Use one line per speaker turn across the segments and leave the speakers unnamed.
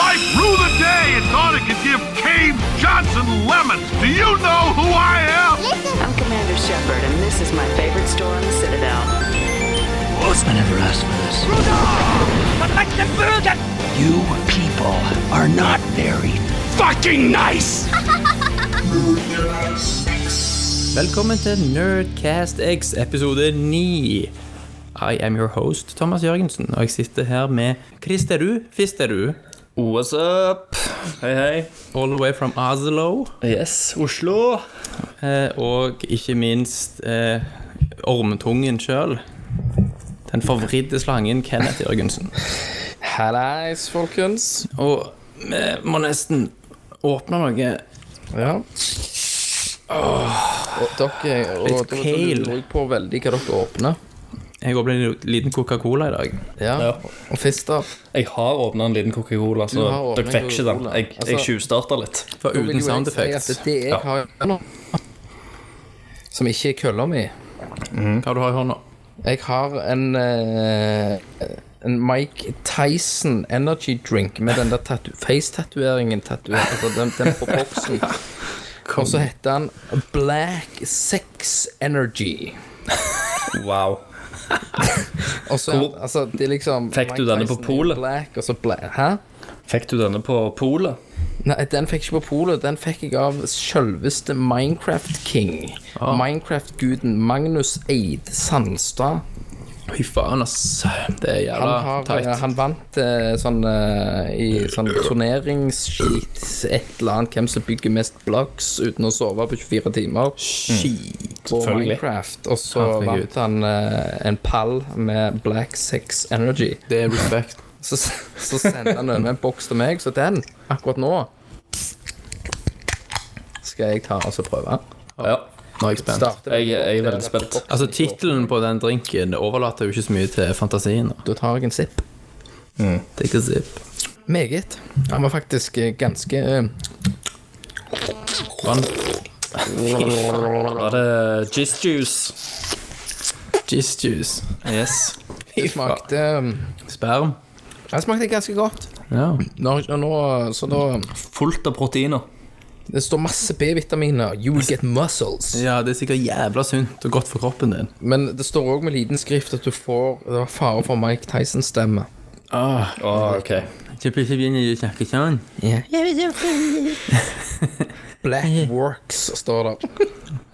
life rue the day and thought it could give Cave Johnson lemons. Do you know who I am?
I'm Commander Shepard, and this is my favorite store in the Citadel.
Osman never asked for this. You people are not very fucking nice!
Velkommen til Nerdcast X episode 9. I am your host, Thomas Jørgensen, og jeg sitter her med Chris Deru, Fist Deru,
What's up? Hei, hei.
all the way from Oslo,
Yes, Oslo.
eh, og ikke minst eh, ormetungen sjøl. Den forvridde slangen Kenneth Jørgensen.
Hallais, folkens.
Og vi må nesten åpne noe.
Ja. Og dere, og
Litt
dere- dere
kale.
lurer jeg på veldig hva dere åpner.
Jeg åpner en liten Coca-Cola i dag.
Ja.
Ja.
Og Fister,
Jeg har åpna en liten Coca-Cola, så
Du har åpnet
dere fikk ikke den.
Coca-Cola.
Jeg, jeg
Altså-
tjuvstarta litt.
For
nå vil
uten
jo
sound
jeg si
effects.
at det jeg
Ja.
har nå, som ikke er kølla mi
Hva du har i hånda?
Jeg har en, eh, en Mike Tyson energy drink med den der tatu face-tatoveringen. tatu- Altså den, den på boksen. Og så heter han Black Sex Energy.
Wow.
Og så,
Hvor-
altså, det er liksom
Fikk du
Mike
denne på
Tyson i
polet?
Black, og så bla- Hæ?
Fikk du denne på polet?
Nei, den fikk jeg ikke på polet. Den fikk jeg av selveste Minecraft King.
Ah.
Minecraft-guden Magnus Eid Sandstad.
Fy faen, ass. Det er
Han,
jævla
har,
tight.
han vant eh, sånn eh, i sånn turneringsskit, et eller annet, hvem som bygger mest blocks uten å sove på 24 timer. På
selvfølgelig.
Minecraft. Og så
Mm. Herregud.
vant han eh, en pall med Black Sex Energy.
Det er respekt.
Så, så sendte han over en boks til meg, så den, akkurat nå skal jeg ta og så prøve.
Ja.
Nå er jeg spent.
Starte med-
Jeg, jeg er veldig spent.
Altså, Tittelen på den drinken overlater jo ikke så mye til fantasien. da.
Da tar jeg en sipp.
Take a sip.
Meget. Han var faktisk eh, ganske eh,
Vann.
Var det Jizz Juice?
Jizz juice.
Yes.
Det smakte eh,
Sperm.
Det smakte ganske godt.
Ja.
Nå, og nå, så da
Fullt av proteiner.
Det står masse B-vitaminer. You will get muscles.
ja, det er sikkert jævla sunt og godt for kroppen din.
Men det står òg med liten skrift at du får Det var fare for Mike Tysons stemme.
Ah,
Å, OK.
ikke plutselig begynner du å snakke sånn.
Black Works står der.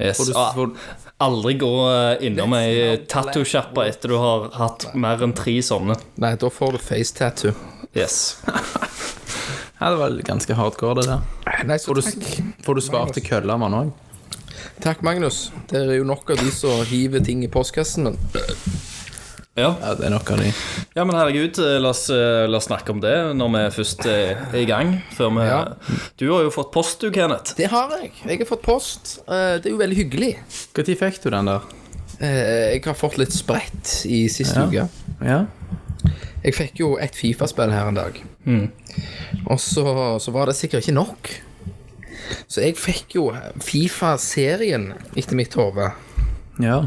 Yes.
Får du,
Ah,
får,
aldri gå eh, innom ei tattosjappe etter du har hatt mer enn tre sånne.
Nei, da får du face tattoo.
Yes.
ja, det var ganske hardcore, det der.
Nei, så
Får du,
takk.
får du svarte køller av han òg?
Takk, Magnus. Det er jo nok av de som hiver ting i postkassen min.
Ja.
Ja, det er nok av de.
Ja, men herregud, eh, la oss, eh, la oss snakke om det når vi først eh, er i gang. Før vi
Ja.
Du har jo fått post, du, Kenneth.
Det har jeg. Jeg har fått post. Eh, Det er jo veldig hyggelig.
Når fikk du den der?
Eh, Jeg har fått litt spredt i siste
Ja.
uke.
Ja?
Jeg fikk jo et Fifa-spill her en dag. Og så, så var det sikkert ikke nok. Så jeg fikk jo Fifa-serien etter mitt hode
Ja.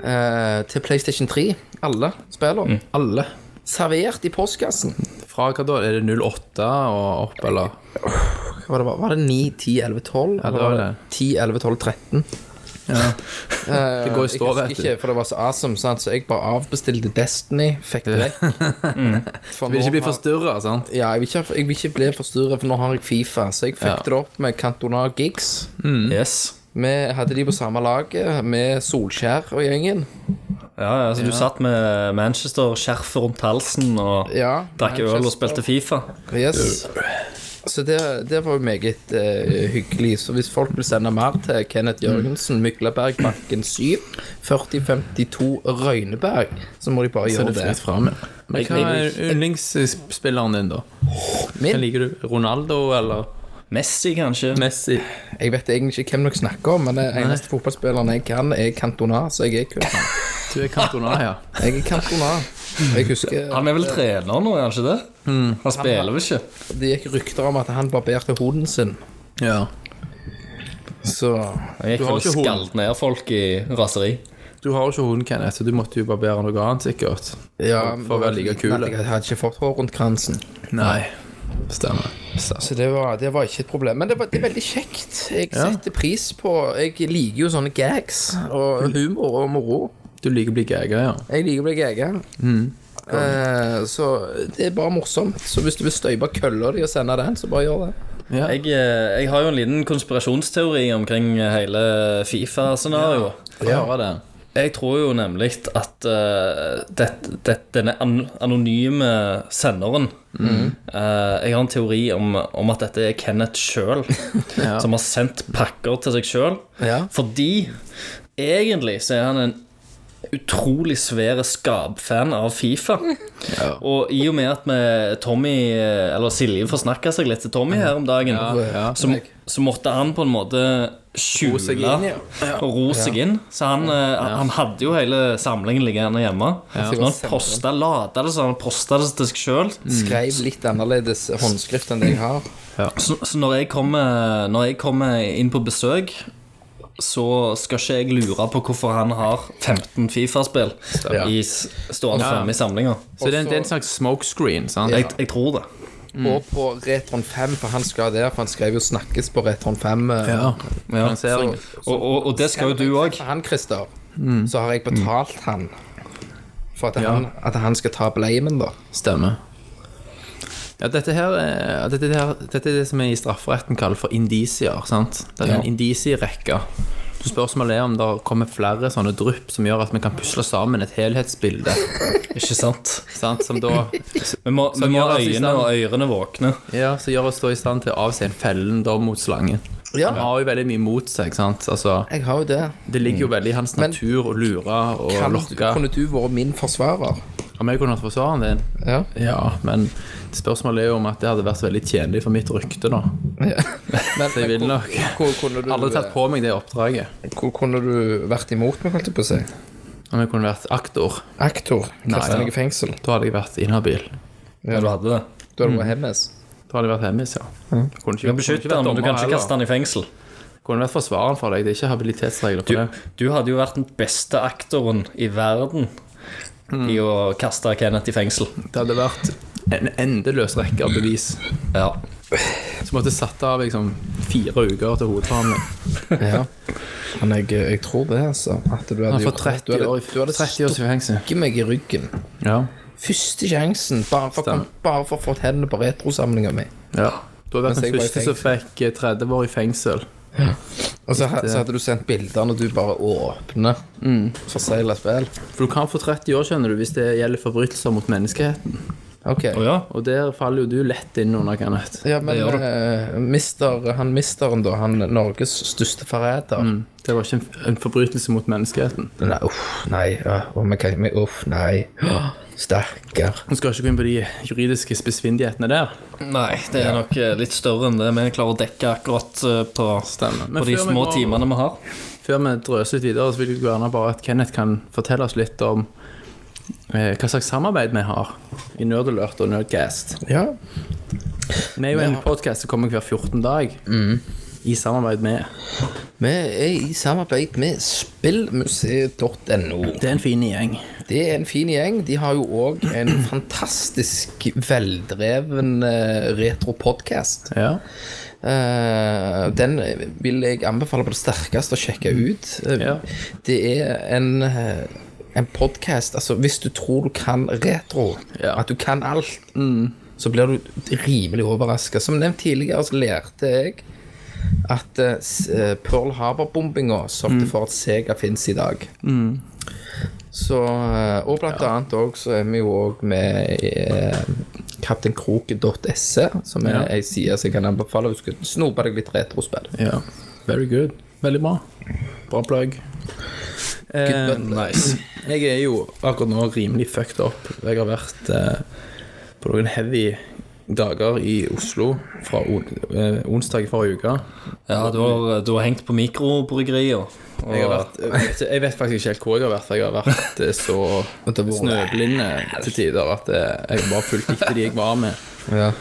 eh, til PlayStation 3. Alle spillene.
Alle.
Servert i postkassen.
Fra hva da? Er det 08 og opp, eller?
Hva var det? Var, var det 9, 10, 11, 12?
Ja, det
Eller
var det.
10, 11, 12, 13.
Det går i
Eh, Jeg
stå,
husker
vet du.
ikke, for det var så awesome, sant? så jeg bare avbestilte Destiny. Fikk det vekk. For
Vil
nå
ikke bli
har-
forstyrra, sant?
Ja, jeg vil ikke, jeg vil ikke bli forstyrret, for nå har jeg Fifa. Så jeg fikk
Ja.
det opp med Cantona Gigs.
Mm.
Yes.
Vi hadde de på samme laget med Solskjær og gjengen.
Ja, altså, Du satt med Manchester-skjerfet rundt halsen og
Ja,
drakk øl og
Manchester.
spilte Fifa.
Yes. Så det, det var jo meget eh, hyggelig. Så hvis folk vil sende mer til Kenneth Jørgensen,
Mm.
Myklabergbakken 7, 4052 Røyneberg, så må de bare
Så
gjøre
det er
det.
fritt fram, ja. Men hva
jeg-
er yndlingsspilleren din, da? Hva
Min,
liker du? Ronaldo eller
Messi, kanskje.
Messi?
jeg vet egentlig ikke hvem dere snakker om, men den eneste fotballspilleren jeg kan, er Cantona, så jeg er kun han.
Du er Cantona, ja.
Jeg er Cantona. Jeg husker
Han er vel trener nå, er han ikke det?
Mm.
Han spiller vel ikke?
det gikk rykter om at han barberte hoden sin,
ja.
så
Han gikk
Du har
vel og
ikke hund.
skallet ned folk i raseri.
Du har jo ikke hund, Kenneth, så du måtte jo barbere noe annet, sikkert.
Ja,
For å være like kul.
Jeg hadde ikke fått hår rundt kransen.
Nei. Stemmer. Stemmer.
Så det var, det var ikke et problem. Men det, var, det er veldig kjekt. Jeg
Ja.
setter pris på Jeg liker jo sånne gags og humor og moro.
Du liker å bli gaga, ja.
Jeg liker å bli gaga.
Mm.
Eh, så det er bare morsomt. Så hvis du vil støype kølla di og sende den, så bare gjør det.
ja.
Jeg, eh, jeg har jo en liten konspirasjonsteori omkring eh, hele Fifa-scenarioet.
får høre det.
Jeg tror jo nemlig at eh, det, det, denne an anonyme senderen eh, Jeg har en teori om, om at dette er Kenneth sjøl som har sendt pakker til seg sjøl.
Ja.
Fordi egentlig så er han en utrolig svære skapfan av Fifa. Og i og med at vi Tommy, eh, eller Silje forsnakka seg litt til Tommy her om dagen,
ja.
så, så måtte han på en måte skjule
seg inn, ja.
og ro seg inn. Så han, eh, han hadde jo hele samlingen liggende hjemme. Så når han posta lada det, så han posta det til seg sjøl.
Mm.
Skrev litt annerledes håndskrift enn det jeg har.
Så, så når, jeg kommer, når jeg kommer inn på besøk, så skal ikke jeg lure på hvorfor han har 15 Fifa-spill
Ja.
i s- stående
Ja.
fremme i samlinga.
Så det er, en, det er en slags smokescreen, sant?
Jeg, jeg tror det.
Mm.
Og på Retron 5, for han skal der, for han skrev jo 'snakkes' på Retron 5. eh,
Ja.
Ja.
Lanseringen.
Og, og, og det skal jo du òg.
For han, Christer,
Mm.
så har jeg betalt han for at, han, at han skal ta blamen, da.
Stemmer. Ja, dette her, er- dette, her, dette er det som vi i strafferetten kaller for indisier, sant? Det er en
Ja.
indisierekke. Så Spørsmålet er om det kommer flere sånne drypp som gjør at vi kan pusle sammen et helhetsbilde,
Ikke sant?
sant? Som da
Vi må, vi
Som
må
gjør
ha
oss i
øynene
stand.
og ørene våkne.
ja, så gjør oss da i stand til å avse en fellen dom mot slangen. Han har jo veldig mye mot seg, sant? Altså,
Jeg har jo det.
det ligger jo veldig i hans natur å lure og
Mm. Kan,
lokke.
kunne du vært min forsvarer?
Om jeg kunne hatt forsvareren din?
Ja.
Ja, men spørsmålet er jo om at det hadde vært veldig tjenlig for mitt rykte, da.
Men,
Så jeg vil
hvor-
nok
hvor kunne du,
aldri tatt på meg det oppdraget.
Hvor kunne du vært imot meg, holdt jeg på å si?
Om jeg kunne vært aktor,
Aktor. Kastet
ja.
meg i fengsel.
da hadde jeg vært inhabil.
Ja, du hadde det.
Du
Mm.
hadde vært hemmes.
Da hadde jeg vært hjemmes, ja. Jeg Kunne
Du
ikke,
kan
kunne
beskytte
ikke
den,
vært
men du kan
dommer
ikke kaste
heller.
den i fengsel.
Kunne vært forsvareren for deg. Det er ikke habilitetsregler
Du,
på det.
du hadde jo vært den beste aktoren i verden
Mm.
i å kaste Kenneth i fengsel.
Det hadde vært en endeløs rekke av bevis.
Ja.
Så måtte jeg satt av liksom fire uker til hovedforhandling.
Ja. Men jeg, jeg tror det, altså. At du hadde
Han har
gjort-
fått
du
30
hadde-
år,
Du hadde
30 års i fengsel.
stukket meg i ryggen.
Ja.
Første sjansen, bare for,
Stemmer.
bare for å få hendene på retrosamlinga mi.
ja. Du har vært
Mens jeg
den
var i
første som fikk eh, 30 år i fengsel.
Og så, så hadde du sendt bilder når du bare åpner forsegla spill.
For du kan få 30 år, skjønner du, hvis det gjelder forbrytelser mot menneskeheten.
Ok.
Å ja.
Og der faller jo du lett inn under, Kenneth.
Ja, men
Det gjør du.
eh, mister, han misteren, da. Han Norges største forræder.
Det var ikke en, en forbrytelse mot menneskeheten.
Nei, uff, nei. Ja, og vi kan, vi, uff, nei. Åh, Stakkar.
Nå skal jeg ikke gå inn på de juridiske spissfindighetene der.
Nei, det er nok eh, litt større enn det vi klarer å dekke akkurat eh, på,
Stemmer. Men
på de
før vi
små
går-
timene vi har.
Før vi drøser litt videre, så vil jeg gjerne bare at Kenneth kan fortelle oss litt om eh, hva slags samarbeid vi har i Nerdelert og Nerdcast.
Ja.
Vi er jo en podkast som kommer hver 14 dag. I samarbeid med
Vi er i samarbeid med spillmuseet.no.
Det er en fin gjeng.
Det er en fin gjeng. De har jo òg en fantastisk veldreven eh, retro-podkast.
Ja.
Eh, den vil jeg anbefale på det sterkeste å sjekke ut. Eh,
Mm. Ja.
Det er en, eh, en podkast Altså, hvis du tror du kan retro,
Ja. Mm.
at du kan alt, så blir du rimelig overraska. Som nevnt tidligere, så lærte jeg at eh, s- eh, Pearl Harbor-bombinga
Mm.
sørget for at Sega fins i dag. Så, eh, og blant annet òg så er vi jo òg med i eh, kapteinkroken.se, som er
Ja.
ei side som jeg kan anbefale. Du skal snope deg litt retrospill.
ja. Very good. Veldig bra. Bra plugg. Eh,
Good, but-
nice. Jeg er jo akkurat nå rimelig fucked up. Jeg har vært eh, på noen heavy dager i Oslo fra on eh, onsdag i forrige uke.
Ja, du har, eh, du har hengt på mikrobryggerier. Og
Jeg, har vært, eh, jeg, vet, jeg vet faktisk ikke helt hvor jeg har vært. for Jeg har vært eh,
Og det
så
var-
snøblinde til tider at eh, jeg bare fulgte ikke de jeg var med.
Ja.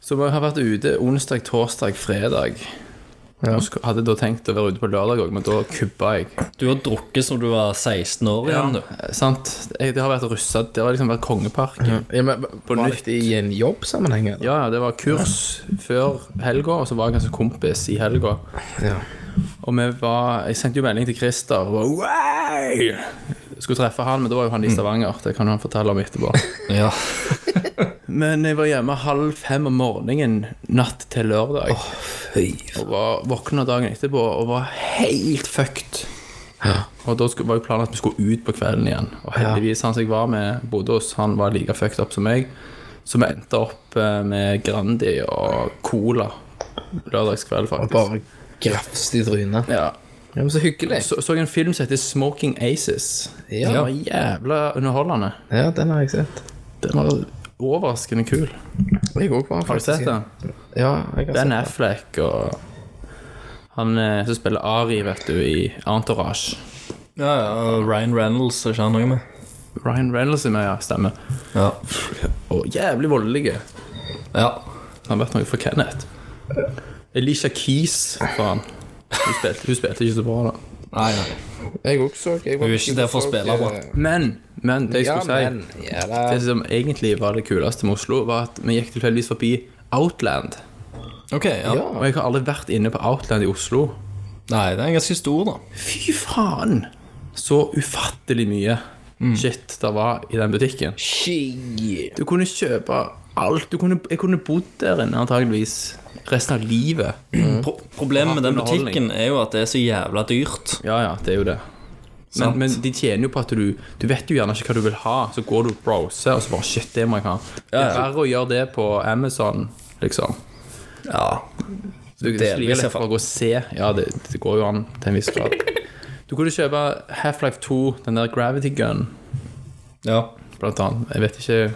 Så jeg har vært ute onsdag, torsdag, fredag. Og sk- hadde da tenkt å være ute på lørdag òg, men da kubba jeg.
Du har drukket som du var 16 år igjen, du.
Eh, Sant? Jeg, det har vært russa Det har liksom vært kongepark.
Ja, men Var
nytt.
dette i en jobbsammenheng? eller?
Ja, ja, det var kurs før helga, og så var jeg ganske kompis i helga.
Ja.
Og vi var Jeg sendte jo melding til Christer og var, «Wey!» Skulle treffe han, men da var jo han i Stavanger. Det kan han fortelle om etterpå.
Ja.
Men jeg var hjemme halv fem om morgenen natt til lørdag. og var våkna dagen etterpå og var helt fucked. Og da skulle, var jo planen at vi skulle ut på kvelden igjen. Og heldigvis han som jeg var med, bodde hos, han var like fucked up som meg. Så vi endte opp eh, med Grandi og Cola lørdagskveld, faktisk.
Bare grafst i trynet.
ja.
Ja, men Så hyggelig.
så, så jeg en film som heter 'Smoking Aces'.
Ja.
Den var jævla underholdende.
Ja, den har jeg sett.
Den var overraskende kul.
Jeg òg var
Har du sett den?
Ja, jeg har sett
Ben Affleck og han eh, som spiller Ari, vet du, i Entourage.
ja, ja og Ryan Reynolds er ikke han noe med.
Ryan Reynolds er med, ja, stemmer.
Ja.
Og jævlig voldelig.
ja.
Han har vært noe for Kenneth. Elisha Keys, faen. Hun spilte, hun spilte ikke så bra, da.
Nei, nei.
Jeg òg så jeg var-
Du er ikke der for å spille, bra.
Men, men det jeg
Ja,
skulle
men.
si
Ja, da.
Det som egentlig var det kuleste med Oslo, var at vi gikk tilfeldigvis forbi Outland.
Ok, ja.
Ja.
Og jeg har aldri vært inne på Outland i Oslo.
Nei, den er ganske stor, da.
Fy faen! Så ufattelig mye
Mm.
shit der var i den butikken.
Shit.
Du kunne kjøpe alt. Du kunne, jeg kunne bodd der inne antageligvis resten av livet.
Pro problemet med den
Mm. Underholdning.
butikken er jo at det er så jævla dyrt.
Ja, ja, det er jo det. Men,
Sant.
men de tjener jo på at du Du vet jo gjerne ikke hva du vil ha, så går du og browser, og så bare Shit, det må jeg ha. Det er
ja.
verre å gjøre det på Amazon, liksom.
Ja.
Du kan
Delvis,
slike
i
litt
hvert fall.
for å gå og se. Ja, det, det går jo an til en viss grad. Du kunne kjøpe Half-Life 2, den der Gravity Gun,
ja.
blant annet. Jeg vet ikke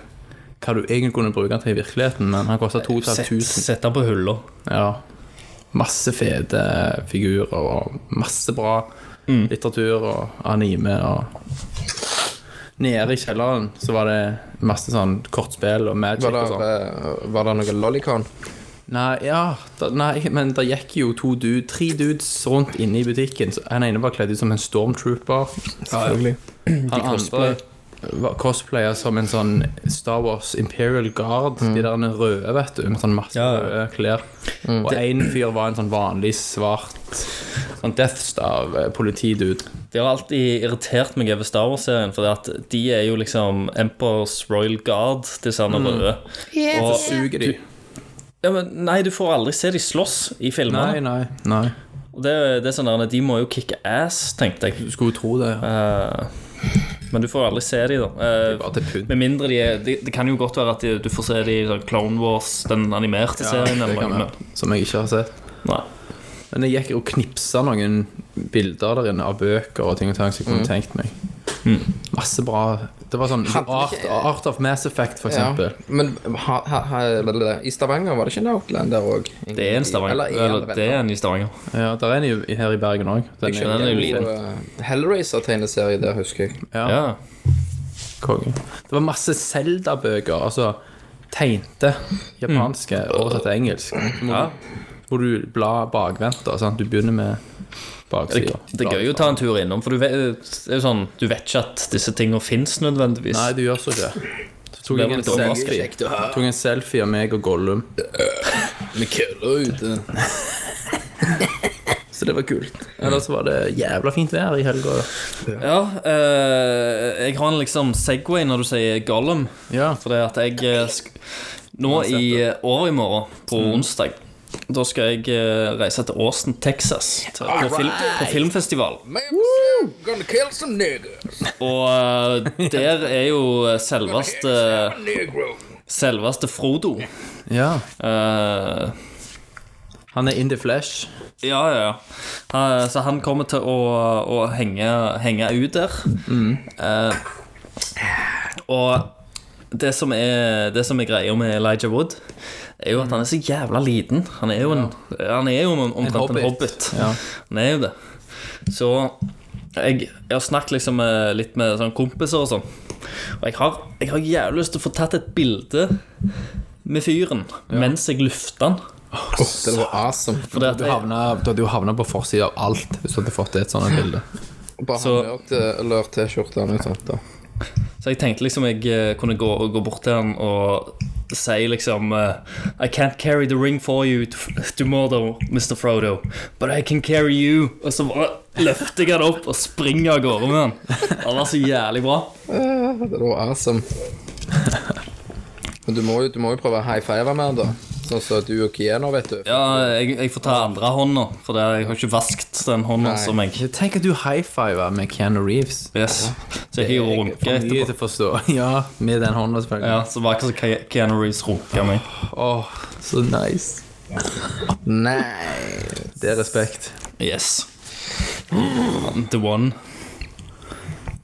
hva du egentlig kunne bruke den til i virkeligheten, men han kosta
Sett,
2500.
sett den på hylla.
Ja. Masse fete figurer og masse bra
Mm.
litteratur og anime og Nede i kjelleren så var det masse sånn kortspill og magic
Var
og sånn.
det, eh, var det noe lollicon?
Nei, ja, da, nei, men det gikk jo to dudes, tre dudes rundt inne i butikken. Så han ene var kledd ut som en stormtrooper.
Selvfølgelig.
Han andre var cosplayer som en sånn Star Wars Imperial Guard. De der røde, vet du, med sånn masse
Ja, ja.
røde klær. Og én fyr var en sånn vanlig svart sånn Death Star-politidude.
Det har alltid irritert meg over Star Wars-serien, for at de er jo liksom Empires Royal Guard, disse
Mm.
andre røde.
Så
Og,
suger de.
ja, men, nei, du får aldri se de slåss
Nei,
i filmene.
nei, nei.
Og det, det er sånn der, De må jo kicke ass, tenkte jeg.
Du skulle jo tro det. ja.
Eh, men du får aldri se de, da. Eh,
Bare til pynt.
med mindre de er de, Det kan jo godt være at de, du får se de i sånn Clone Wars, den animerte serien.
Det
Eller,
kan
noe.
være, Som jeg ikke har sett.
Nei.
Men jeg gikk og knipsa noen bilder der inne av bøker og ting og tang som jeg kunne tenkt meg. Masse bra Det var sånn Art, Art of Mass Effect, for
Ja.
eksempel.
Men ha, ha, ha, i Stavanger var det ikke en Outland der òg?
Det er en Stavanger.
Eller,
Eller,
eller,
det er en i Stavanger.
Ja, der er en i- her i Bergen òg. Den
skjønner den er jo liten.
eh, Hellraiser-tegneserie der, husker jeg.
Ja.
Ja.
Konge. Det var masse Zelda-bøker, altså tegnte japanske oversatt til engelsk. Hvor,
Mm. Ja.
hvor du blar bakvendt. da, sant? Du begynner med
Det,
baksida.
det er gøy å ta en tur innom, for du vet, det er jo sånn, du vet ikke at disse tingene fins nødvendigvis.
Nei, du gjør så ikke det. Så tok jeg
blir
en
det overrasket.
selfie Tok en selfie av meg og Gollum.
Vi kødder ute.
Så det var kult. Ellers var det jævla fint vær i helga.
Ja, eh, jeg har en liksom Segway når du sier Gollum.
Ja.
For det at jeg eh, sk Nå i eh, overmorgen, på onsdag, da skal jeg eh, reise til Austin, Texas. Til, på, film, på filmfestival.
Gonna kill some niggas.
Og eh, der er jo eh, selveste
Negro.
Selveste Frodo.
ja.
Eh,
Han er in the flesh.
Ja, ja, ja. Eh, Så han kommer til å, å henge, henge ut der. Eh, og det som, er, det som er greia med Elijah Wood, er jo at han er så jævla liten. Han er jo, en, han er jo om- omtrent en hobbit.
hobbit. Ja.
Han er jo det. Så jeg, jeg har snakket liksom eh, litt med sånn kompiser og sånn. Og jeg har, jeg har jævlig lyst til å få tatt et bilde med fyren mens jeg lufter han.
Det var awesome.
For
Du, havna, du hadde jo havna på forsida av alt hvis du hadde fått et sånt bilde.
Bare
Så-
handlør til- eller T-skjorte eller noe sånt. da
Så jeg tenkte liksom jeg eh, kunne gå, gå bort til han og si liksom eh, I can't carry the ring for you tomorrow, Mr. Frodo, but I can carry you. Og så bare løfter jeg han opp og springer av gårde med han. Det var så jævlig bra.
Det var awesome. Men du må jo, du må jo prøve å high five med den, da. Sånn som du og Kieno, vet du.
Ja, jeg, jeg får ta andre hånda, for det, jeg har ikke vaskt den hånda
Nei.
som jeg
Tenk at du high-fiver med Keanu Reeves.
Yes. Så jeg kan jo runke
For mye
etterpå.
til å forstå. Ja, med den hånda,
Ja,
selvfølgelig.
så var det akkurat som Keanu Reeves runka meg.
Åh, så nice.
Nei
Det er respekt.
Yes. The one.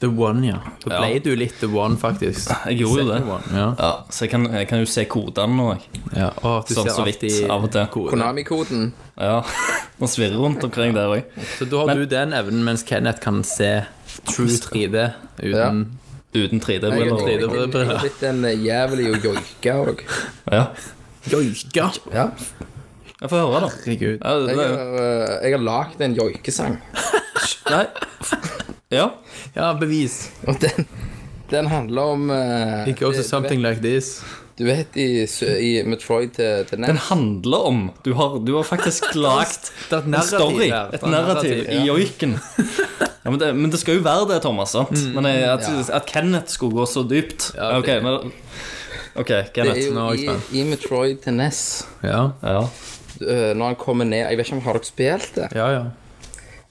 The One, ja. Da
Ja.
ble du litt The One, faktisk.
Jeg gjorde jo det.
Second One, Ja.
Ja, så jeg kan, jeg kan jo se kodene nå, jeg.
ja. Åh, du
Sånn
ser
så vidt,
alltid
av og til.
kode.
Konami-koden.
Ja, Man svirrer rundt omkring der òg.
Så da har du den evnen, mens Kenneth kan se true 3D uten
Uten
Jeg
3D-briller.
Egentlig.
jeg- jeg er blitt en eh, jævlig å joike òg.
Ja.
joika.
Ja.
Jeg får høre, da.
Herregud.
Ja, det,
Jeg
det,
har, eh, jeg har lagd en joikesang,
nei. Ja.
Ja, bevis.
og den, den handler om eh,
It goes to something like this.
Du vet i, sø- i Metroid til, til E
Den
Ness
handler om Du har, du har faktisk lagd
Det er et
en story.
her. Det er
Et
et
narrativ i joiken. Ja, men, det, men det skal jo være det, Thomas. sant? Men jeg, at,
Ja.
at Kenneth skulle gå så dypt
Ja,
Ok,
det-
men, ok,
Det
Kenneth.
er
nå
jo
er jeg
i, i Metroid til Ness
Ja,
Ja.
eh, Når han kommer ned Jeg vet ikke om har dere spilt det?
ja. ja.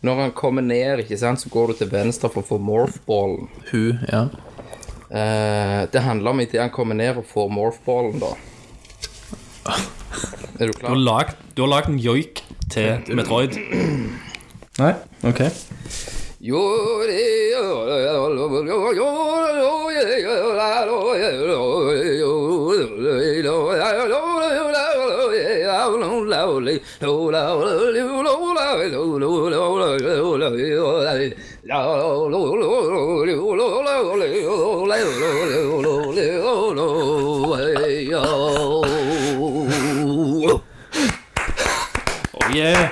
Når han kommer ned, ikke sant, så går du til venstre for å få morphballen.
Hun, ja.
Eh, det handler om idet han kommer ned og får morphballen, da. Er du
Du har
klar?
lagd, du har lagd en joik til Metroid. Nei? Ok. Oh, yeah.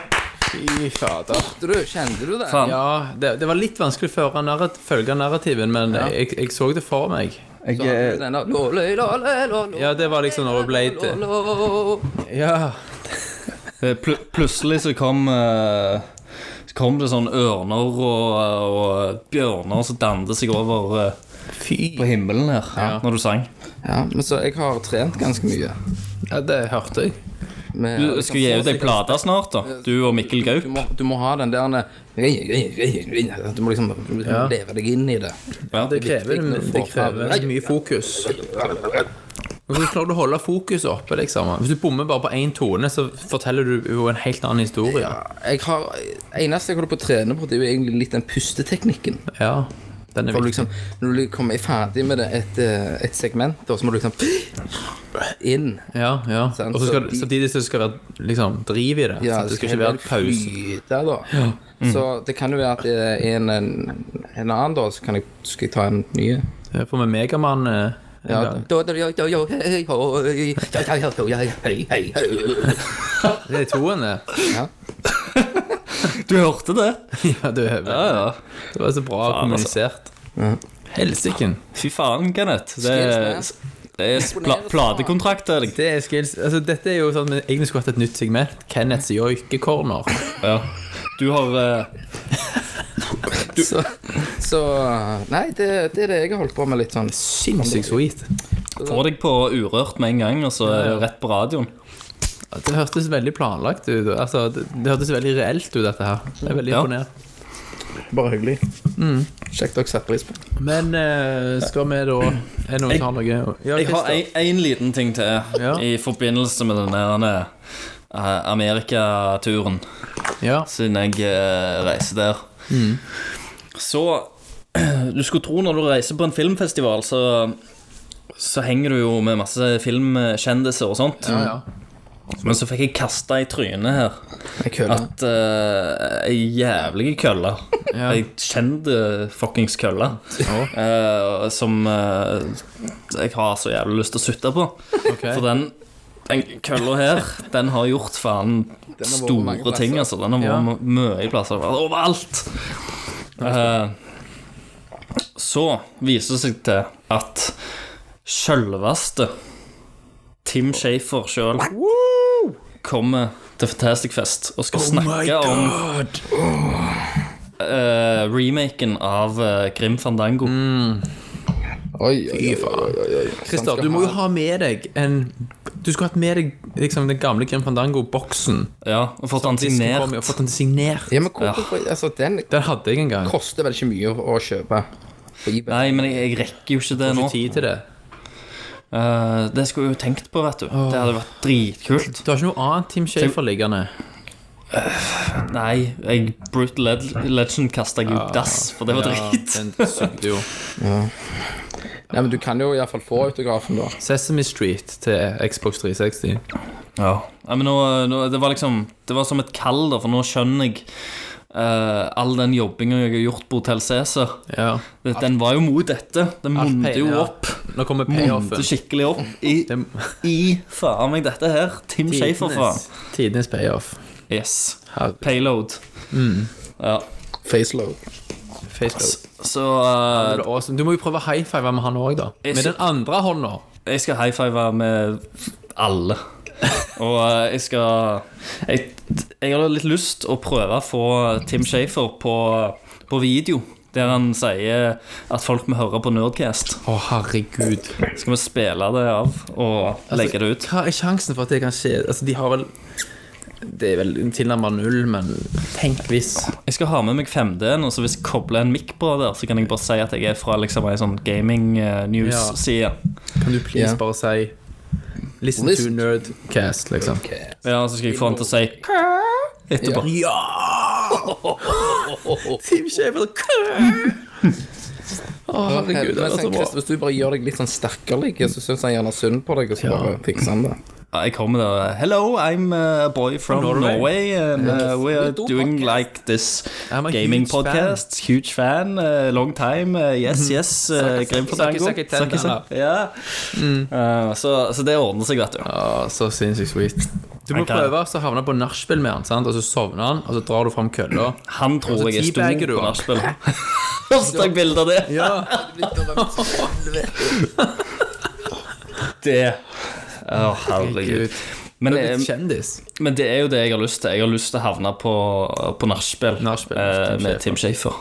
Fy fader.
Du, Kjente du det?
Faen.
Ja, det, det var litt vanskelig å føre narrat følge narrativen, men jeg, jeg så det for meg. Ja, det var liksom når hun ble til. Ja.
Eh, Pl plutselig så kom eh, Så kom det sånn ørner og, eh, og bjørner som dannet seg over eh,
Fy.
på himmelen her når du sang.
Ja, men så jeg har trent ganske mye.
Ja, det hørte jeg.
Med,
Du skal gi ut ei plate snart, da. Du og Mikkel
Du
Gaup.
må, du må ha den der Du må liksom, du må liksom
Ja.
leve deg inn i det.
Ja.
Det krever, det krever mye fokus. Og Hvordan klarer du å holde fokus oppe, liksom? Hvis du bommer bare på én tone, så forteller du jo en helt annen historie.
Jeg har, eneste jeg holder på å trene på, det er jo egentlig litt den pusteteknikken.
Ja, den er
For
viktig.
liksom, når du kommer ferdig med det, et, eh, et segment, da, så må du liksom inn.
Ja, ja.
Sant,
Og så skal,
så de-
samtidig så skal det være liksom, driv i det.
Ja,
så det skal ikke være
helt
pause.
flyte, da.
Mm.
Så det kan jo være at eh, en, en, en annen, da, så kan jeg, skal jeg ta en ny.
Det får vi Megamann eh, en
Ja.
gang. Det er toen, det.
Du hørte det?
Ja, altså. du er
Ja, ja.
Det var så bra
Faen,
kommunisert. Helsiken.
Fy faen, Kenneth. Det er,
Skills,
det er pla platekontrakt. er det ikke?
Det er skills. Altså, dette er jo sånn vi egentlig skulle hatt et nytt segment. Kenneths joikekorner.
Ja. Du har eh,
Så, så Nei, det, det er det jeg har holdt på med litt sånn.
Sinnssykt sweet.
Få deg på Urørt med en gang, og så er det rett på radioen.
Det hørtes veldig planlagt ut. Altså, det, det hørtes veldig reelt ut, dette her. Jeg er veldig
Ja.
imponert.
Bare hyggelig. Mm. Kjekt dere setter pris på.
Men eh, skal vi da Er det noen som har noe? Ja,
Jeg har
Christer.
en, en liten ting til
Ja.
i forbindelse med den der eh, Amerikaturen,
Ja.
siden jeg eh, reiser der.
Mm.
Så du skulle tro når du reiser på en filmfestival, så, så henger du jo med masse filmkjendiser og sånt.
Ja, ja.
Men så fikk jeg kasta i trynet her
Jeg kødder.
at eh, ei jævlig kølle
Ja.
Ei kjent fuckings kølle eh, som eh, jeg har så jævlig lyst til å sutte på.
Ok.
For den Den kølla her, den har gjort faen
mange
store
plasser.
ting, altså. Den har vært
Ja.
m- mye i plasser. Den har vært Overalt! Eh, så viser det seg til at sjølveste Tim Shafer sjøl kommer til Fantastic Fest og
Oh
skal snakke om eh, remaken av eh, Grim Fandango.
Mm.
Oi, oi, oi, oi, oi, Sånn oi.
Christer, du må jo ha med deg en Du skulle hatt med deg liksom, den gamle Grim Fandango-boksen.
Ja, og fått han
Disken kom
signert.
jo, Fått den signert.
Ja, men hvorfor Altså, den
Den hadde jeg en gang.
koster vel ikke mye å, å kjøpe på eBay.
Nei, men jeg, jeg rekker jo ikke det
Har
nå.
ikke tid til det.
Eh, det skulle jeg jo tenkt på, vet du. Det hadde vært dritkult.
Du har ikke noe annet Team Shafer liggende?
Nei, jeg, Brutal Led- Legend kasta jeg
Ah,
ut dass, for det var drit.
Den sugde jo.
Nei, men du kan jo iallfall få autografen, da.
Sesame Street til Xbox 360.
Ja. Nei, men nå, nå, det var liksom Det var som et kall, da, for nå skjønner jeg eh, all den jobbinga jeg har gjort på Hotell Cæsar.
Ja.
Den den var jo mot dette. Den
Alt
munte jo
pay- ja.
opp.
Nå kommer
Munte
payoffen.
skikkelig opp i, i faen meg dette her. Tim Shafer, faen.
Tidenes- Tidenes payoff.
Yes.
Herregud.
Payload.
Mm.
Ja.
Faceload.
Facebook.
Så eh,
Det er awesome. Du må jo prøve å high five med han òg, da.
Jeg
Med
sy-
den andre hånda.
Jeg skal high five med alle. Og eh, jeg skal Jeg, jeg har litt lyst å prøve å få Tim Shafer på, på video. Der han sier at folk må høre på Nerdcast.
Å, herregud.
Skal vi spille det av
Altså,
og legge det ut?
Hva er sjansen for at det kan skje? Altså, de har vel Det er vel tilnærmet null, men tenk hvis.
Jeg skal ha med meg 5D-en, og så hvis jeg kobler en mic på der, så kan jeg bare si at jeg er fra liksom ei sånn gaming-news-side.
Kan du please
Ja.
bare si Listen,
Listen.
to Nerdcast, liksom.
Ja, så skal jeg få han til å si "Kæ" etterpå.
Team Shaver Å, herregud, det
Men
er så
sånn,
bra.
Chris, hvis du bare gjør deg litt sånn stakkerlig, så syns han gjerne synd på deg, og så bare fikser han det.
Ja, Jeg kommer der. Hello, I'm a boy from Norway,
Norway.
and uh, we are
do
doing
podcast.
like this
I'm a
gaming
huge fan. Mhm.
podcast. Huge fan, uh, long time. Uh, yes, yes. Uh, Grim for
suck it,
tango.
suck it,
Suck
tender.
it, suck- Ja.
Mm.
Uh, så, så det ordner seg, vet
Å,
du.
Ah, så sinnssykt sweet. Du må
Ok.
prøve å havne på nachspiel med han, sant? og så sovner han, og så drar du fram kølla.
Han tror
Og så
jeg er
Altså,
stor
teabagger du
på
han.
nachspiel. Og så tar jeg bilde av det.
Ja.
Det Å, herregud.
Herregud.
Men,
Du er blitt
eh,
kjendis.
men det er jo det jeg har lyst til. Jeg har lyst til å havne på, på nachspiel
Nachspiel,
eh,
Tim
med Tim Shafer.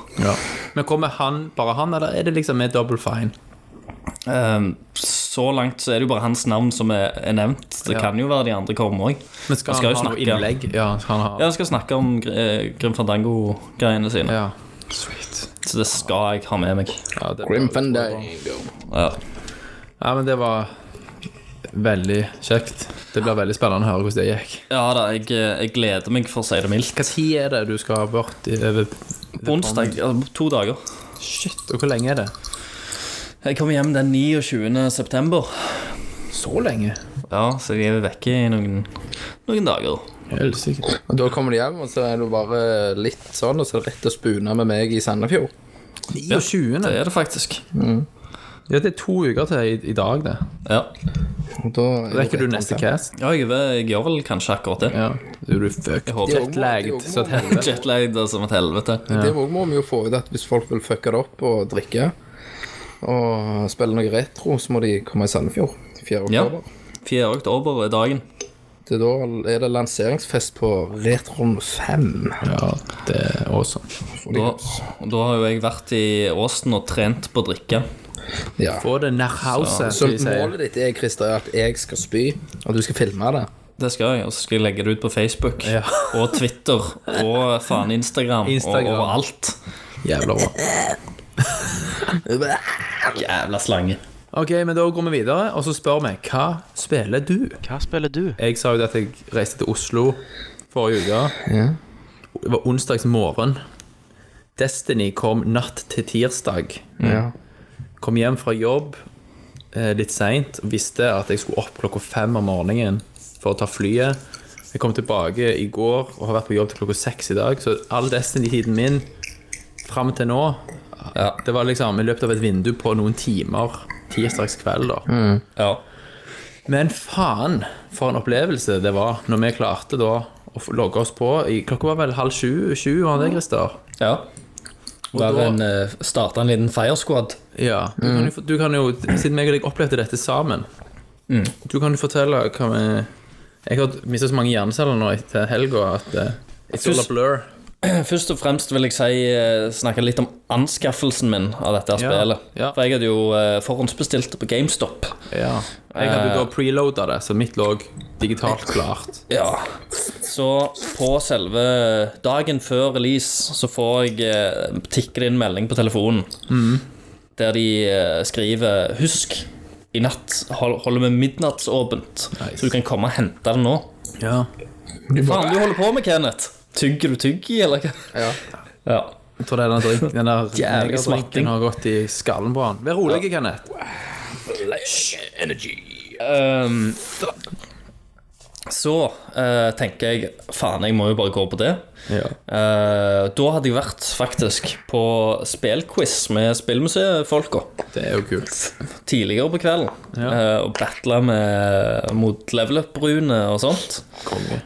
Men kommer han bare han, eller er det liksom med double fine?
Ehm, så langt så er det jo bare hans navn som er, er nevnt. Det
Ja.
kan jo være de andre kommer òg.
Men skal
skal
han,
jo
ha noe
snakke.
innlegg? Ja, han har
Ja, jeg skal snakke om Gr- eh, Grim Fandango-greiene sine.
Ja. Sweet.
Så det skal jeg ha med meg.
Ja, det var-
Grim Fandango.
Ja.
Ja, men det var veldig kjekt. Det blir veldig spennende å høre hvordan det gikk.
ja da, jeg, eh, jeg gleder meg, for å si det mildt.
Hva tid er det du skal bort i over
Onsdag, altså, to dager.
Shit, og hvor lenge er det?
Jeg kommer hjem den 29. september.
Så lenge?
Ja, så jeg er vekke i noen, noen dager.
Helsike.
Og da kommer de hjem, og så er det bare litt sånn, og så er det rett å spune med meg i Sandefjord.
29.
Det er det faktisk.
Ja, det er to uker til i, i dag, det.
Ja,
Og da
Rekker du neste cast?
ja jeg, jeg gjør vel kanskje akkurat det.
Ja. Du er du fucked.
Jeg håper det.
Jetlagged så et helvete.
Jetlagged som et helvete.
Det må må vi jo få ut at hvis folk vil fucke det opp og drikke og spille noe retro, så må de komme i Sandefjord 4.
Ja.
oktober.
4. oktober er dagen.
Til da er det lanseringsfest på Retron 5.
Ja, det er awesome.
Da, og da har jo jeg vært i Åsen og trent på å drikke.
Ja.
Få det nær
Så
house, som de sier.
målet ditt er, Christer, at jeg skal spy, og du skal filme det.
Det skal jeg, og så skal jeg legge det ut på Facebook og Twitter og faen Instagram,
Instagram.
og overalt.
Jævla bra.
Jævla slange.
Ok, men da går vi videre, og så spør vi hva spiller du?
Hva spiller du?
Jeg sa jo det at jeg reiste til Oslo forrige uke. Det var onsdags morgen. Destiny kom natt til tirsdag.
Ja.
Kom hjem fra jobb eh, litt seint og visste at jeg skulle opp klokka fem om morgenen for å ta flyet. Jeg kom tilbake i går og har vært på jobb til klokka seks i dag, så all Destiny-tiden min fram til nå
Ja.
Det var liksom i løpet av et vindu på noen timer tirsdagskveld, da.
ja.
Men faen for en opplevelse det var når vi klarte da å få- logge oss på. I- Klokka var vel halv sju, sju var det, Christer?
Ja.
da-
Bare starta en liten fire squad.
Ja. Du kan, jo, få- du kan jo, siden meg og deg opplevde dette sammen, du kan jo fortelle hva vi Jeg har mistet så mange hjerneceller nå etter helga at eh, It's all a
Først-
blur.
Først og fremst vil jeg si, eh, snakke litt om anskaffelsen min av dette her
Ja,
spillet.
ja.
For jeg hadde jo eh, forhåndsbestilt det på GameStop.
Ja. Jeg hadde jo da preloada det, så mitt lå digitalt klart.
Ja. Så på selve dagen før release så får jeg eh, tikker det inn melding på telefonen der de eh, skriver 'Husk, i natt hol- holder vi midnattsåpent,
Nice.
så du kan komme og hente det nå'.
Ja.
Hva faen du holder på med, Kenneth? Tygger du tyggi, eller hva?
Ja.
ja.
Jeg tror den der, drink, den der
Jævlig
drinken
smatting.
har gått i skallen på han. Vær rolig, Kenneth.
Ehm, så eh, tenker jeg faen, jeg må jo bare gå på det.
Ja.
Eh, da hadde jeg vært faktisk på spillquiz med spillmuseet-folka
Det er jo kult.
tidligere på kvelden.
Ja.
eh, og battla med- mot level up-brune og sånt.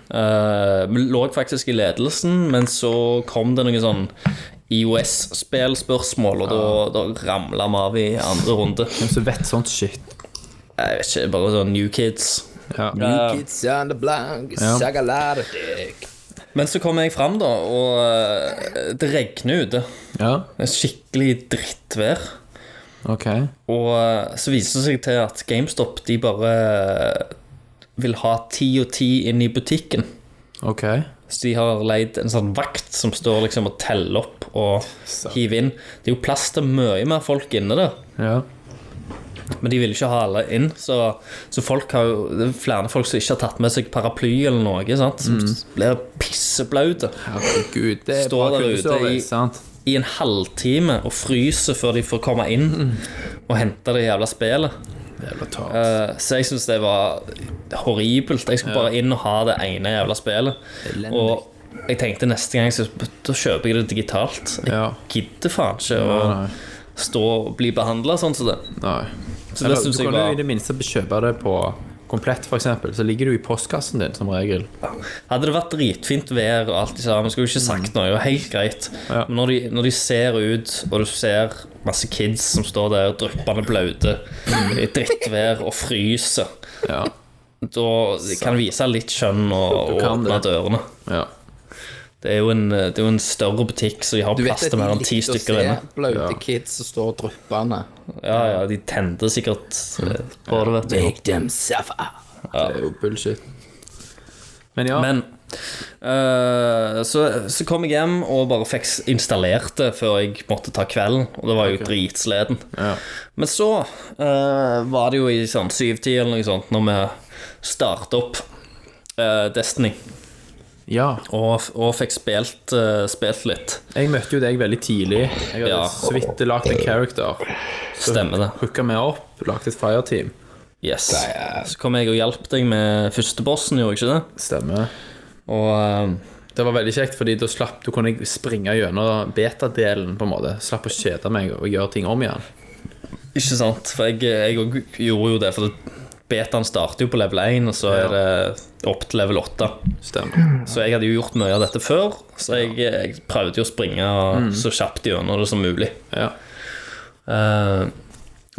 Eh, vi lå faktisk i ledelsen, men så kom det noen sånn IOS-spillspørsmål, og da, da ramla vi av i andre runde.
Hvem som vet sånt shit.
Jeg vet ikke, bare sånn New Kids.
Ja.
Eh,
Kids on the blank,
Ja.
sagaladik.
Men så kom jeg fram, da, og eh, det regner ute.
ja.
Det er Skikkelig drittvær.
Ok.
Og eh, så viser det seg til at GameStop de bare eh, vil ha ti og ti inn i butikken.
Ok.
Så de har leid en sånn vakt som står liksom og teller opp og hiver inn. Det er jo plass til mye mer folk inne der,
Ja.
men de vil ikke ha alle inn. Så, så folk har jo, det er flere folk som ikke har tatt med seg paraply eller noe, sant? som blir pisseblaute.
Herregud, det er
Står
bra
der ute i-
kundeservice, sant?
i en halvtime og fryser før de får komme
Mm.
inn og hente det jævla spillet.
Jævla tart.
Eh, så jeg syns det var horribelt. Jeg skulle bare inn og ha det ene jævla spillet.
Elendig.
Og jeg tenkte neste gang så, da kjøper jeg det digitalt. Jeg
Ja.
gidder faen ikke
Nei,
å stå og bli behandla sånn som det.
Nei.
Så det
Eller,
synes
du kan
jeg
jo
var-
i det minste kjøpe det på Komplett, for eksempel. Så ligger du i postkassen din, som regel.
Hadde det vært dritfint vær og alt de sammen, skulle jeg ikke sagt noe. Det var helt greit.
Ja.
Men når de, når de ser ut, og du ser masse kids som står der dryppende blaute i drittvær og fryser,
Ja.
da kan du vise litt skjønn og,
Du
og
kan
åpne
det.
dørene.
ja.
Det er, jo en, eh, det er jo en større butikk, så de har
Du vet
plass
at
til
de
mer enn ti
likte å
stykker
se
inne.
blaute
Ja.
kids som står dryppende.
Ja, ja, de tente sikkert eh, på det, vet du.
them suffer.
Det er jo bullshit. Men ja.
Men eh, så, så kom jeg hjem og bare fikk installert det før jeg måtte ta kvelden, og det var jo dritsleden.
Ja.
Men så eh, var det jo i sånn syvtida eller noe sånt når vi starta opp eh, Destiny
ja.
og, og fikk spilt, eh, spilt litt.
Jeg møtte jo deg veldig tidlig. Jeg hadde
Ja.
så vidt lagt en character.
Stemmer det.
Hooka meg opp, lagt et fireteam.
Yes. Så kom jeg og hjalp deg med førstebossen, gjorde jeg ikke det?
Stemmer.
Og eh,
Det var veldig kjekt, fordi da slapp, du kunne jeg springe gjennom beta-delen, på en måte. Slapp å kjede meg og gjøre ting om igjen.
Ikke sant, for jeg, jeg også gjorde jo det, for det- betaen starter jo på level 1, og så er det opp til level 8.
Stemmer.
Så jeg hadde jo gjort mye av dette før, så jeg, jeg prøvde jo å springe så kjapt gjennom det som mulig.
Ja.
Eh,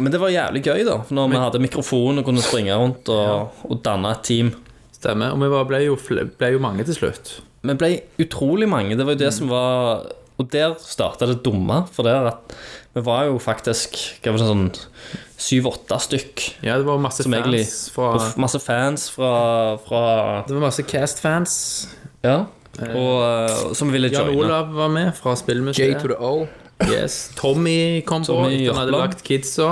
men det var jævlig gøy, da, når vi hadde mikrofon og kunne springe rundt og, og danne et team.
Stemmer. Og vi var, ble, jo, fl- ble jo mange til slutt.
Vi ble utrolig mange. Det var jo det som var Og der starta det dumme, for der at vi var jo faktisk hva var det, sånn syv-åtte stykk.
Ja, det var masse
Som egentlig-
fans fra
Og f- Masse fans fra, fra
Det var masse Cast-fans.
Ja. Og, eh, som ville
Jan
joine.
Olav var med fra
J
Spillmuseet.
to the O.
Yes. Tommy kom på.
Tommy
Han hadde
Jørpeland.
lagt kidsa.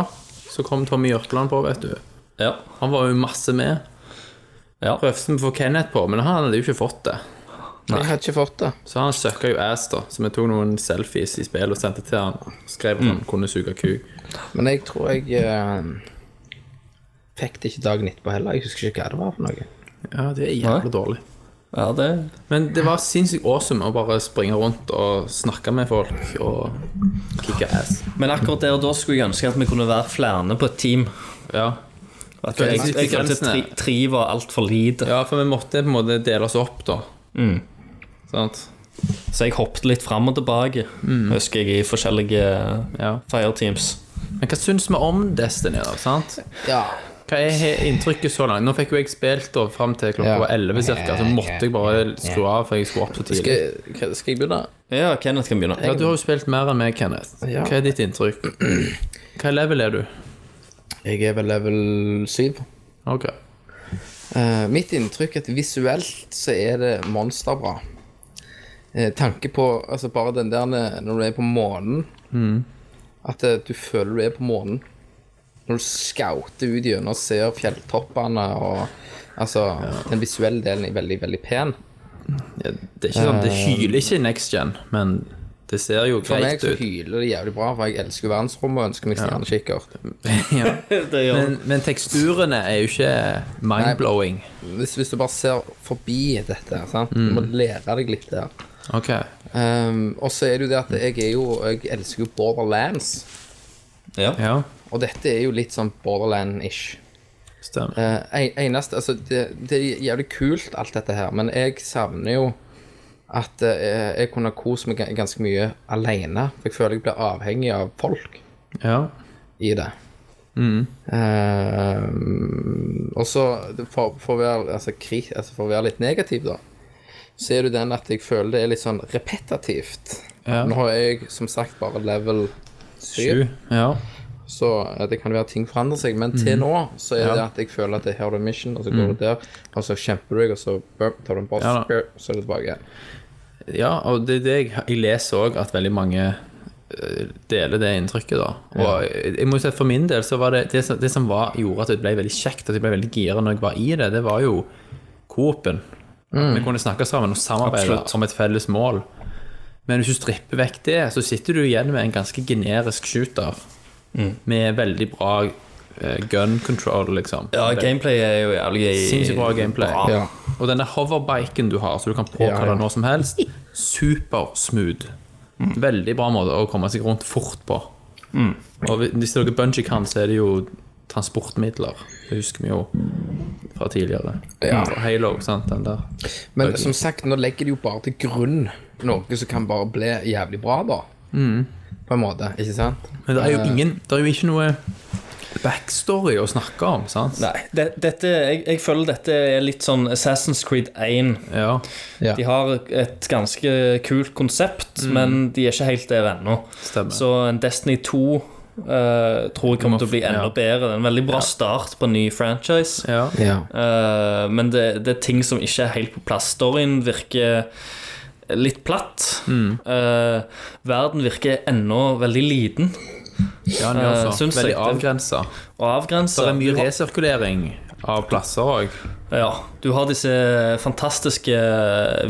Så kom Tommy Jørpeland på, vet du.
Ja.
Han var jo masse med.
Ja.
Prøvde vi å få Kenneth på, men han hadde jo ikke fått det.
Jeg hadde ikke fått det.
Så han søkka jo ass, da. Så vi tok noen selfies i spill og sendte til han. Skrev at
Mm.
han kunne suge kuk.
Men jeg tror jeg eh, fikk det ikke dagen etterpå heller. Jeg husker ikke hva det var for noe.
Ja, det er jævla
Nei.
dårlig.
ja, det
Men det var sinnssykt awesome å bare springe rundt og snakke med folk og kicke ass.
Men akkurat der og da skulle jeg ønske at vi kunne være flere på et team.
Ja.
At jeg, jeg, jeg følte
Grensene.
tre- tre var altfor lite.
Ja, for vi måtte på en måte dele oss opp, da.
Mm.
Sant?
Så jeg hoppet litt fram og tilbake, husker jeg, i forskjellige
Mm.
eh,
Ja.
fireteams.
Men hva syns vi om Destiny, da? sant?
Ja.
Hva er he- inntrykket så langt? Nå fikk jo jeg spilt da fram til klokka
Ja.
11 cirka, så måtte jeg bare skru av, for jeg skulle opp så tidlig.
Skal, hva- skal jeg begynne?
Ja, Kenneth kan begynne.
Ja, Du har jo spilt mer enn meg, Kenneth.
Ja.
Hva er ditt inntrykk? Hva level er du?
Jeg er vel level 7.
Ok.
Eh, mitt inntrykk er at visuelt så er det monsterbra. Eh, tanke på altså bare den der ne- når du er på månen Mm. At eh, du føler du er på månen. Når du skauter ut gjennom og ser fjelltoppene og Altså, den visuelle delen er veldig, veldig pen.
Ja, det er ikke sånn, det hyler ikke i next gen, men det ser jo
Eh, For meg
greit
så
ut.
hyler det jævlig bra, for jeg elsker jo verdensrommet og ønsker meg stjernekikkert.
ja.
Det gjør
men, men teksturene er jo ikke mind-blowing.
Hvis, hvis du bare ser forbi dette, sant? du må lære deg litt der.
Ok.
Um, og så er det jo det at jeg er jo Jeg elsker jo Borderlands.
Ja.
Ja,
Og dette er jo litt sånn Borderland-ish.
stemmer.
Eh, en- eneste, altså det, det er jævlig kult, alt dette her, men jeg savner jo at eh, jeg kunne kose meg ga- ganske mye alene. For jeg føler jeg blir avhengig av folk
Ja.
i det.
Mm.
Eh, og så, for, for, å være, altså, kri, altså, for å være litt negativ, da, så er det jo den at jeg føler det er litt sånn repetitivt.
Ja.
Nå har jeg som sagt bare level 7.
Sju. Ja.
Så eh, det kan være ting forandrer seg, men til
Mm.
nå så er det at jeg føler at det her er det mission, og så går du der, og så kjemper du deg, og så burp, tar du en boss,
Ja da.
burp, så er det tilbake igjen.
Ja, og det er det jeg, jeg leser òg, at veldig mange eh, deler det inntrykket, da. Og jeg, jeg må jo si at for min del så var det det som, det som var, gjorde at det ble veldig kjekt, at jeg ble veldig gira når jeg var i det, det var jo Coop-en. Vi kunne snakke sammen og samarbeide
Mm. Absolutt.
om et felles mål. Men hvis du stripper vekk det, så sitter du igjen med en ganske generisk shooter.
Mm.
Med veldig bra eh, gun control, liksom.
ja, gameplay er jo jævlig
Sinnssykt bra gameplay.
Bra.
Ja.
Og denne hoverbiken du har, så du kan
Ja,
påkalle
ja.
når som helst, supersmooth. Veldig bra måte å komme seg rundt fort på.
Mm.
Og hvis dere bungee kan, så er det jo transportmidler. Det husker vi jo fra tidligere.
Ja.
Fra Halo, sant, den der.
Men som sagt, nå legger de jo bare til grunn noe som kan bare bli jævlig bra, da. På en måte, ikke sant?
Mm. Men det er
Eh.
jo ingen Det er jo ikke noe backstory å snakke om, sant?
Nei, det, dette, jeg, jeg føler dette er litt sånn Assassin's Creed 1.
Ja.
Ja.
De har et ganske kult konsept, men de er ikke helt der ennå.
Mm. Stemmer.
Så en Destiny 2 eh, tror jeg kommer til å bli enda
Ja.
bedre. Det er En veldig bra start på en ny franchise.
Ja.
Ja.
Eh, men det, det er ting som ikke er helt på plass. Storyen virker litt platt.
Mm.
Eh, verden virker ennå veldig liten
ja den gjør
Eh,
så.
syns jeg
altså Veldig
det-
avgrensa.
og avgrensa.
Det er mye resirkulering av plasser òg.
Ja, du har disse fantastiske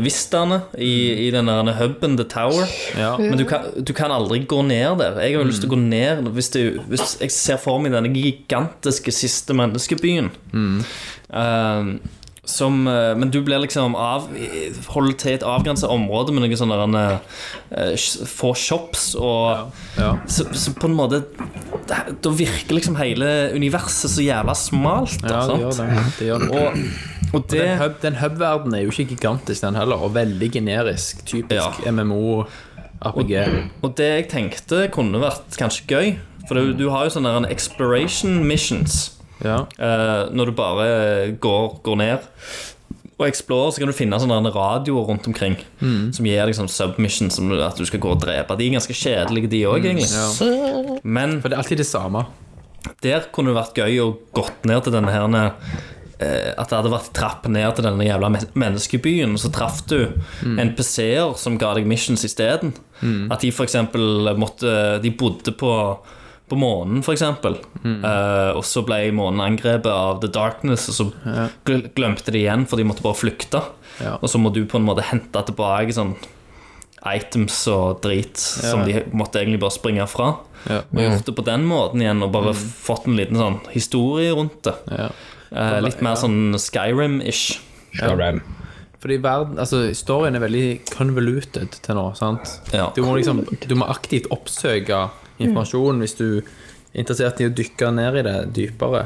vistaene i, i den der huben, The Tower.
Ja.
Men du kan, du kan aldri gå ned der. Jeg har jo lyst til å gå
Mm.
ned hvis, det, hvis jeg ser for meg denne gigantiske siste menneskebyen.
Mm.
Eh, som, eh, men du blir liksom av holder til et avgrensa område med noen sånne der, eh, sh- få shops og
Ja.
Så, så på en måte Da virker liksom hele universet så jævla smalt. da,
Ja, det
sant?
gjør det. det, gjør det.
Og, og det
Den, hub, den hub-verdenen er jo ikke gigantisk, den heller, og veldig generisk. Typisk
Ja.
MMO, RPG.
Og det jeg tenkte kunne vært kanskje gøy For du, du har jo sånne der exploration missions
Ja.
eh, Når du bare går, går ned Og explorer så kan du finne sånne der radioer rundt omkring Som gir deg sånn submissions Som at du skal gå og drepe De er ganske kjedelige de også egentlig Men
For det er alltid det samme.
der kunne det vært gøy å gått ned til denne her eh, At det hadde vært trapp ned til denne jævla men- menneskebyen, og så traff du NPC-er som ga deg missions isteden. At de for eksempel måtte De bodde på på månen, for eksempel. Eh, og så ble månen angrepet av The Darkness, og så gl- glemte de igjen, for de måtte bare flykte.
Ja.
Og så må du på en måte hente tilbake sånn items og drit som de måtte egentlig bare springe fra.
Ja.
Og gjort det på den måten igjen, og bare fått en liten sånn historie rundt det.
Mm. Ja.
Eh, litt mer sånn Skyrim-ish.
Fordi verden, altså, Storyen er veldig convoluted til nå. sant?
Ja.
Du må liksom, du må aktivt oppsøke informasjon hvis du interessert i å dykke ned i det dypere.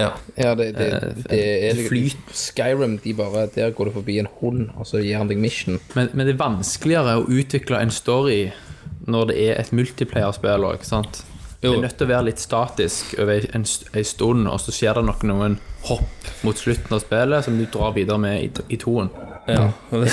Ja.
Ja, det, det, det er liksom
flyt.
Skyrim, de bare Der går du forbi en hund, og så gir han deg mission.
Men, men det er vanskeligere å utvikle en story når det er et multiplayer-spill òg, ikke sant? Det
Jo.
er nødt til å være litt statisk over en, st- en stund, og så skjer det nok noen hopp mot slutten av spillet som du drar videre med i, t- i toen.
ja.
Mm.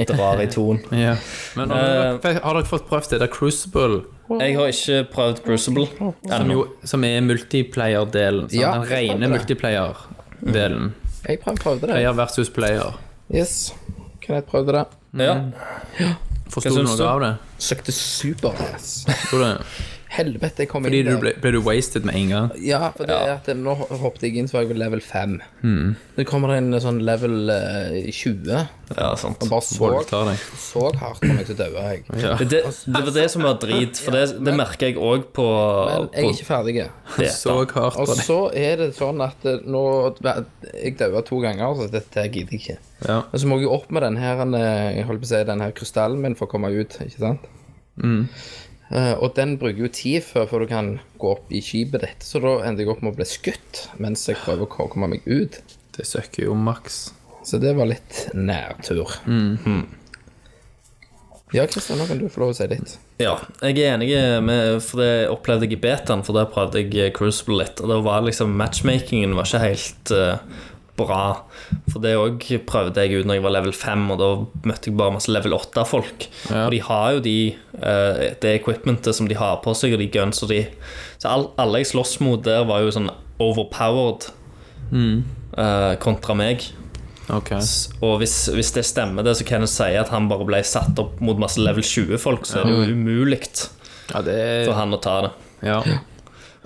Drar i ton.
Ja. Men
Eh,
har dere, har dere fått prøvd det der Crucible,
Jeg har ikke prøvd Crucible
som,
ennå.
jo, som er multiplayer-delen? sant?
Ja,
Den rene multiplayer-delen.
Mm.
Jeg prøv- prøvde det.
Player versus player.
Yes. Kan jeg prøvde det?
Ja.
Mm. Forsto
Hva
du
syns du?
noe av det?
Søkte superass.
Tror du det?
Helvete, jeg kom
Fordi
inn
du
der.
ble, ble du wasted med en gang?
Ja, for det er at nå hoppet jeg inn, så var jeg ved level 5. Nå kommer det en sånn level eh, 20. Han
ja, sant.
bare så,
Voldtar deg.
så hardt på meg, så daua jeg.
Ja.
Det, det var det som var drit, for det, det merker jeg òg på,
Men jeg er
på
ikke ferdig.
det.
Så hardt
Og
på deg.
så er det sånn at eh, nå Jeg daua to ganger, så dette her gidder jeg ikke.
Ja.
Men så må jeg jo opp med den her, eh, jeg holdt på å si, den her krystallen min for å komme ut, ikke sant? Eh, og den bruker jo tid før, før du kan gå opp i skipet ditt, så da ender jeg opp med å bli skutt mens jeg prøver å ko- komme meg ut.
Det søker jo maks.
Så det var litt nærtur. Hmm. Ja, Kristian, nå kan du få lov å si ditt.
Ja, jeg er enig med For det opplevde jeg i betaen, for der prøvde jeg eh, Crucible litt. Og da var liksom matchmakingen var ikke helt eh, bra. For det òg prøvde jeg ut når jeg var level 5, og da møtte jeg bare masse level 8-folk. Og de har jo de eh, det equipmentet som de har på seg, og de guns og de Så all, alle jeg sloss mot der, var jo sånn overpowered eh, kontra meg.
Ok.
Og hvis, hvis det stemmer, det, så kan jeg si at han bare ble satt opp mot masse level 20-folk, så er det jo umulig
Ja, det
for
er
han å ta det.
Ja.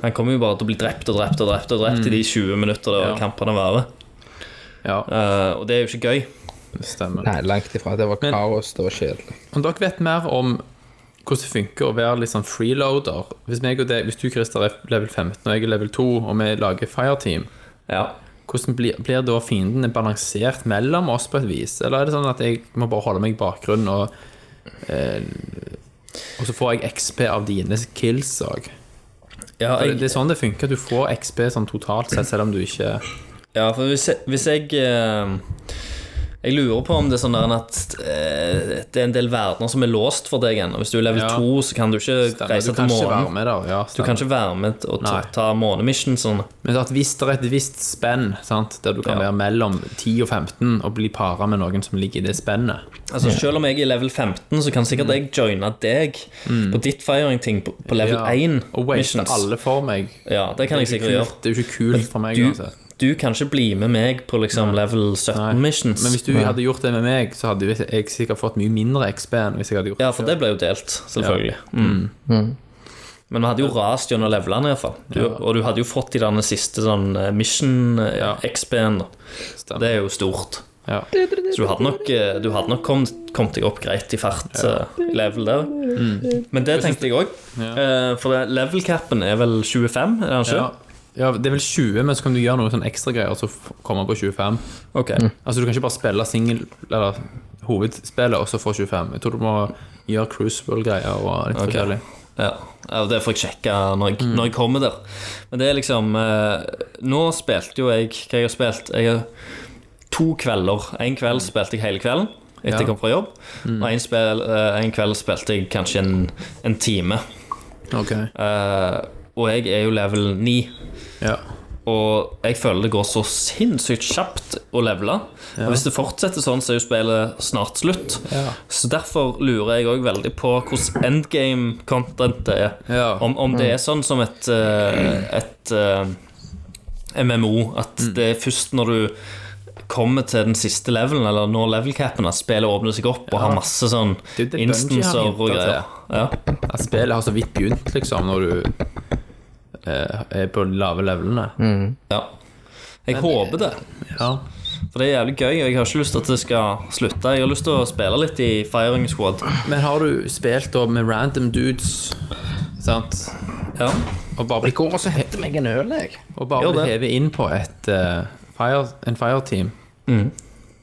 Han kommer jo bare til å bli drept og drept og drept og drept i de 20 minutter det
Mm. Ja.
kampene varer.
ja
Eh, og det er jo ikke gøy.
det stemmer.
Nei, langt ifra. Det var kaos, det var kjedelig.
Om dere vet mer om hvordan det funker å være litt sånn freeloader Hvis, meg og deg, hvis du, Christer, er level 15 og jeg er level 2, og vi lager fireteam,
Ja.
hvordan blir, blir da fiendene balansert mellom oss på et vis? Eller er det sånn at jeg må bare holde meg i bakgrunnen, og eh, Og så får jeg XP av dine kills òg?
Ja,
Det
jeg,
det er sånn det funker. Du får XP sånn totalt sett, selv om du ikke
Ja, for hvis jeg, hvis jeg eh, Jeg lurer på om det er sånn der at eh, det er en del verdener som er låst for deg ennå. Hvis du er level
Ja.
2, så kan du ikke
Stemmer,
reise
Du
til
kan ikke være
månen.
med der. Ja,
Du
stemmer.
kan ikke være med og ta,
Nei.
ta månemission sånn.
Men at hvis det er et visst spenn, sant? der du kan
Ja.
være mellom 10 og 15 og bli para med noen som ligger i det spennet
Altså Selv om jeg er level 15, så kan
Mm.
sikkert jeg joine deg på ditt firing-ting på, på level
Ja.
1.
Og waste alle for meg.
Ja, det kan jeg
Det er
sikkert
jo ikke
gjøre.
kult- det er jo ikke kult for meg.
Du,
uansett.
du kan ikke bli med meg på liksom level 17-missions.
Men hvis du hadde gjort det med meg, så hadde jeg sikkert fått mye mindre XP enn hvis jeg hadde gjort
Ja, for det ble jo delt, selvfølgelig. Mm. Men vi hadde jo rast gjennom levelene, iallfall. Du, Og du hadde jo fått de der siste sånn eh, mission eh, XP-en. da.
Stemmer.
Det er jo stort.
Ja.
Så du hadde nok, eh, du hadde nok kommet, kommet deg opp greit i fart eh, level der.
Mm.
Men det tenkte jeg òg. For det- level-capen er vel 25, er den ikke?
Ja. ja, det er vel 20, men så kan du gjøre noen sånne ekstragreier og så f- komme på 25.
Ok.
Altså, du kan ikke bare spille single, eller hovedspillet og så få 25. Jeg tror du må gjøre Crucible-greier og litt forskjellig.
Ja. ja, og det får jeg sjekke når jeg, når jeg kommer der. Men det er liksom eh, Nå spilte jo jeg hva jeg har spilt. Jeg har to kvelder. En kveld spilte jeg hele kvelden etter
Ja.
jeg kom fra jobb. Og en, spil, eh, en kveld spilte jeg kanskje en, en time.
Ok.
Eh, og jeg er jo level 9.
Ja.
Og jeg føler det går så sinnssykt kjapt å levele. Og hvis det fortsetter sånn, så er jo spillet snart slutt.
Ja.
Så derfor lurer jeg òg veldig på hvordan endgame-content det er.
Ja. Mm.
Om, om det er sånn som et, eh, et eh, MMO, at
Mm.
det er først når du kommer til den siste levelen, eller når level-capen, at spillet åpner seg opp og har masse sånn
Det er jo det Bungie har
instanser og
hintet til.
greier. Ja.
At spillet har så vidt begynt, liksom, når du eh, er på de lave levelene.
ja. Jeg håper det.
Ja.
For det er jævlig gøy, og jeg har ikke lyst til at det skal slutte. Jeg har lyst til å spille litt i Firing Squad.
Men har du spilt da med random dudes, sant,
Ja,
og bare blitt,
går og så henter meg en øl, jeg.
og bare
Gjør
blitt
det.
hevet inn på et, eh, fire, en fireteam
Mm.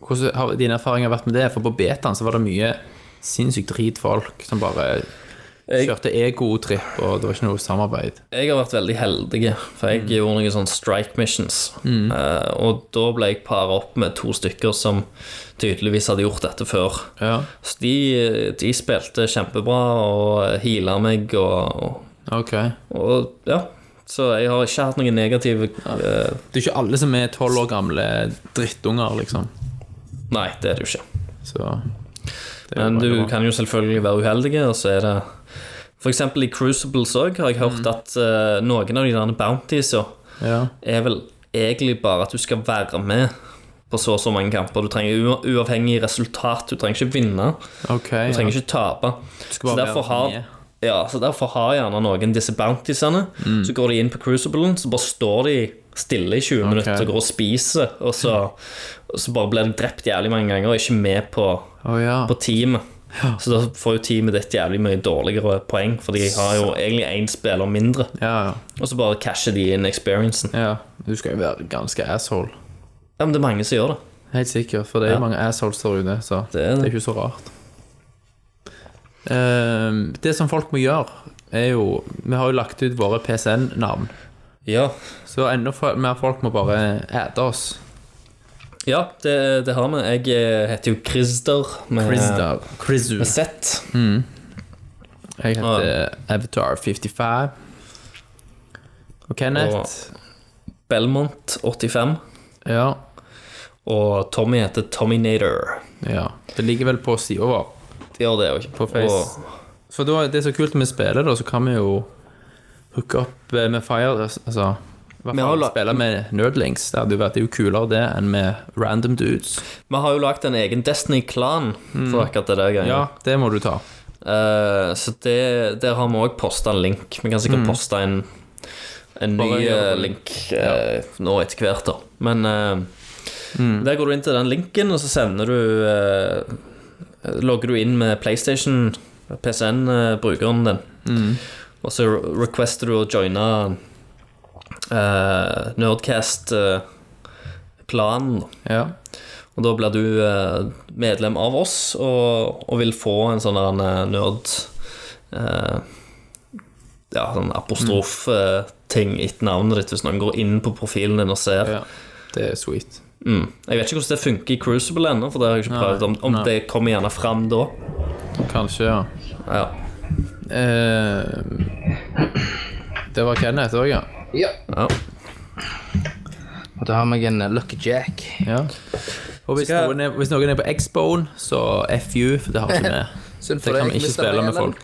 Hvordan har dine erfaringer vært med det? For på betaen så var det mye sinnssykt dritfolk som bare
Jeg,
Kjørte egotripp, og det var ikke noe samarbeid.
jeg har vært veldig heldig, for jeg gjorde noen sånne strike missions. Eh, og da ble jeg para opp med to stykker som tydeligvis hadde gjort dette før.
Ja,
Så de, de spilte kjempebra og heala meg og,
ok.
og, og Ja. Så jeg har ikke hatt noen negative eh,
Det er ikke alle som er tolv år gamle drittunger, liksom.
Nei, det er det jo ikke.
Så det er jo
Men
bare
du
bra.
kan jo selvfølgelig være uheldig, og så er det For eksempel i Crucibles òg har jeg hørt
Mm.
at eh, noen av de der bountiesa
ja.
er vel egentlig bare at du skal være med på så og så mange kamper. Du trenger ua- uavhengig resultat, du trenger ikke vinne,
Ok.
du trenger
ja.
ikke tape.
skal
Så
bare
derfor
være
har
med.
ja, så derfor har gjerne noen disse bountiesene.
Mm.
Så går de inn på Cruciblen, så bare står de stille i 20 minutter og går og spiser, og så, og så bare blir de drept jævlig mange ganger og ikke med på
Å ja.
på teamet. Så da får jo teamet ditt jævlig mye dårligere poeng, for de har jo egentlig én spiller mindre.
ja. ja.
Og så bare casher de inn experiencen.
Ja. Du skal jo være ganske asshole.
Ja, men det er mange som gjør det.
Helt sikkert, for det er jo mange assholes der ute, så
Det er det.
ikke så rart. Ehm, det som folk må gjøre, er jo Vi har jo lagt ut våre PCN-navn,
Ja,
så enda fo- mer folk må bare æte oss.
ja det, det har vi. Jeg eh, heter jo Christer med,
Christer.
med Z.
Jeg heter Avatar55. Og Kenneth
Belmont 85.
Ja.
Og Tommy heter Tominator.
ja. Det ligger vel på sida vår.
Det gjør det òg.
På Face. For da, det er så kult når vi spiller, da, så kan vi jo hooke opp eh, med Fire Altså i hvert
Vi har
fall
la-
spille med nerdlings. Det hadde jo vært det er jo kulere det enn med random dudes.
Vi har jo lagd en egen Destiny-klan for akkurat det der. gangen.
Mm. Ja, det må du ta.
Eh, så det, der har vi òg posta en link. Vi kan sikkert poste en, en
Bare
ny
gjør det.
eh, link eh, nå etter hvert, da. Men eh, der går du inn til den linken, og så sender du eh, Logger du inn med PlayStation, PCN-brukeren eh, din, og så re- requester du å joine eh, Nerdcast-planen. da.
Ja.
Og da blir du eh, medlem av oss og, og vil få en sånn der, eh, nerd eh, Ja, sånn
Mm.
apostrof-ting etter navnet ditt hvis noen går inn på profilen din og ser.
ja. Det er sweet.
Mm. Jeg vet ikke hvordan det funker i Crucible ennå, for det har jeg ikke prøvd. Om, om
nei.
det kommer gjerne fram da.
Kanskje, ja.
Ja.
Eh, det var Kenneth òg, ja.
Ja.
ja.
Og da har vi en eh, Lucky Jack.
ja. Og hvis,
Skal-
noen er, hvis noen er på X-Bone, så FU, for det har ikke vi.
Synd
Det kan
deg,
vi ikke
Mr.
spille med
Valen.
folk.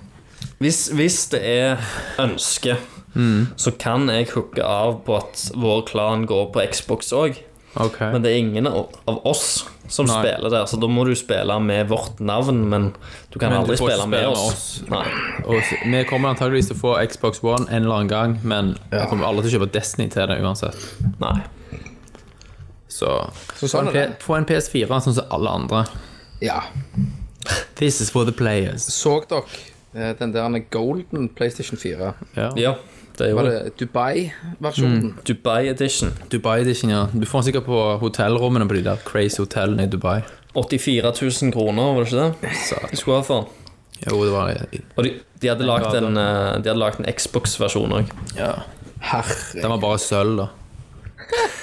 Hvis, hvis det er ønske,
Mm.
så kan jeg hooke av på at vår klan går på Xbox òg.
Ok.
Men det er ingen av av oss som
Nei.
spiller der, så da må du spille med vårt navn, men du kan
Men du
aldri
får ikke
spille med
spille med
oss.
oss.
Nei.
Og s- vi kommer antageligvis til å få Xbox One en eller annen gang, men jeg kommer aldri til å kjøpe Destiny til det uansett.
Nei.
Så,
sånn
få, en
er
P- få en PS4 sånn som alle andre.
Ja.
This is for the players.
Så dere eh, den der golden PlayStation 4?
Ja.
Ja, det er jo
Var det Dubai-versjonen?
Mm.
Dubai Edition.
Dubai Edition, ja. Du får den sikkert på hotellrommene på de der crazy hotellene i Dubai.
84 000 kroner, var det ikke det?
Satan.
Du skulle ha for den.
Jo, det var
Og de, de hadde lagd en, eh, de hadde lagd en Xbox-versjon òg.
Ja.
Herre
Den var bare sølv, da.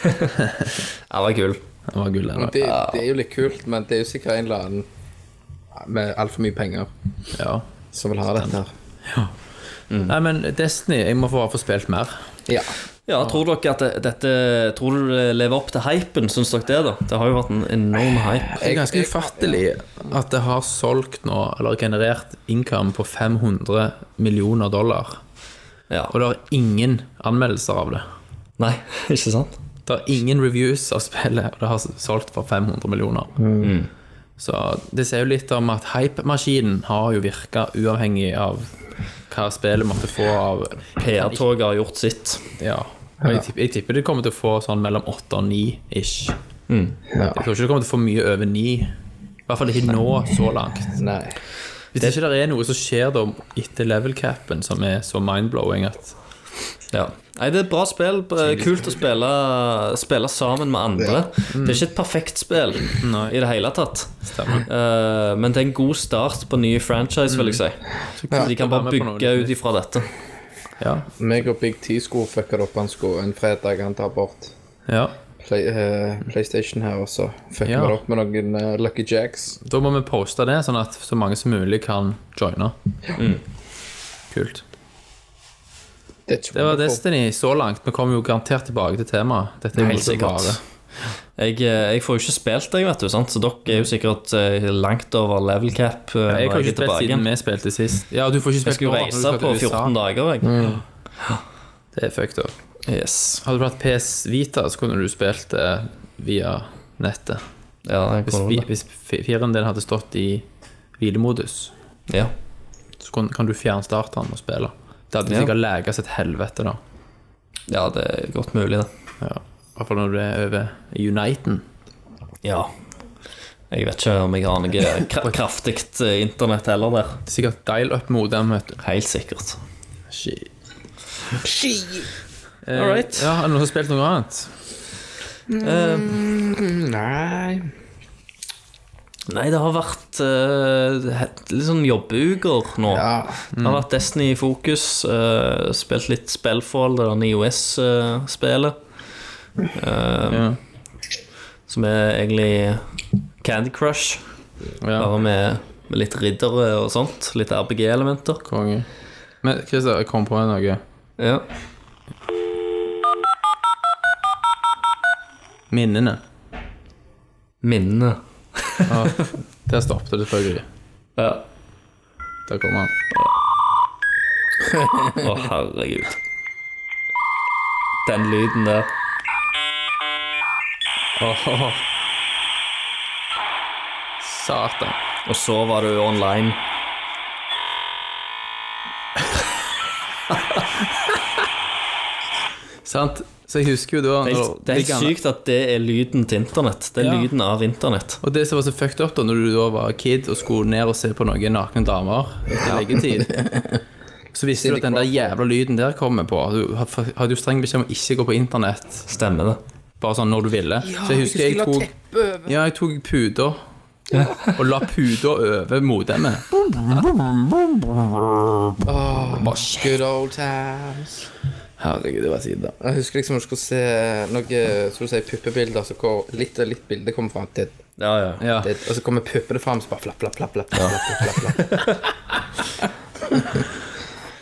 Den var kul.
Den var gull, den
det,
òg.
det er jo litt kult, men det er jo sikkert en eller annen med altfor mye penger
Ja.
som vil ha dette her.
Nei, men Destiny, jeg må få bare få spilt mer.
Ja.
Ja, tror dere at det- dette Tror du det lever opp til hypen, syns dere det, da? Det har jo vært en enorm hype.
Det er ganske ufattelig at det har solgt nå, eller generert income på 500 millioner dollar.
Ja.
Og det er ingen anmeldelser av det.
Nei, ikke sant?
Det er ingen reviews av spillet, og det har solgt for 500 millioner. Så det sier jo litt om at hypemaskinen har jo virka uavhengig av hva spillet måtte få av
PR-toget har gjort sitt.
Ja. Og jeg, tipper, jeg tipper det kommer til å få sånn mellom åtte og ni ish. Jeg tror ikke det kommer til å få mye over ni. I hvert fall ikke nå, så langt.
Nei.
Hvis det ikke det er noe som skjer da etter level capen som er så mindblowing at
Ja. Nei, det er et bra spill. eh, Kult å spille, spille sammen med andre.
Mm.
Det er ikke et perfekt spill i det hele tatt. Eh, men det er en god start på ny franchise,
Mm.
vil jeg si. De kan
å være
bare
med på noe
bygge
litt
ut ifra dette.
Ja.
Meg og Big T skulle fucka det opp. Han skulle en fredag han tar bort
ja.
Play, eh, PlayStation her, og så fucka vi
Ja.
det opp med noen eh, Lucky Jacks.
Da må vi poste det, sånn at så mange som mulig kan joine.
Mm.
Kult.
Det, tror
Det var
jeg på.
Destiny så langt. Vi kommer jo garantert tilbake til temaet. Dette er jo
Helt
så
sikkert.
bare-
Jeg, eh, jeg får jo ikke spilt deg, vet du, sant? så dere er jo sikkert eh, langt over level cap.
Mm.
eh,
Jeg har
når
ikke
er
spilt
tilbake
siden
igjen.
vi spilte sist. Ja, du får ikke
Jeg
spilt
skulle
nå, for du
reise
skal
på
til USA.
14 dager, jeg.
Det er fucked up.
Yes.
Hadde du hatt PS Vita, så kunne du spilt det via nettet.
Ja, jeg
Hvis,
kunne
vi,
det.
hvis fireren din hadde stått i hvilemodus,
Ja.
så kan, kan du fjernstarte den og spille. Det hadde
Ja.
sikkert leget et helvete, da.
ja, det er godt mulig, det.
Ja. I hvert fall når du er over i Uniten.
Ja. Jeg vet ikke om jeg har noe kra kraftig eh, internett heller der.
Det er Sikkert dial-up-modem, vet du.
Helt sikkert.
Shit.
All right.
Ja, har noen som har spilt noe annet?
Nei
Nei, det har vært eh, het- litt sånn jobbuker nå.
Ja.
Det har vært Destiny i fokus. eh, spilt litt Spellfall, det der eh, IOS-spelet.
Ja.
Eh, Som er egentlig Candy Crush,
ja.
bare med, med litt riddere og sånt. Litt RPG-elementer.
Konge. Men Christer, jeg kom på noe.
Ja.
Minnene.
Minnene.
Der stoppet det selvfølgelig.
Ja.
Der kommer han.
Å, herregud. Den lyden der. Åh.
Satan.
Og så var du online.
Sant? Så jeg husker jo da
Det er,
når-
det er
de
helt
gamle-
sykt at det er lyden til internett. Det
Ja.
er lyden av internett.
Og det som var så fucked up da når du da var kid og skulle ned og se på noen nakne damer etter leggetid Så visste du at den der jævla lyden der kommer på. Du hadde jo streng beskjed om å ikke gå på internett
Stemmer det.
bare sånn når du ville. så jeg husker jeg tok Ja, jeg tok puta og la puta over modemet.
Good old times.
Herregud, det var tiden, da.
Jeg husker liksom når du skulle se noe skal du si, puppebilder, så hvor litt og litt bilde kommer fram til
Ja, ja.
Ja.
det, Og så kommer puppene fram, så bare flapp, flapp, flapp. flapp, flapp, flapp, flapp, flapp.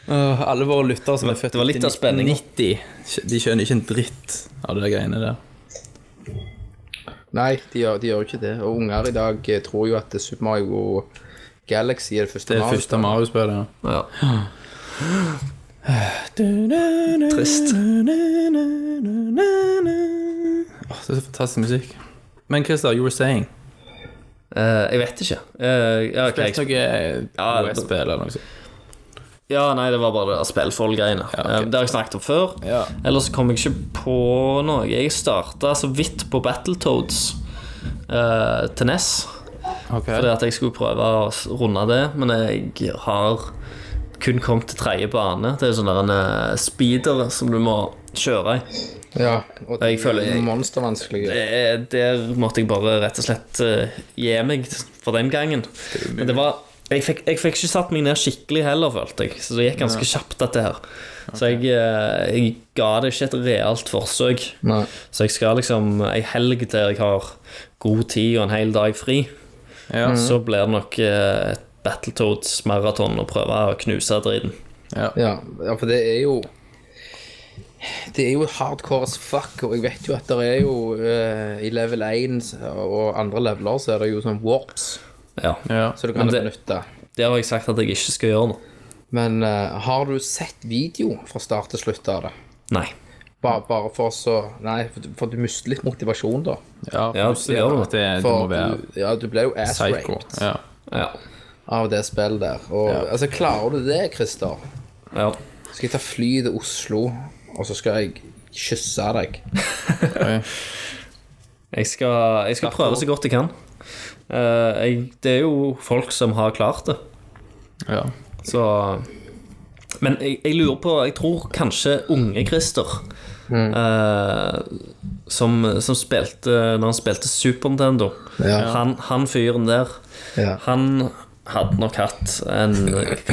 Åh, alle våre lyttere som er født
det var litt av
etter
spenningen.
1990, de skjønner ikke en dritt av de der greiene der.
Nei, de gjør, de gjør jo ikke det. Og unger i dag eh, tror jo at Super Mario Galaxy er det første
Det er
Mario.
første Mario-spillet. ja.
ja.
Trist. Åh, det er så fantastisk musikk. Men Christer, you were saying
Eh, jeg vet ikke. Eh, ja, ok, jeg-
Spilt noe
Ja,
OS-spill eller noe sånt.
ja, nei, det var bare det der spillfold-greiene.
ok.
Eh, det har jeg snakket om før.
Ja.
Ellers kom jeg ikke på noe. Jeg starta så vidt på Battletoads eh, til NES. Fordi at jeg skulle prøve å s- runde det, men jeg har kun kommet til tredje bane. Det er sånn der en eh, speeder som du må kjøre i.
Ja, og det
Jeg føler
er
jeg-
monstervanskelig.
Eh, Der måtte jeg bare rett og slett eh, gi meg for den gangen. Men det var jeg fikk, jeg fikk ikke satt meg ned skikkelig heller, følte jeg. Så det gikk ganske kjapt, dette her. Så jeg, eh, jeg ga det ikke et realt forsøk.
Nei.
Så jeg skal liksom ei helg der jeg har god tid og en hel dag fri,
Ja.
så blir det nok eh, et Battletoads-maraton å prøve å knuse driten.
Ja, ja, for det er jo Det er jo hardcore as fuck, og jeg vet jo at det er jo eh, I level 1 og andre leveler så er det jo sånn warps,
Ja.
Ja.
så du
Men
kan
det-
benytte.
Det har jeg sagt at jeg ikke skal gjøre nå.
Men eh, har du sett video fra start til slutt av det?
Nei.
Bare, bare for så Nei, for, du- for du mister litt motivasjon, da.
ja,
Ja,
du ser
det gjør det.
at det, det må
For
være
du, ja, du ble jo
psycho.
ass-raped
Ja.
Ja.
av det spillet der. Og altså, klarer du det, Christer,
ja.
skal jeg ta fly til Oslo, og så skal jeg kysse deg.
Jeg skal, jeg skal prøve så godt jeg kan. Eh, jeg, det er jo folk som har klart det,
ja.
så Men jeg, jeg lurer på Jeg tror kanskje unge Christer
Mm.
eh, som, som spilte Når han spilte Super Nintendo
Ja.
han, han fyren der
Ja.
Han hadde nok hatt en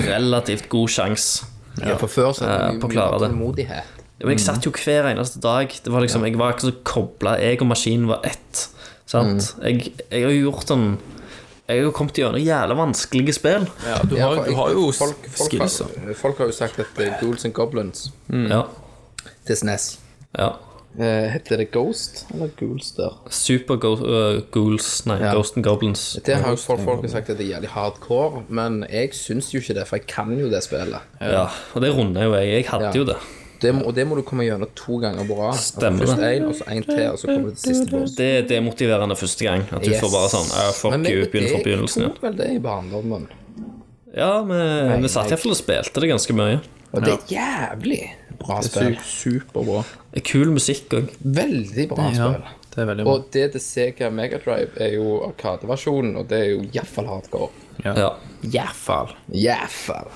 relativt god sjanse.
Ja, for før så
Ja,
hadde vi
på
mye
klare
mer
det.
tålmodighet.
Men
Mm.
jeg satt jo hver eneste dag. Det var liksom, Jeg var ikke så kobla. Jeg og maskinen var ett. Sant?
Mm.
Jeg, jeg har gjort en Jeg har kommet gjennom jævla vanskelige spill.
Ja, du,
Ja,
har,
for-
du har jo
folk, folk,
skills.
har, folk har jo sagt at eh, Ghouls and Goblins
Ja.
til SNES
ja.
eh, Heter det Ghost eller Ghouls der?
Super go øh, Ghouls, nei,
Ja.
Ghost and Goblins.
Det har jo folk, folk har sagt at det er jævlig hardcore, men jeg syns jo ikke det, for jeg kan jo det spillet.
Ja, og det runder jo jeg. Jeg hadde
Ja.
jo det.
Det må, og det må du komme gjennom to ganger på rad. Altså
Stemmer
Først
det.
én, og så én til, og så kommer det til siste boss.
Det det er demotiverende første gang. At du
Yes.
får bare sånn «Ah, Fuck
Men vi-
you, begynn fra begynnelsen
Jeg
igjen.
tok vel det i barndommen.
Ja, vi, vi satt iallfall og spilte det ganske mye.
Og det er et jævlig bra spill. Superbra.
Kul musikk òg.
Veldig bra
Ja,
spill.
det er veldig bra.
Og det til Sega Megadrive er jo Arkadeversjonen, og det er jo iallfall hardcore.
Ja.
Jævfall.
Jævfall.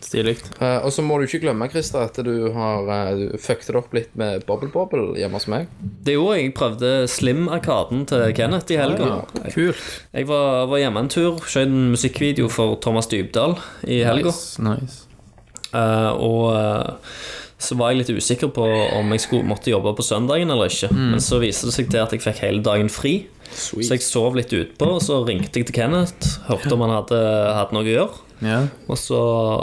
Stilig.
Eh, og så må du ikke glemme, Christer, at du har eh, du fucket det opp litt med Bobble Bobble hjemme hos meg.
Det er jo jeg prøvde Slim-arkaden til Kenneth i helga.
Mm. Kult.
Jeg var, var hjemme en tur, skjøt en musikkvideo for Thomas Dybdahl i helga.
Nice. nice.
Eh, og eh, så var jeg litt usikker på om jeg skulle, måtte jobbe på søndagen eller ikke.
Mm.
Men så viste det seg til at jeg fikk hele dagen fri. Så jeg sov litt utpå, og så ringte jeg til Kenneth. Hørte om han hadde hatt noe å gjøre.
Ja.
Og så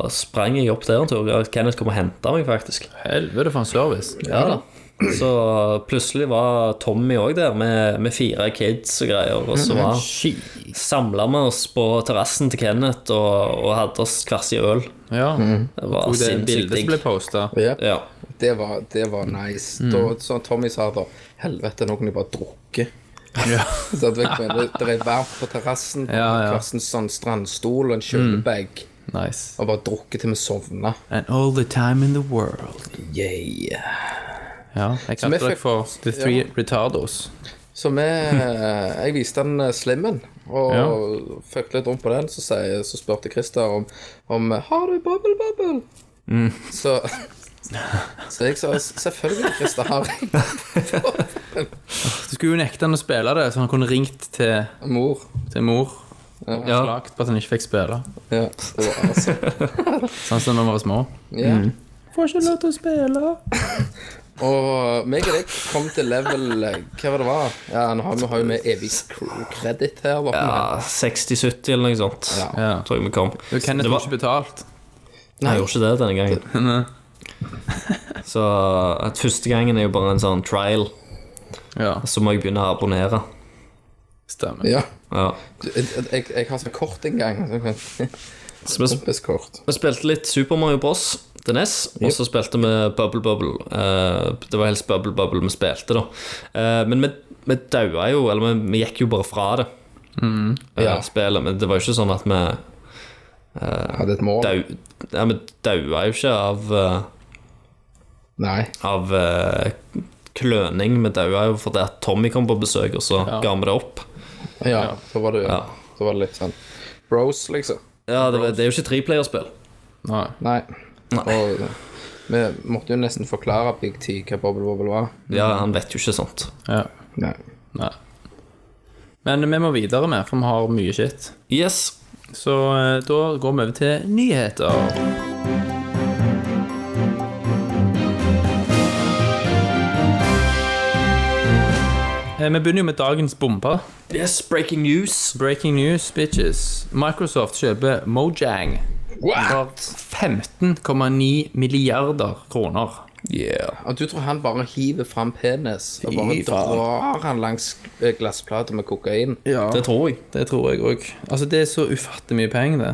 sprang jeg opp der en tur. og Kenneth kom og henta meg, faktisk.
Helvete for en service.
Ja da. Så plutselig var Tommy òg der med, med fire kids og greier. Og så var samla vi oss på terrassen til Kenneth og, og hadde oss hver sin øl.
Ja.
Mhm.
Det var
Og det
sinnssykt
bildet som
digg.
ble posta.
Ja.
Det, var, det var nice. Da, som Tommy sa da Helvete, nå kan de bare drukke.
Ja.
Så at, vet du, det, det er varmt på terrassen, på
Ja, ja.
hver sin sånn strandstol og en kjølebag,
Nice.
og bare drukke til vi sovner.
And all the time in the world.
Yeah.
Ja.
vi
Jeg kalte dere
fikk-
for The Three Retardos.
Så vi Jeg viste han eh, slimmen, og ja. fucket litt rundt på den. Så, sier- så spurte Christer om, om eh, Har du bubble bubble? Mm. Så så jeg sa selvfølgelig, Christer, har jeg
Så skulle jo nekte han å spille det, så han kunne ringt til,
mor.
til mor. Og
Ja.
klagt på at han ikke fikk spille.
Ja, det var altså,
Sånn som da vi var små.
ja.
Mm. Får ikke lov til å spille.
Og meg og deg kom til level eh, Hva var det var? Ja, nå har vi har jo med evig kreditt her. hva for noe?
Ja, 60-70 eller noe sånt.
Ja.
Tror jeg vi kom.
Du Kenneth får
Det var-
ikke betalt.
Nei, jeg gjorde ikke det denne gangen. Så at første gangen er jo bare en sånn trial,
Ja,
så må jeg begynne å abonnere.
stemmer.
Ja.
Ja.
Du, Jeg, jeg, jeg har sånn kort en gang. sånn
Så vi, sp
Kompiskort.
vi spilte litt Super Mario Bros. til NES, og så spilte vi Bubble Bubble. Eh, det var helst Bubble Bubble vi spilte, da. Eh, men vi, vi daua jo, eller vi, vi gikk jo bare fra det, eh,
Ja.
spillet. Men det var jo ikke sånn at vi
Hadde et mål.
dau... Ja, vi daua jo ikke av eh,
Nei.
av eh, kløning med daua jo fordi at Tommy kom på besøk, og så ga vi det opp.
Ja, så var det, så var det litt sånn Bros, liksom.
Ja, det, var- det er jo ikke treplayerspill.
Nei.
Nei. Og vi måtte jo nesten forklare Big T hva Bobble Bobble var.
Ja, han vet jo ikke sånt.
Ja.
Nei.
Nei. Men vi må videre med, for vi har mye shit.
Yes.
Så eh, da går vi over til nyheter. Eh, Vi begynner jo med dagens bombe.
Yes, breaking news.
Breaking news, bitches. Microsoft kjøper Mojang for 15,9 milliarder kroner.
Yeah.
Og du tror han bare hiver fram penis og bare drar han langs glassplater med kokain?
Det tror jeg.
Det tror jeg òg. Altså, det er så ufattelig mye penger, det.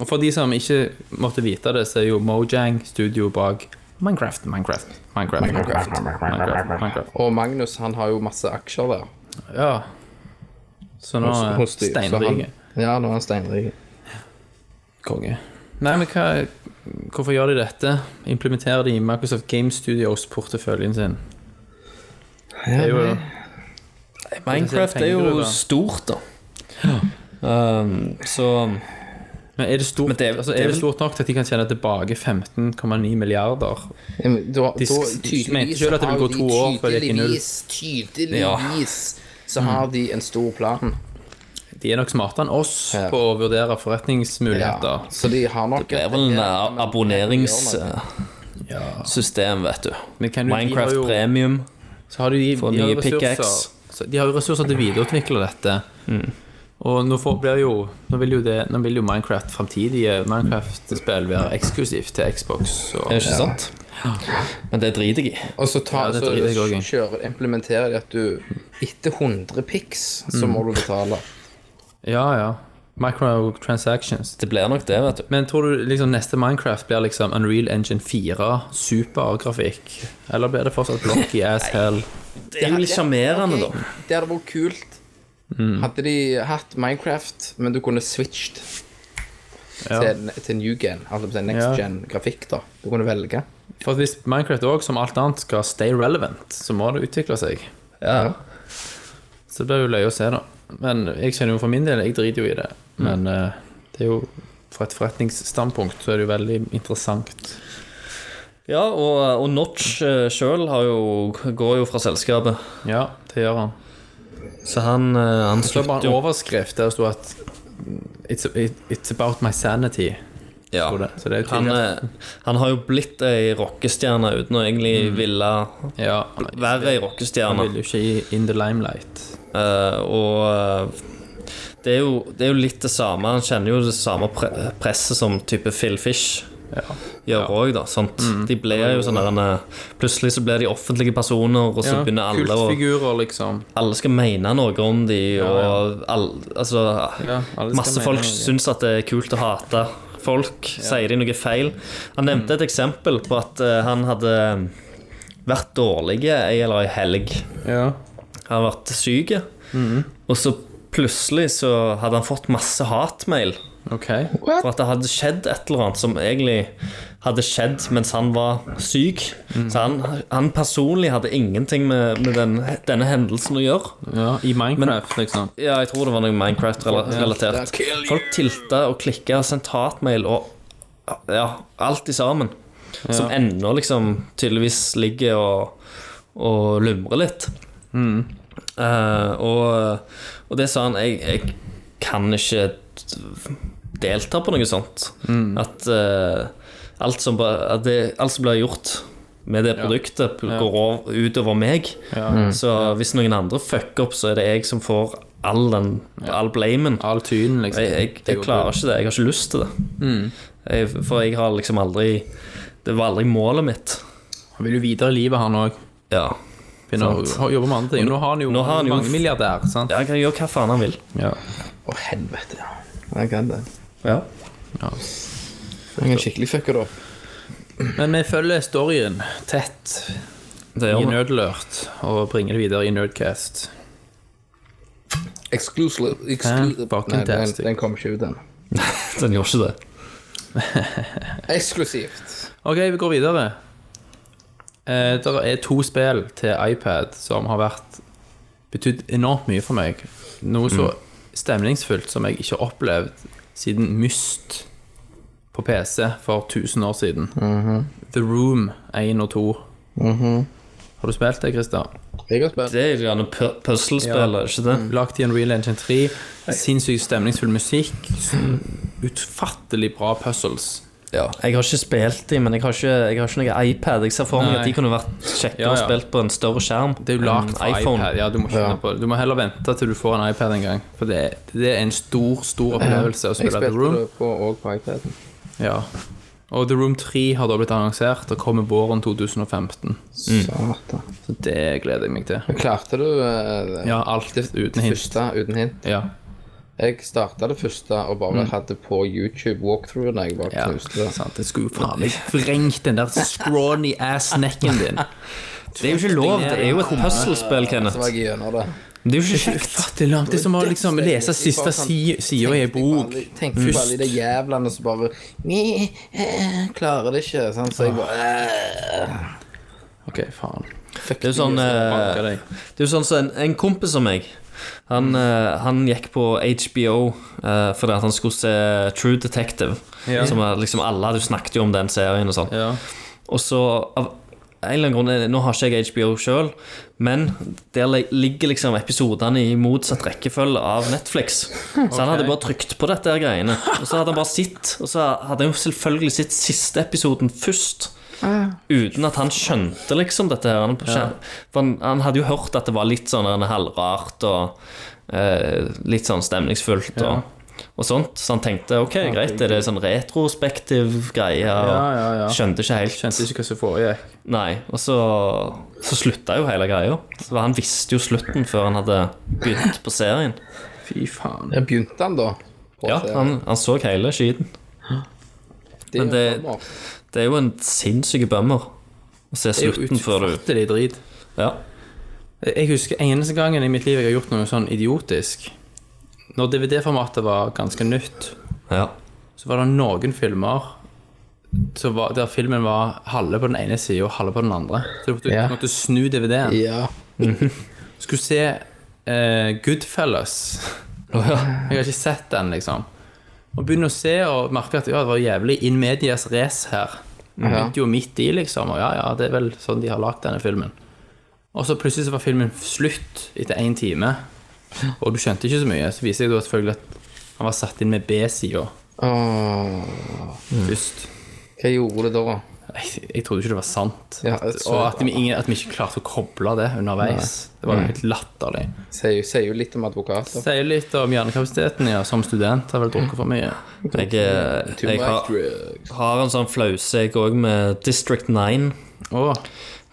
Og for de som ikke måtte vite det, så er jo Mojang studio bak Minecraft, Minecraft, Minecraft, Minecraft, Minecraft, Minecraft.
Og Magnus han har jo masse aksjer der.
Ja. Så nå er
Hos- hos de, så han-
Ah, steinrike.
Ja, nå er han steinrik.
Konge. Nei, men hva, hvorfor gjør de dette? Implementerer de Microsoft Game Studios-porteføljen sin? Det er jo
Minecraft er jo stort, da. Um, så
Men er det stort,
Men det er-
altså,
det
er
er
det
vel-
stort nok til at de kan tjene tilbake 15,9 milliarder?
Ja, men Da, da,
De sk- de mente selv at det ville gå
har
to
de
år før det gikk i null.
Tydeligvis, tydeligvis så har de en stor plan.
De er nok smartere enn oss
Ja.
på å vurdere forretningsmuligheter.
Så de har nok
Det er vel en eh, abonneringssystem,
Ja.
vet du.
Men kan du- de har
Minecraft
jo-
Premium.
Så har de, de,
Får
de har
nye
ressurser-
pickaxe. Mm.
så De har jo ressurser til å videreutvikle dette. Og nå får, blir jo Nå vil jo, det, nå vil jo Minecraft framtidige Minecraft-spill være eksklusivt til Xbox. Og,
Det er ikke sant? Men det driter jeg i.
Og så, tar,
Ja, det
så
driter jeg også i.
kjører, implementerer de at du etter 100 pics
Mm.
så må du betale.
Ja, ja. Microtransactions.
Det blir nok det, vet du.
Men tror du liksom neste Minecraft blir liksom Unreal Engine 4, supergrafikk? Eller blir det fortsatt blocky as hell?
Det er jo litt sjarmerende,
Ok,
da.
Det hadde vært kult.
Mm.
Hadde de hatt Minecraft, men du kunne switched
Ja.
til, til new gen, altså til next
Ja.
gen grafikk, da. Du kunne velge.
For at hvis Minecraft òg, som alt annet, skal stay relevant, så må det utvikle seg.
Ja.
Så det blir jo løye å se, da. Men jeg kjenner jo for min del, jeg driter jo i det.
Mm.
Men eh, det er jo fra et forretningsstandpunkt så er det jo veldig interessant.
Ja, og, og Notch eh, sjøl har jo- går jo fra selskapet,
Ja, det gjør han.
så han, eh, han
Så var
slutter
det en
jo.
overskrift der det sto at mm, it's, it, it's about my sanity.
Ja.
tror det. Så det er jo
Han,
tydelig.
eh, han har jo blitt ei rockestjerne uten å egentlig
Mm.
ville
Ja,
være ei
han
rockestjerne.
vil jo ikke i in the limelight.
Eh, og eh, det er, jo, det er jo litt det samme. Han kjenner jo det samme pre presset som type Phil Fish gjør òg, da. Sant?
Mm.
De blir jo sånn der en, eh, Plutselig så blir de offentlige personer, og så begynner alle å
Kultfigurer, liksom.
Alle skal mene noe om de, og all, altså
Ja, alle skal
Masse
mene
folk
noe.
syns at det er kult å hate folk. Sier de noe feil? Han nevnte et eksempel på at eh, han hadde vært dårlig ei eller ei helg.
Ja.
Han har vært syk, og så plutselig så hadde han fått masse hatmail.
Ok.
For at det hadde skjedd et eller annet som egentlig hadde skjedd mens han var syk. Så han, han personlig hadde ingenting med, med den, denne hendelsen å gjøre.
Ja, I Minecraft, liksom.
Ja, jeg tror det var noe Minecraft-relatert.
Kill you.
Folk tilta og klikka og sendte hatmail og ja, alt i sammen. Som ennå liksom tydeligvis ligger og, og lumrer litt. Eh, og, og det sa han jeg, jeg kan ikke delta på noe sånt. At eh, alt, som, ba- at det, alt som blir gjort med det produktet, går over, utover meg. Så hvis noen andre fucker opp, så er det jeg som får all den all blamen.
All tynen, liksom.
Jeg, jeg, jeg klarer ikke det. Mm. Jeg har ikke lyst til det. Jeg, for jeg har liksom aldri Det var aldri målet mitt.
Han vil jo videre i livet, han òg.
Ja.
Begynne å
Sant.
å jobbe med andre ting. Nå har han jo,
Nå har han jo-
mange milliardær, sant?
Jeg kan gjøre hva faen han vil.
Ja.
Å, helvete. ja. Jeg kan det.
Ja.
Jeg kan skikkelig fucke det opp.
Men vi følger storyen tett
Det
i
gjør vi.
Nødlørt og bringer det videre i Nerdcast.
Exclusive. exclusive.
fucking
Nei, den,
tastic.
den kom ikke ut ennå.
Den gjør ikke det.
Eksklusivt.
Ok, vi går videre. Eh, det er to spill til iPad som har vært betydd enormt mye for meg. Noe så stemningsfullt som jeg ikke har opplevd siden Myst på PC for 1000 år siden. The Room 1 og 2. Har du spilt det, Christer?
Jeg har spilt.
Det er jo gjerne pu- puzzlespill, er det ikke det?
Lagt i en Real Engine 3. Sinnssykt stemningsfull musikk. s- Utfattelig bra puzzles.
Jeg har ikke spilt de, men jeg har ikke, jeg har ikke noe iPad. Jeg ser for meg
Nei.
at de kunne vært kjekkere
Ja, ja.
og spilt på en større skjerm.
Det er jo lagt for
enn iPhone.
iPad. Ja, du, må ikke vente på det. du må heller vente til du får en iPad en gang. For det, er- det er en stor, stor opplevelse å
Jeg
spille The
spilte
Room.
det på, og på iPaden.
Ja. Og The Room 3 har da blitt annonsert og kommer våren 2015.
Satan.
Så det gleder jeg meg til.
Klarte du eh,
Ja, alt uten
det
hint.
første uten hint?
Ja.
Jeg starta det første og bare hadde på YouTube walkthrough når jeg var
Mm. ja.
knuste. det.
Sant, jeg skulle jo faen meg vrengt den der scrawny ass-necken din.
Det er jo ikke lov. Det er jo et puzzlespill,
Så
Kenneth.
var jeg gjennom det.
Det er jo ikke kjekt.
Ufattelig langt. Det er som å liksom lese siste si- sida i ei bok. Mm.
Tenk på alle de jævlene som bare «Ni, eh, Klarer det ikke. Sant? Så jeg bare eh,
OK, faen.
Det er jo sånn eh,
Banker deg.
Det er jo sånn som en, en kompis av meg Han, eh, han gikk på HBO eh, fordi at han skulle se True Detective. Som er liksom Alle hadde jo snakket jo om den serien og sånn.
Ja.
Og så av en eller annen grunn, Nå har ikke jeg HBO sjøl, men der li- ligger liksom episodene i motsatt rekkefølge av Netflix. Så han hadde bare trykt på dette her greiene. Og så hadde han bare sitt, og så hadde han jo selvfølgelig sitt siste episoden først. Uten at han skjønte liksom dette her. Han, skjøn- for han, han hadde jo hørt at det var litt sånn en halvrart og eh, litt sånn stemningsfullt og, og sånt. Så han tenkte ok, greit, er det sånn retrospektiv greie? Og
Ja, ja, ja.
Skjønte ikke helt.
Skjønte ikke hva som foregikk.
Nei, og så, så slutta jo hele greia. Så Han visste jo slutten før han hadde begynt på serien.
Fy faen.
Jeg begynte han da? på
Ja,
serien.
Han, han så hele skiten.
Det er
men det-
bummer.
Det er jo en sinnssyk bummer å se
Det er jo
slutten før du
utfattelig drit.
Ja,
Jeg husker eneste gangen i mitt liv jeg har gjort noe sånn idiotisk. Når DVD-formatet var ganske nytt,
ja.
så var det noen filmer som var, der filmen var halve på den ene siden og halve på den andre. Så du måtte,
Ja.
måtte snu DVD-en.
Ja.
Skulle se eh, Goodfellas. Jeg har ikke sett den, liksom. Og begynne å se og merke at ja, det var jævlig in medias race her. Jeg begynte jo midt i, liksom. Og ja, ja, det er vel sånn de har lagd denne filmen. Og så plutselig så var filmen slutt etter én time, og du skjønte ikke så mye. Så viser jeg da selvfølgelig at han var satt inn med B-sida
Åh, Mm.
først.
hva gjorde det da?
Jeg, jeg trodde ikke det var sant.
Ja,
at,
jeg tror-
og at vi, ingen, at vi ikke klarte å koble det underveis. Det
Mm.
var jo helt latterlig.
Sier jo, sier jo litt om advokater.
Sier litt om hjernekapasiteten, ja. Som student har vel drukket for mye.
Jeg, eh,
Too
jeg
much
har,
drugs.
har en sånn flause, jeg òg, med District 9.
Å,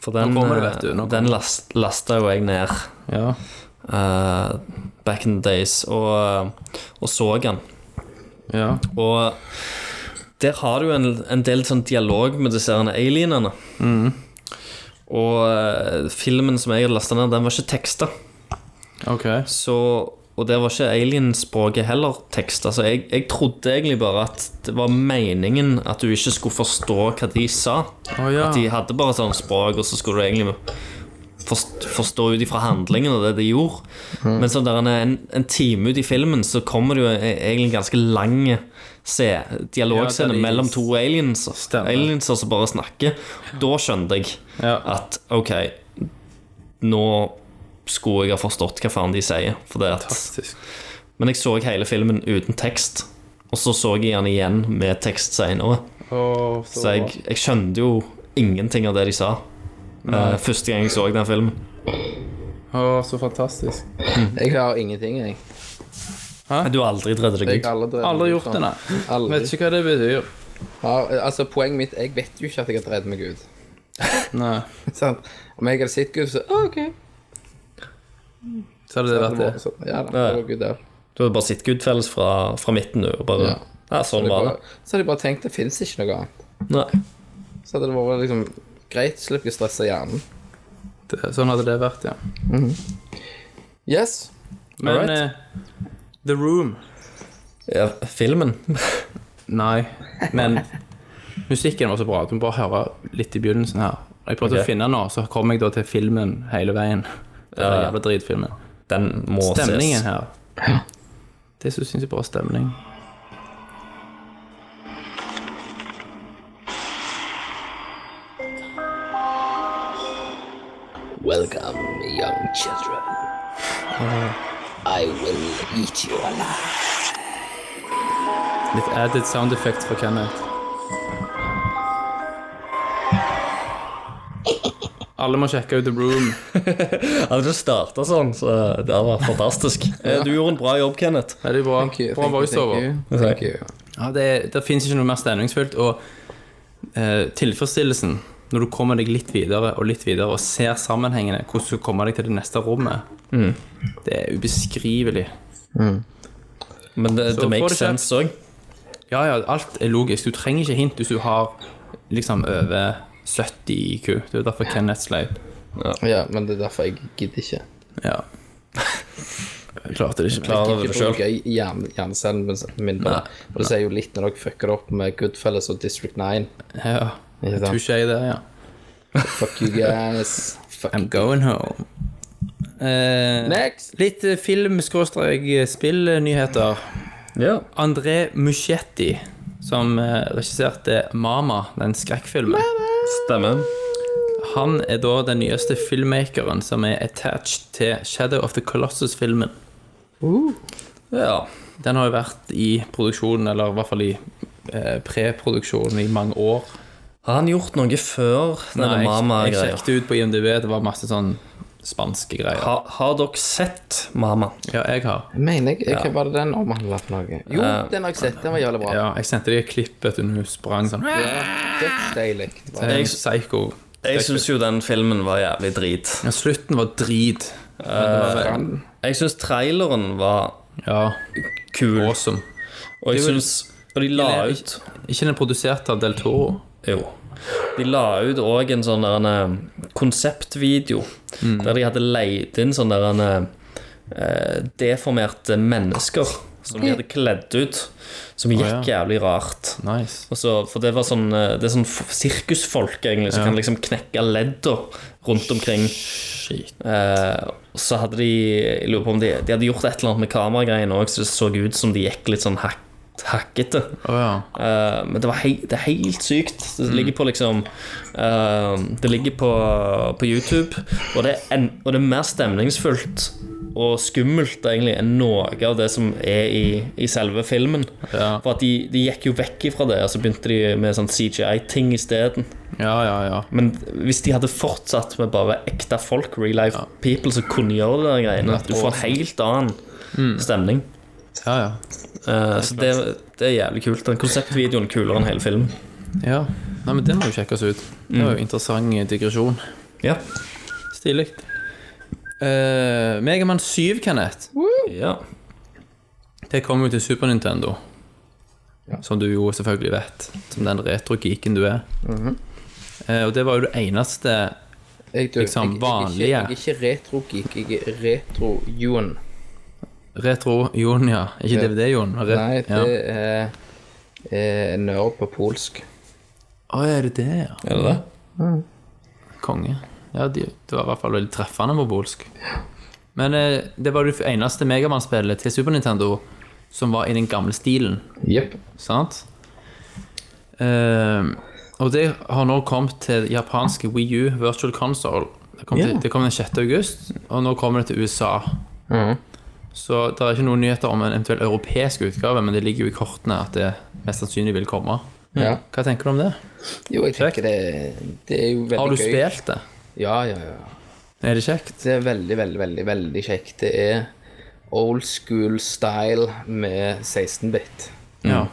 For den,
Nå kommer det, vet du,
eh,
nå kommer
den last, lasta jo jeg ned
ja.
eh, back in the days, og, eh, og så den.
ja.
Og der har du en, en del sånn dialog med disse herne alienene. Og eh, filmen som jeg hadde lasta ned, den var ikke teksta.
Ok.
Så, og der var ikke alienspråket heller teksta. Så jeg, jeg trodde egentlig bare at det var meningen at du ikke skulle forstå hva de sa.
Å ja.
At de hadde bare sånn språk, og så skulle du egentlig forst- forstå ut ifra handlingen og det de gjorde.
Mm.
Men så der en, en time ut i filmen så kommer det jo e- egentlig en ganske lang se,
Ja,
dialogscene
der de-
mellom to aliens,
Stemmer.
alienser som bare snakker. Da skjønte jeg
Ja.
at ok, nå skulle jeg ha forstått hva faen de sier. For det at,
Fantastisk.
men jeg så hele filmen uten tekst, og så så jeg den igjen med tekst seinere.
Å,
Så jeg, jeg skjønte jo ingenting av det de sa eh, første gang jeg så den filmen.
å, så fantastisk.
Jeg klarer ingenting, jeg.
Men Du har aldri dredd deg
Jeg
ut.
har aldri, drevet
Aldri
meg ut
gjort det,
sånn.
nei.
Aldri.
Vet ikke hva det betyr.
Har- altså, poenget mitt Jeg vet jo ikke at jeg har drevet meg ut.
Nei.
Sant? Om jeg hadde sett Gud, så «Å, OK.
Så hadde det vært det.
Så, ja da.
Ja.
det var Gud der.
Du hadde bare sett Goodfellas fra, fra midten, du. Og bare
Ja.
ja. sånn
Det
var
bare,
det.
så hadde jeg bare tenkt det fins ikke noe annet.
Nei.
Så hadde det vært liksom greit, slipper jeg å stresse hjernen.
Det- Sånn hadde det vært, ja.
Yes.
Men
Alright.
eh, The Room
Ja, filmen.
Nei, men musikken var så bra. Du må bare høre litt i begynnelsen her. Jeg prøvde
Ok.
å finne den nå, så kom jeg da til filmen hele veien. Den
Ja, ja.
jævla dritfilmen.
Den må
Stemningen
ses.
her. Det er så sinnssykt bra stemning.
Welcome, young children.
Oh.
I will eat you alive.
Litt added sound effect fra Kenneth. Alle må sjekke ut The Room.
Hadde du starta sånn, så det var fantastisk. Eh, Du gjorde en bra jobb, Kenneth.
Veldig bra.
Thank you,
Bra
thank you,
voiceover.
thank you, thank you.
Ja, det, det finnes ikke noe mer stemningsfullt. Og eh, tilfredsstillelsen når du kommer deg litt videre og litt videre og ser sammenhengene, hvordan du skal komme deg til det neste rommet,
Mm.
det er ubeskrivelig.
Men det,
Så
det
får
makes
det kjeft.
sense òg.
Ja, ja, alt er logisk. Du trenger ikke hint hvis du har liksom over 70 IQ. Det er jo derfor Kenneth sleit.
Ja, men det er derfor jeg gidder ikke.
Ja. Jeg klarte det ikke.
Klarer
Jeg
over det
gidder
selv.
ikke bruke hjerne- hjernecellen min- min på det. Og det sier jo litt når dere fucker det opp med Goodfellas og District 9.
Ja.
Ikke sant?
Touché der, ja.
Fuck you guys. Fuck
I'm going home. Eh,
Next!
litt film-spill-nyheter.
Ja.
André Muschietti, som eh, regisserte 'Mama', den skrekkfilmen.
Stemmer.
Han er da den nyeste filmmakeren som er attached til Shadow of the Colossus-filmen.
Ja.
Den har jo vært i produksjonen, eller i hvert fall i eh, preproduksjonen, i mange år.
Har han gjort noe før denne
jeg- jeg
Mama-greia?
sjekket ut på IMDb, det var masse sånn spanske greier.
Ha, har dere sett Mama?
Ja, jeg har.
Mener jeg, hva var det den omhandla for noe? Jo,
Eh,
den har jeg sett. Den var jævlig bra.
Ja, jeg sendte de et klipp vet du, når hun sprang sånn. Det
Dødsdeilig.
er en Psycho.
Jeg syns jo den filmen var jævlig drit.
Ja, slutten var drit.
Jeg syns traileren var
Ja,
kul,
awesome.
og jeg
det er vel-
syns Og de la
Eller-
ut
Ikke den produserte av Del Toro.
Jo. De la ut òg en sånn der en eh, konseptvideo
Mm.
der de hadde leid inn sånne der en, eh, deformerte mennesker som de hadde kledd ut, som gikk jævlig rart.
Nice.
Og så, for det var sånn eh, Det er sånn f- sirkusfolk egentlig som kan liksom knekke ledda rundt omkring. Eh, og så hadde de Jeg lurer på om de, de hadde gjort et eller annet med kameragreiene òg, så det så ut som de gikk litt sånn hak, hakkete.
Å ja.
Eh, men det, var hei, det er helt sykt. Det ligger på liksom eh, Det ligger på, på YouTube, og det, er en, og det er mer stemningsfullt og skummelt egentlig enn noe av det som er i, i selve filmen.
Ja.
For at de, de gikk jo vekk ifra det, og så begynte de med sånn CGI-ting isteden.
Ja, ja, ja.
Men hvis de hadde fortsatt med bare ekte folk, real life people, som kunne gjøre det der greiene, du får en helt annen stemning.
Ja, ja.
Eh, så det, det er jævlig kult. Den konseptvideoen er kulere enn hele filmen.
ja. Nei, men det må jo sjekkes ut. Det var jo interessant digresjon.
Ja.
Stilig. Uh, Megaman 7, Kenneth.
ja.
Det kom jo til Super Nintendo. Som du jo selvfølgelig vet, som den retro-geeken du er.
Mhm.
Eh, og det var jo det eneste
Jeg, du,
Liksom
jeg-
vanlige.
Jeg, jeg, jeg er ikke retro-geek, jeg er retro-Joen.
retro-Jon, ja.
Ja.
Ikke DVD-Jon. men ret-
Nei, det
ja.
er, er nerd på polsk.
Å, er det det, ja?
Er det det?
Konge. Ja, de, det var i hvert fall veldig treffende på polsk. Men eh, det var det eneste Megaman-spillet til Super Nintendo som var i den gamle stilen.
Jepp.
Sant? Ehm, og det har nå kommet til japanske Wii U Virtual Console. Det kom, til, det kom den 6. august, og nå kommer det til USA.
Mhm.
Så det er ikke noen nyheter om en eventuell europeisk utgave, men det ligger jo i kortene at det mest sannsynlig vil komme.
Ja.
Hva tenker du om det?
Jo, jeg tenker det, det er jo veldig gøy.
Har du spilt det?
Ja, ja, ja.
Er det kjekt?
Det er veldig, veldig, veldig, veldig kjekt. Det er old school style med 16-bit.
Ja.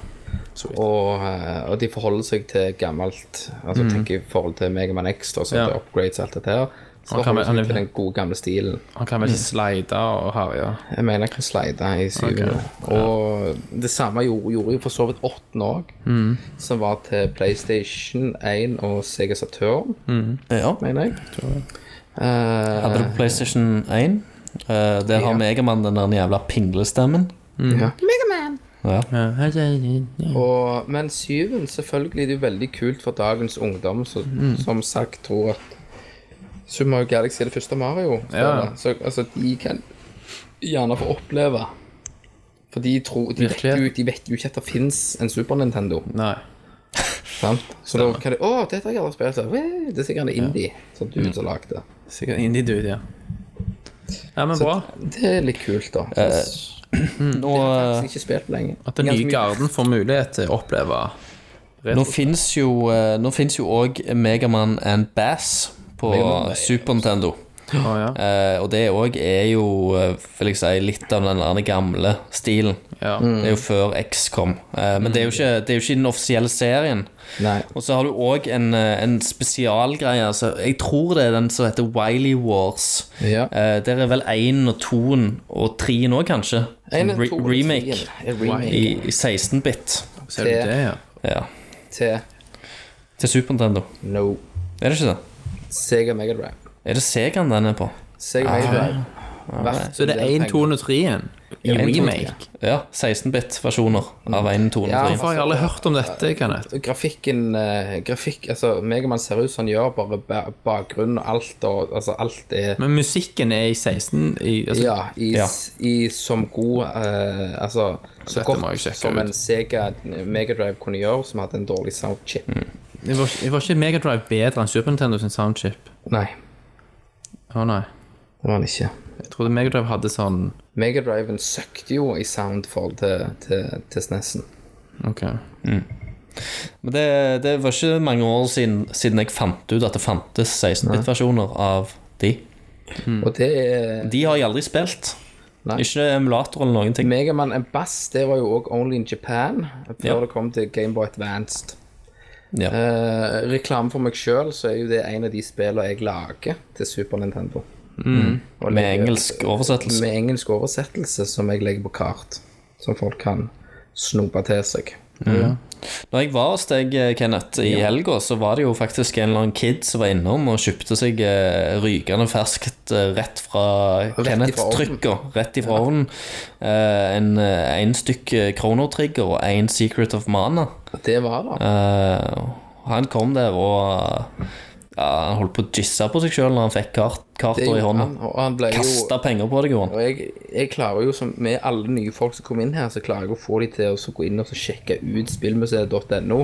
Og, eh, og de forholder seg til gammelt. Altså tenker i forhold til Megaman X og sånt,
Mm. Ja.
og upgrades og alt dette her. Så
Og kan
forholder de
man-
seg til den gode gamle stilen.
Han kan vel ikke
Mm.
slide og herje?
Jeg mener jeg kan slide i syvende. Og det samme gjorde, gjorde jeg for så vidt åttende òg, som var til PlayStation 1 og Sega Saturn,
Ja.
mener jeg. Eh,
Hadde du på PlayStation 1? Eh, der har
Ja.
Megamann den der jævla pinglestemmen. Mm.
ja.
Ja.
Og, men syven, selvfølgelig, det er jo veldig kult for dagens ungdom, som, som sagt tror at Super Mario Galaxy er det første Mario.
Ja.
Så altså, de kan gjerne få oppleve. For de, tror, de, vet,
Virkelig.
jo, de vet jo ikke at det fins en Super Nintendo.
Nei.
Sant? Så da kan de Å, dette har jeg aldri spilt. Så, «Wee, Det er sikkert en indie som
Mm.
du som lagde det.
Sikkert indie-dude, ja. Ja, men bra.
Det er litt kult, da. Det er
Nå, eh,
ikke spilt på lenge.
Eh, At den
Ganske
nye
mye-
garden får mulighet til å oppleve
nå fins jo eh, Nå finnes jo òg Megamann and Bass på Super Nintendo.
Å, ja.
Eh, og det òg er jo, eh, vil jeg si, litt av den der gamle stilen.
Ja.
Det er jo
Mm.
før X kom. Eh, men det er jo ikke, det er jo ikke i den offisielle serien.
Nei.
Og så har du òg en, eh, en spesialgreie. Altså, jeg tror det er den som heter Wiley Wars.
Ja.
Eh, der er vel én og toen og treen òg, kanskje.
En,
Sånn re
to, tre,
remake
en remake
i, i 16-bit.
Ser du det, ja?
Ja.
til
Til Super Nintendo.
No
Er det ikke det?
Sega Megadrive.
Er det Segaen den er på?
Ah.
Sega Megadrive.
Så det er 1, 2 og 3 igjen?
i
En
remake. Ja, 16-bit-versjoner av 1, 2
Mm. Ja,
og
for-
3.
Hvorfor har jeg aldri hørt om dette, Kenneth?
Grafikken eh, Grafikk, altså Megaman ser ut som han gjør, bare ba- bakgrunn og alt, og altså alt er
Men musikken er i 16 i, altså,
Ja, i, s- i som god eh, Altså, så
Dette må
godt
jeg sjekke
som
ut.
en Sega Megadrive kunne gjøre, som hadde en dårlig soundchip.
Mm. det var, det var ikke Megadrive bedre enn Super Nintendo sin soundchip?
Nei,
Å nei.
det var den ikke.
Jeg trodde Megadrive hadde sånn
Megadriven søkte jo i sound forhold til, til, til SNES-en.
Ok.
Men det, det var ikke mange år siden, siden jeg fant ut at det fantes 16-bit-versjoner av de.
Og det er
De har jeg aldri spilt.
Nei.
Ikke emulator eller noen ting.
Megaman and Bass, det var jo òg only in Japan, før
Ja.
det kom til Gameboy Advanced.
Ja.
Eh, reklame for meg sjøl, så er jo det en av de spillene jeg lager til Super Nintendo. Og
Med
legger-
engelsk oversettelse.
Med engelsk oversettelse som jeg legger på kart. Som folk kan snope til seg.
Når jeg var hos deg, eh, Kenneth, i helga, så var det jo faktisk en eller annen kid som var innom og kjøpte seg eh, rykende ferskt eh, rett fra
ifra
Kenneth-trykker, rett ifra ovnen. Eh, en, eh, en stykke Chrono Trigger og en Secret of Mana.
Og Det var det.
Eh, han kom der og eh, ja, han holdt på å jisse på seg sjøl når han fikk kart,
det
karter i
gjorde
hånda.
han, og han ble
Kasta
jo
penger på det, gjorde han.
og jeg, jeg klarer jo, som med alle nye folk som kommer inn her, så klarer jeg å få de til å så gå inn og så sjekke ut spillmuseet.no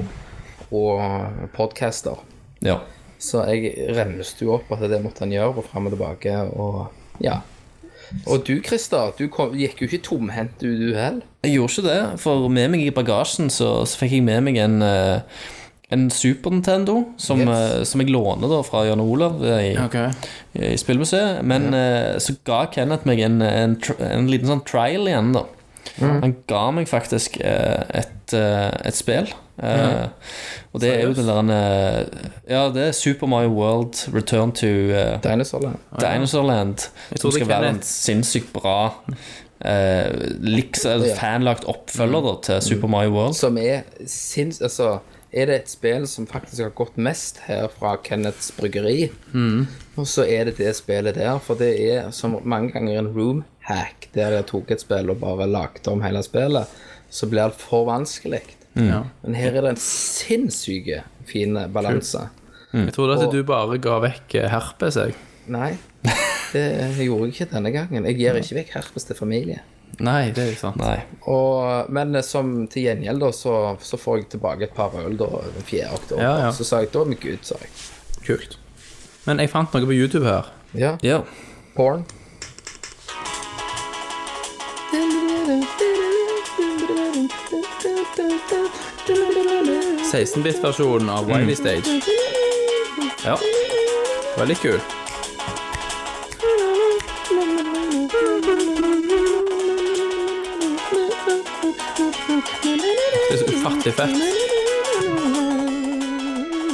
og podcaster.
Ja.
Så jeg remste jo opp at det måtte han gjøre, og fram og tilbake, og ja. Og du, Christer, du kom, gikk jo ikke tomhendt, du, du heller.
Jeg gjorde ikke det, for med meg i bagasjen så, så fikk jeg med meg en, eh, en Super Nintendo, som,
Yes.
eh, som jeg låner da fra Jan Olav eh, i,
Ok.
i spillmuseet. Men eh, så ga Kenneth meg en, eh, en, tr- en liten sånn trial igjen, da. Han ga meg faktisk eh, et, eh, et spill. eh, Og det er jo den der eh, Ja, det er Super Mario World Return to eh,
Dinosaurland.
Dinosaurland, som
trodde
skal være en
Kenneth-
sinnssykt bra eh, liks, eller fanlagt oppfølger da, til Super Mario World.
Som er sinns... Altså, er det et spill som faktisk har gått mest her fra Kenneths bryggeri, og så er det det spillet der. For det er som mange ganger en room hack, der jeg tok et spill og bare lagde om hele spillet. Så blir det for vanskelig. Men her er det en sinnssyke fin balanse.
Jeg trodde at
Og-
du bare ga vekk eh, herpes, jeg.
Nei, det gjorde jeg ikke denne gangen. Jeg gir ikke vekk herpes til familie.
Nei, det er ikke sant.
Nei.
Og, men eh, som til gjengjeld, da, så, så får jeg tilbake et par øl da, den 4. oktober.
Ja, ja.
Så sa jeg da er vi good, sa jeg.
Kult. Men jeg fant noe på YouTube her.
Ja.
Ja.
Porn.
Save
16-bit-versjonen av Wiley Stage.
ja.
Veldig kul. Det er så ufattelig fett. Det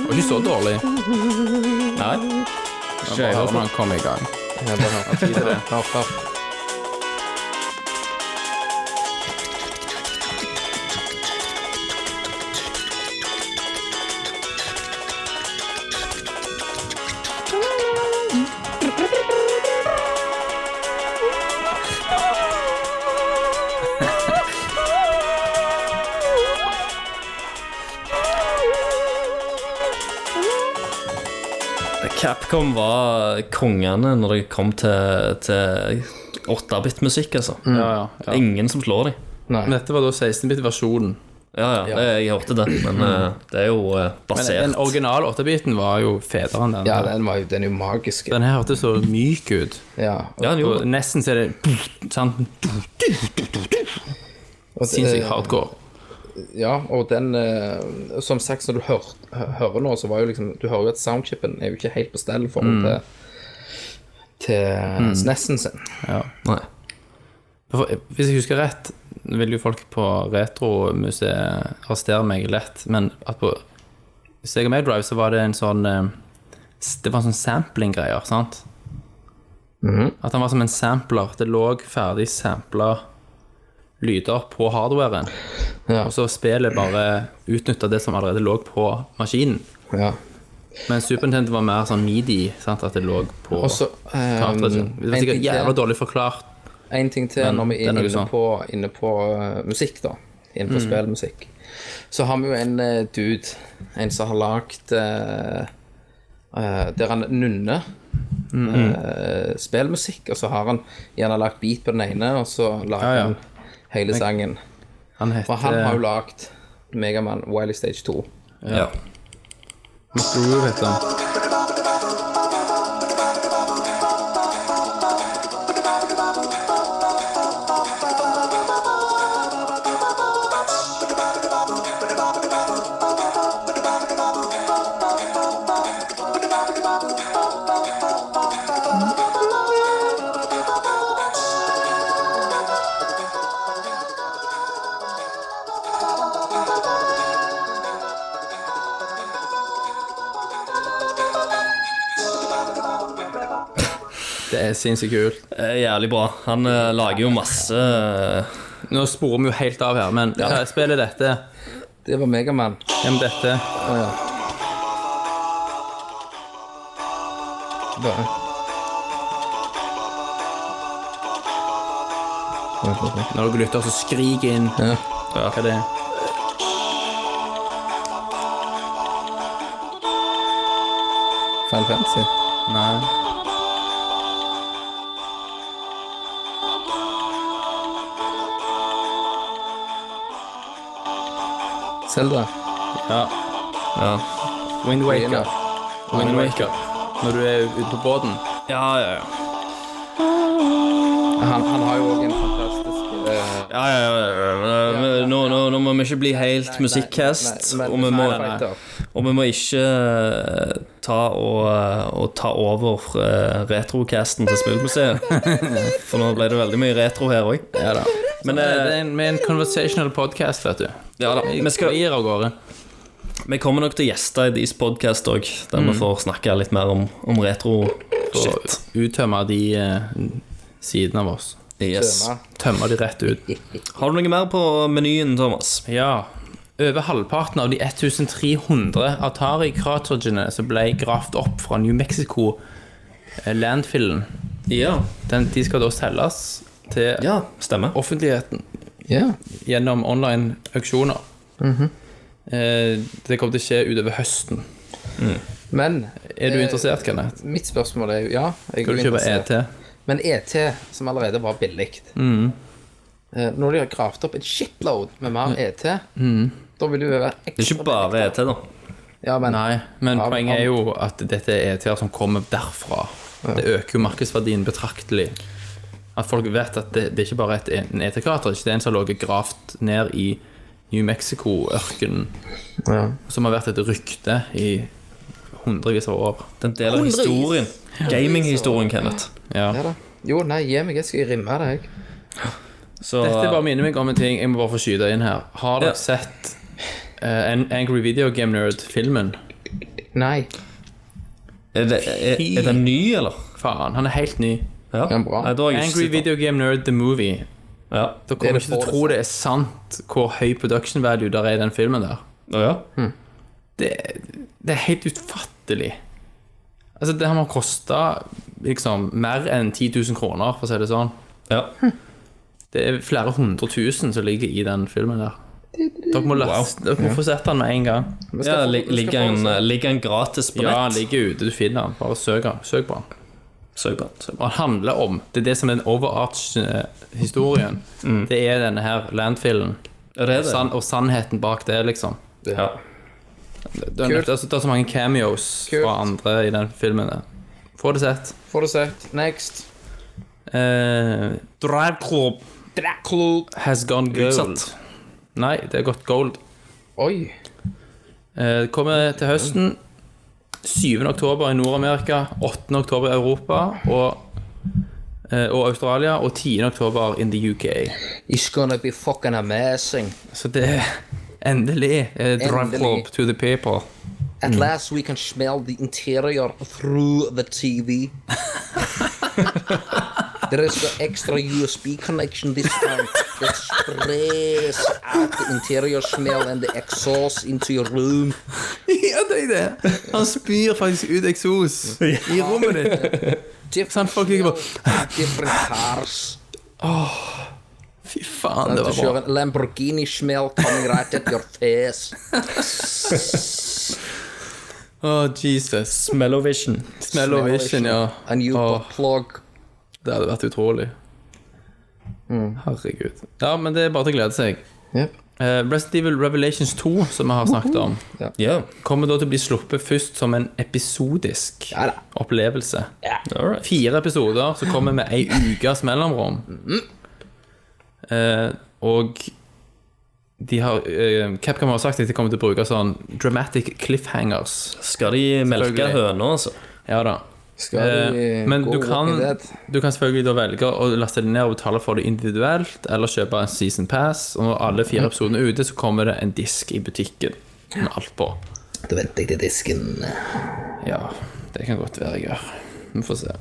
var ikke så dårlig.
Nei.
Bare hør når han kom i gang.
Ja, det har tid til det. Har før.
Capcom var kongene når det kom til, til 8-bit-musikk, altså.
Ja, ja, ja.
Ingen som slår dem.
Nei.
Men Dette var da 16-bit-versjonen.
Ja, ja, jeg hørte det, men eh, det er jo eh,
Men
basert
den originale 8-biten var jo federe enn den.
Ja, den, var jo, den er jo magisk.
Den her hørtes så myk ut.
Ja.
Ja, den gjorde
Og
det.
nesten så er det sant,
Og,
sinnssykt hardcore.
ja, og den eh, Som sagt, når du hør, hø- hører nå, så var jo liksom Du hører jo at soundchipen er jo ikke helt på stell i
Mm.
forhold til til snessen sin.
Nei.
For, eh, hvis jeg husker rett, vil jo folk på retromuseet arrestere meg lett, men at på Sega Mega Drive så var det en sånn eh, s- Det var en sånn sampling-greier, sant?
Mhm.
At han var som en sampler. Det lå ferdig sampla lyder på hardwaren.
Ja.
Og så spillet bare utnytta det som allerede lå på maskinen.
Ja.
Men Super Nintendo var mer sånn midi, sant? at det lå på
Og så, eh,
kartridgen. altså. Det
en
var
ting
sikkert
til.
jævla dårlig forklart
én ting til
Men
når vi
det
er
er Mm. noe
inne
sånn.
på, inne på eh, musikk, da. Innenfor spillmusikk. Så har vi jo en eh, dude, en som har lagd eh, Der han nunner
Mm-hmm.
eh, spillmusikk, og så har han gjerne lagt beat på den ene, og så lager
Ja, ja.
han hele sangen.
Han heter
For han har jo lagd Megaman Wily Stage 2.
Ja.
Groove, heter han. Det er sinnssykt kult.
Eh, Jævlig bra. Han eh, lager jo masse eh,
Nå sporer vi jo helt av her, men hva spiller dette?
Det var Megaman.
Hvem dette?
Bare.
Når dere lytter, så skrik inn.
Ja.
Hva det er.
Final Fantasy.
Nei.
Zelda.
Ja,
Wind
Begynner.
Waker. Wind Waker. Når du er ute på båten.
ja, ja. ja.
Han, han har jo òg en fantastisk eh,
ja, ja, ja, ja. Men Nå, nå, nå må vi ikke bli helt musikkcast,
nei,
og,
men-
vi må-
Final Fighter.
og vi må ikke eh, ta og, eh, og ta over eh, retrocasten til Spillmuseet. For nå ble det veldig mye retro her òg.
Ja da.
Men
Det
eh,
er en, med en conversational podcast, vet du.
ja da, vi, skal,
Glir av gårde.
vi kommer nok til å gjeste i deres podkast òg, der
Mm.
vi får snakke litt mer om, om retro-shit.
Og uttømme de eh, sidene av oss.
Yes.
Døme.
Tømme de rett ut.
Har du noe mer på menyen, Thomas?
Ja. Over halvparten av de 1300 Atari-kratergene som ble gravd opp fra New Mexico-landfillen,
Ja.
de skal da selges til
ja stemmer.
offentligheten
Ja.
gjennom online auksjoner.
Mhm.
Eh, Det kommer til å skje utover høsten.
Men
Er du
eh,
interessert, Kenneth?
Mitt spørsmål er jo Ja, jeg
Skal du
er
kjøpe E
interessert.
ET?
Men ET, som allerede var billig
Mm.
eh, Når de har gravd opp en shitload med
Mm.
mer ET, da vil du være
Det er ikke bare ET, da.
Ja, men
Nei, men
Ja,
poenget er
han-
jo at dette er ET-er som kommer derfra. Det øker jo markedsverdien betraktelig. At folk vet at det, det er ikke bare et, en ET-cartridge, det er en som har ligget gravd ned i New Mexico-ørkenen.
Ja.
Som har vært et rykte i hundrevis av år.
Den deler historien. Gaminghistorien, Kenneth.
Ja.
Ja da. Jo, nei, gi meg, jeg skal rimme det, jeg.
Så
Dette bare minner meg om en ting. Jeg må bare få skyte inn her. Har dere
Ja.
sett eh, en Angry Video Game Nerd-filmen?
Nei.
er, det, er, er den ny, eller?
Faen, han er helt ny.
Ja,
Den er bra.
Nei, da har jeg ikke
Angry
sett den.
Video Game Nerd The Movie.
Ja.
Dere kommer
det
ikke til å
får
tro det er sant hvor høy production value der er i den filmen der.
Å, ja.
Det, det er helt utfattelig. Altså, det her må koste liksom mer enn 10 000 kroner, for å si det sånn.
ja.
Det er flere hundre tusen som ligger i den filmen der. Dere må, laste, dere må få sett den med en gang.
Vi
ja
skal få-
li-
vi skal
ligger,
få
en, eh,
sånn-
ligger en gratis på
Ja, den
nett?
ligger ute. Du finner den. Bare søk, den. søk på den.
Søk på den, søk
Og
på
den handler om Det er det som er den overarch-historien. Det er denne her landfillen.
den. Mm. Er det det?
Sann- og sannheten bak det, liksom.
Ja.
Det er, altså, det er så mange cameos
Kult.
fra andre i den filmen. der. Få det sett.
Får du sett. Next.
Eh, Drive Club has gone gold.
Utsatt.
Nei, det har gått gold.
Oi.
Eh, det kommer til høsten. 7. oktober i Nord-Amerika, 8. oktober i Europa og, eh, og Australia, og 10. oktober in the UK.
It's gonna be fucking amazing.
Så det er endelig eh, Drive
Endelig.
Club to the people.
At
Mm.
last we can smell the interior through the TV. There is the extra USB connection this time that sprays out the interior smell and the exhaust into your room.
Ja, det er det. Han spyr faktisk ut eksos i rommet ditt.
Different
Sant, folk liker
smell, different cars.
Fy faen, det
To
var
kjøre
bra.
en Lamborghini smell coming right at your face.
Å, Jesus.
Mellovision.
Smellovision, ja.
And you
Åh.
Oh.
got plug.
Det hadde vært utrolig.
Mm.
Herregud. Ja, men det er bare til å glede seg.
Yep.
Eh, Resident Evil Revelations 2, som vi har snakket om,
Ja,
kommer da til å bli sluppet først som en episodisk
Ja da.
opplevelse.
all right.
Fire episoder som kommer med ei ukes mellomrom.
Mm.
Eh, og de har, eh, Capcom har sagt at de kommer til å bruke sånn dramatic cliffhangers.
Skal de melke
Selvfølgelig.
høna, altså?
Ja da.
Skal vi
Eh, men
gå
du
Walking
kan,
Dead?
du kan selvfølgelig da velge å laste det ned og betale for det individuelt, eller kjøpe en season pass. Og når alle
Mm.
fire episodene er ute, så kommer det en disk i butikken med alt på.
Da venter jeg til disken.
Ja, det kan godt være jeg gjør. Vi får se.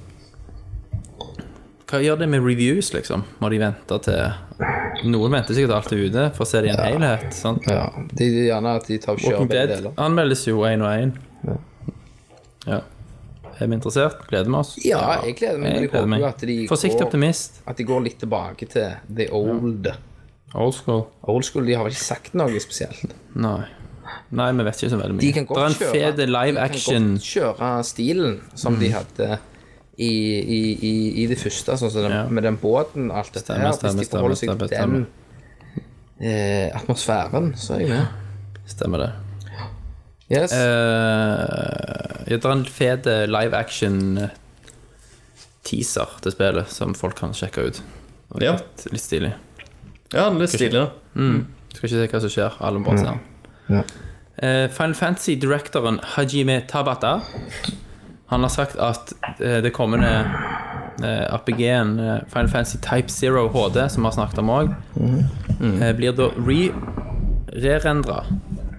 Hva gjør det med reviews, liksom? Må de vente til Noen venter sikkert alt er ute for å se det i en helhet. sant?
Ja, de de gjerne at de tar og kjører
Walking
begge
Dead
deler.
anmeldes jo én og én. Ja. Er vi interessert? Gleder vi oss?
Ja, jeg gleder meg. men
Jeg
Jeg
gleder
håper
meg.
jo at de,
Forsiktig
går,
optimist.
at de går litt tilbake til the old.
Old school.
Old school, de har vel ikke sagt noe spesielt.
Nei. Nei, vi vet ikke så veldig mye.
De kan
det er
godt
en
kjøre,
fet
de
live
kan
action. Mm.
godt kjøre stilen som de hadde i, i, i, i det første, sånn som den,
Ja.
med den båten og alt dette
Stemmer,
her.
stemmer,
Hvis de forholder seg
stemmer,
til den eh, atmosfæren, så er jeg med.
Stemmer det.
Yes.
Eh, ja, det er en fet eh, live action-teaser til spillet som folk kan sjekke ut. Det er
Ja.
Litt, litt stilig.
Ja, litt stilig, da.
Skal ikke se hva som skjer. Alle må bare se den. Eh, Final Fantasy-directoren Hajime Tabata Han har sagt at eh, det kommende eh, RPG-en eh, Final Fantasy Type Zero HD, som vi har snakket om òg, eh, blir da re-rendra.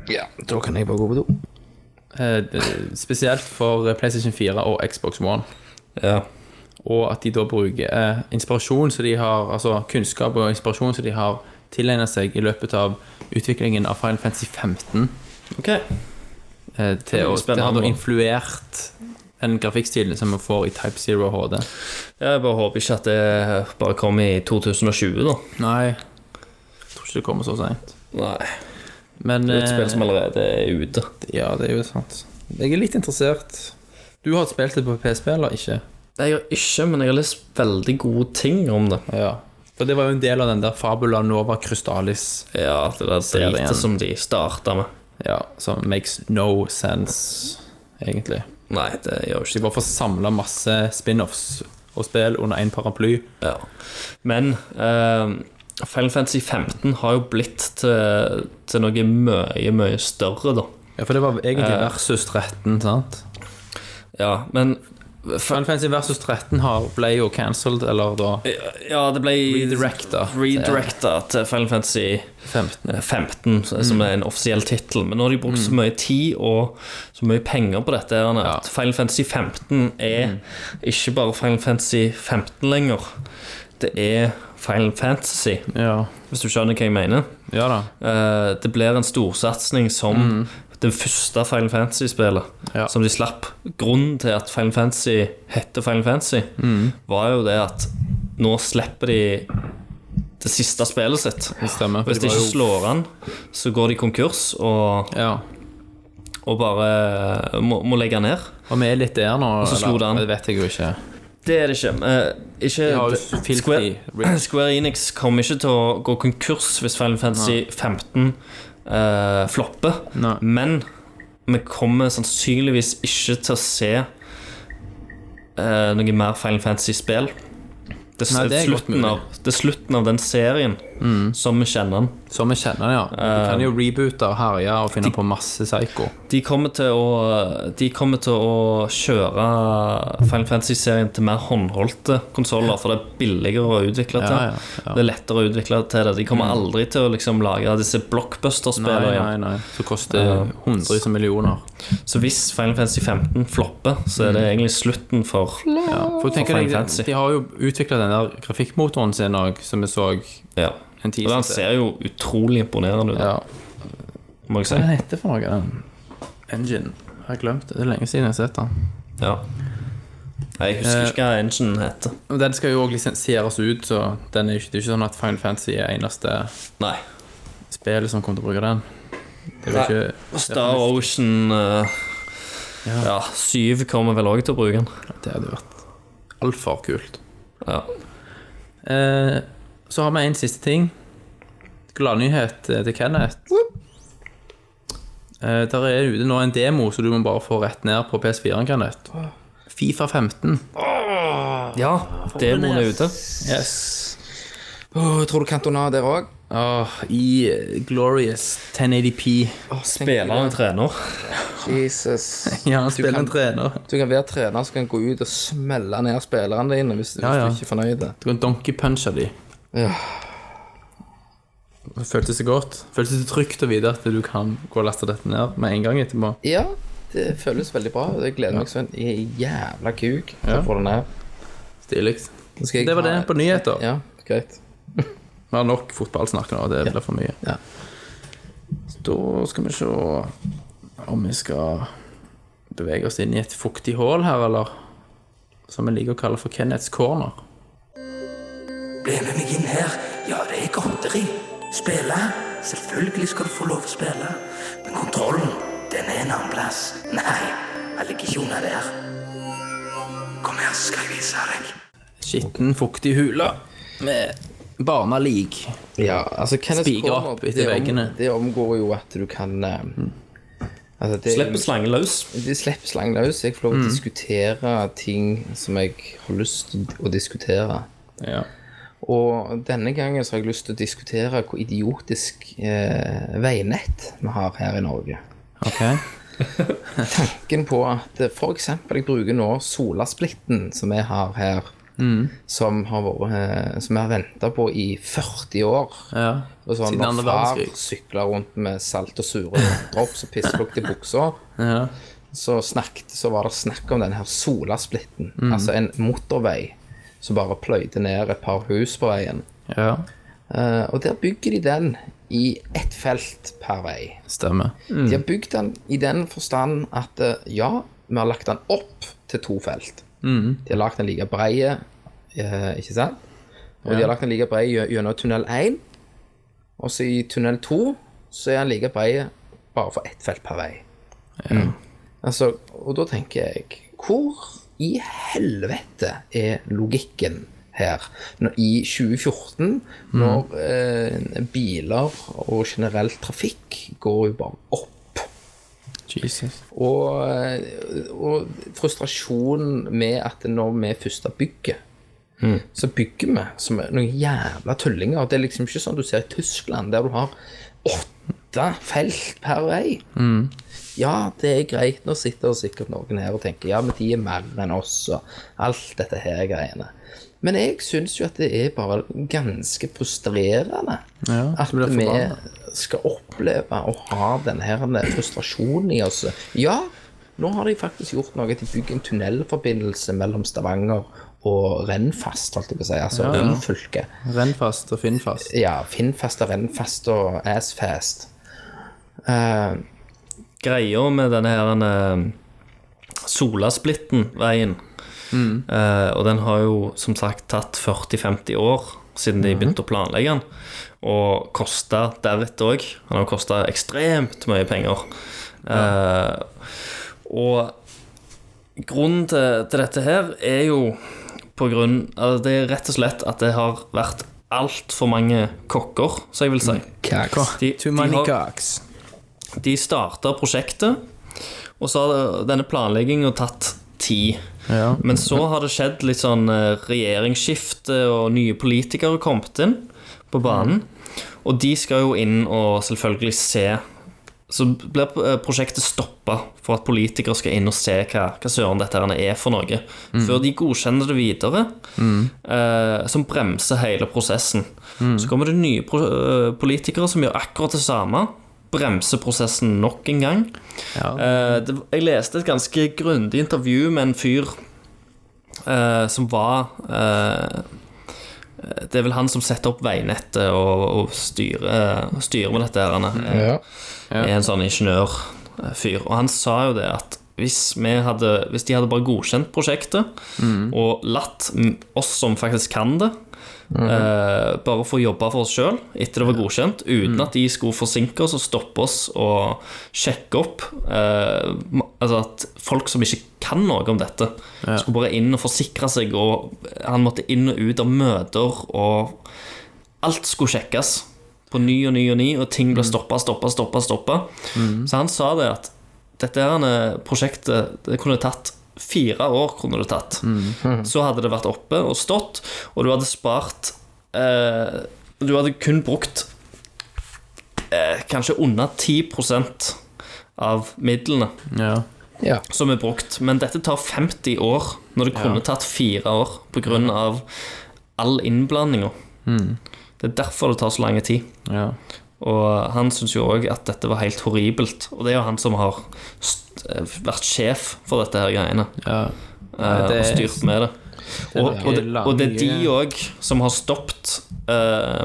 ja, da kan jeg bare gå på do.
Eh, spesielt for eh, PlayStation 4 og Xbox One.
Ja.
Og at de da bruker eh, inspirasjon som de har, altså kunnskap og inspirasjon som de har tilegnet seg i løpet av utviklingen av Final Fantasy 15.
Ok.
Eh, til å, det har da
Spennende.
influert den grafikkstilen som vi får i Type Zero HD.
Jeg bare håper ikke at det bare kommer i 2020, da.
Nei, jeg tror ikke det kommer så seint.
Nei.
Men
Det er jo et
eh,
spill som allerede er ute.
Ja, det er jo sant. Jeg er litt interessert. Du har spilt det på PSP, eller ikke?
Det gjør jeg ikke, men jeg har lest veldig gode ting om det.
Ja. For det var jo en del av den der Fabula Nova Crystalis.
Ja, det der
Serien.
dritet som de starta med.
Ja, som makes no sense, egentlig.
Nei, det gjør jo
De
ikke det.
bare får samla masse spin-offs og spill under én paraply.
Ja. Men eh, Final Fantasy 15 har jo blitt til, til noe mye, mye større, da.
Ja, For det var egentlig versus 13, sant?
Ja, men
Final Fantasy versus 13 har, ble jo cancelled, eller da
Ja, det ble
Redirecta.
redirecta til Final Fantasy
15.
15, som er en offisiell tittel. Men nå har de brukt så mye tid og så mye penger på dette her, at Final Fantasy 15 er ikke bare Final Fantasy 15 lenger. Det er Final Fantasy,
Ja.
hvis du skjønner hva jeg mener.
ja da.
Eh, det blir en storsatsing som det første Final Fantasy-spillet
Mm. Ja.
som de slapp. Grunnen til at Final Fantasy heter Final Fantasy,
Mm.
var jo det at nå slipper de det siste spillet sitt.
Det stemmer.
Hvis de
var
ikke
jo-
slår an, så går de konkurs og,
Ja.
og bare eh, må, må legge ned.
Og vi er litt der nå.
så slo det an.
Det vet jeg jo ikke.
Det er det ikke. Eh, ikke
De har jo
det-
filthy
Square,
rich.
Square Enix kommer ikke til å gå konkurs hvis Final Fantasy 15 eh, flopper.
Nei.
Men vi kommer sannsynligvis ikke til å se eh, noe mer Final Fantasy-spill. Det,
Nei,
er
det er godt
slutten
mulig. Mm.
av, det er slutten av den serien som vi kjenner den.
Som vi kjenner det, ja. De kan jo reboote og herje og finne på masse psycho.
De kommer til å, de kommer til å kjøre Final Fantasy-serien til mer håndholdte konsoller, for det er billigere å utvikle til.
Ja, ja, ja. Mm.
Det er lettere å utvikle til det. De kommer aldri til å liksom lage disse
Nei, nei,
blockbuster-spillene igjen.
nei. Eh. Så koster det hundrevis av millioner.
Så hvis Final Fantasy 15 flopper, så er det
Mm.
egentlig slutten for
Ja, for tenk
For Final
deg, de,
Fantasy.
de har jo utvikla den der grafikkmotoren sin òg, som vi så
Ja.
en
Og
teaser
den ser jo utrolig imponerende ut,
Ja.
må jeg si.
Hva den heter for noe, den engine? Jeg har glemt det. Det er lenge siden jeg har sett den.
Ja. Jeg husker
Eh.
ikke hva engine heter.
Og Den skal jo òg lisensieres ut, så den er jo ikke, det er ikke sånn at Final Fantasy er eneste
Nei.
spillet som kommer til å bruke den. Det er jo ikke
Star Ocean eh, Ja, 7 kommer vel òg til å bruke den.
Det hadde vært altfor kult.
Ja.
Eh, så har vi en siste ting. Gladnyhet eh, til Kenneth. Eh, der er ute nå en demo, så du må bare få rett ned på PS4-en, Kenneth. Fifa 15.
ja Demoen er ute.
Yes.
Åh, tror du Cantona der òg?
Åh, I eh, glorious 1080p.
Spiller og trener.
Jesus.
Ja,
spiller
han spiller
en
en trener.
Du kan være trener, så kan du gå ut og smelle ned spillerne dine hvis, hvis
Ja, ja.
du ikke er fornøyd.
Du kan donkeypunche de.
Ja.
Det føltes det godt? Føltes det trygt å vite at du kan gå og laste dette ned med en gang etterpå?
Ja, det føles veldig bra. Jeg gleder meg sånn i jævla kuk til å
Ja.
få den her.
Stilig.
Nå skal jeg
Det var
ha-
det på nyheter.
Ja, greit.
Vi har nok fotballsnakk nå, det blir for mye.
Ja.
Så Da skal vi se om vi skal bevege oss inn i et fuktig hål her, eller som vi liker å kalle for Kenneths corner.
Bli med meg inn her. Ja, det er godteri. Spille? Selvfølgelig skal du få lov å spille. Men kontrollen, den er en annen plass. Nei, jeg ligger ikke under der. Kom her, skal jeg vise deg.
Skitten, fuktig hule med barna lik.
Ja, altså Kenneth
Spiker
Corner,
opp etter
det
veggene. Mm.
Det omgår jo at du kan eh, altså det,
Slipper slangen løs.
De slipper slangen løs. Jeg får
Mm.
lov til å diskutere ting som jeg har lyst til å diskutere.
Ja.
Og denne gangen så har jeg lyst til å diskutere hvor idiotisk eh, veinett vi har her i Norge.
Ok.
Tanken på at f.eks. jeg bruker nå Solasplitten, som vi har her,
Mm.
som har vært eh, Som jeg har venta på i 40 år.
Ja.
Og sånn,
Siden
når
andre
far
verdenskrig.
sykla rundt med salt og sure drops og pisslukt i buksa,
Ja.
så, snakket- så var det snakk om den her Solasplitten.
Mm.
Altså en motorvei som bare pløyde ned et par hus på veien.
ja.
Eh, og der bygger de den i ett felt per vei.
Stemmer.
De har bygd den i den forstand at eh, ja, vi har lagt den opp til to felt. De har lagt den like breie, eh, ikke sant? Og de har lagt den like breie gjø- gjennom tunnel 1. Og så i tunnel 2 så er den like breie bare for ett felt per vei. Altså, og da tenker jeg, hvor i helvete er logikken her? Når, I 2014, når eh, biler og generell trafikk går jo bare opp.
Jesus.
Og, eh, og frustrasjonen med at når vi først har bygget, så bygger vi som noen jævla tullinger. Det er liksom ikke sånn du ser i Tyskland, der du har åtte felt per vei. Ja, det er greit. Nå sitter det sikkert noen her og tenker ja, men de er mer enn oss og alt dette her greiene. Men jeg syns jo at det er bare ganske frustrerende
Ja,
at
du blir
vi
forbanna.
skal oppleve å ha denne her frustrasjonen i oss. Ja, nå har de faktisk gjort noe. De bygger en tunnelforbindelse mellom Stavanger og Rennfast, holdt jeg på å si. Altså Ryfylke.
Renn fast og finn fast.
Ja, Finnfast og Rennfast og Assfast. Eh,
greia med denne her denne Solasplitten-veien. Eh, og den har jo som sagt tatt 40-50 år siden de begynte å planlegge den. Og kosta deretter òg. Han har kosta ekstremt mye penger. Eh, og grunnen til, til dette her er jo på grunn altså Det er rett og slett at det har vært altfor mange kokker, som jeg vil si. De-
Too
de
many
har-
cocks.
de starta prosjektet, og så har denne planlegginga tatt tid.
Ja.
Men så har det skjedd litt sånn eh, regjeringsskifte, og nye politikere har kommet inn på banen. Og de skal jo inn og selvfølgelig se. Så blir eh, prosjektet stoppa for at politikere skal inn og se hva, hva søren dette her er for noe. Før de godkjenner det videre, eh, som bremser hele prosessen. Så kommer det nye pro eh, politikere som gjør akkurat det samme. Bremser prosessen nok en gang. Eh, det, jeg leste et ganske grundig intervju med en fyr eh, som var eh, Det er vel han som setter opp veinettet og, og styrer, eh, styrer med dette. her, Han er, er en sånn ingeniørfyr. Og han sa jo det at hvis, vi hadde, hvis de hadde bare godkjent prosjektet og latt m- oss som faktisk kan det, eh, bare få jobbe for oss sjøl etter det var godkjent, uten at de skulle forsinke oss og stoppe oss og sjekke opp eh, ma- Altså at folk som ikke kan noe om dette, skulle bare inn og forsikre seg, og han måtte inn og ut av møter, og alt skulle sjekkes på ny og ny og ny, og ting ble stoppa, stoppa, stoppa. stoppa. Så han sa det at dette her eh, prosjektet det kunne tatt fire år. kunne det tatt Så hadde det vært oppe og stått, og du hadde spart eh, Du hadde kun brukt eh, kanskje under 10 av midlene
Ja.
Ja.
som er brukt. Men dette tar 50 år, når det kunne tatt fire år pga. all innblandinga.
Mm.
Det er derfor det tar så lang tid.
ja.
Og han syns jo òg at dette var helt horribelt. Og det er jo han som har st eh, vært sjef for dette her greiene.
Ja.
eh,
det
og
er-
styrt med det. Og,
veldig
og, det, og det er de
lange-
òg som har stoppet uh,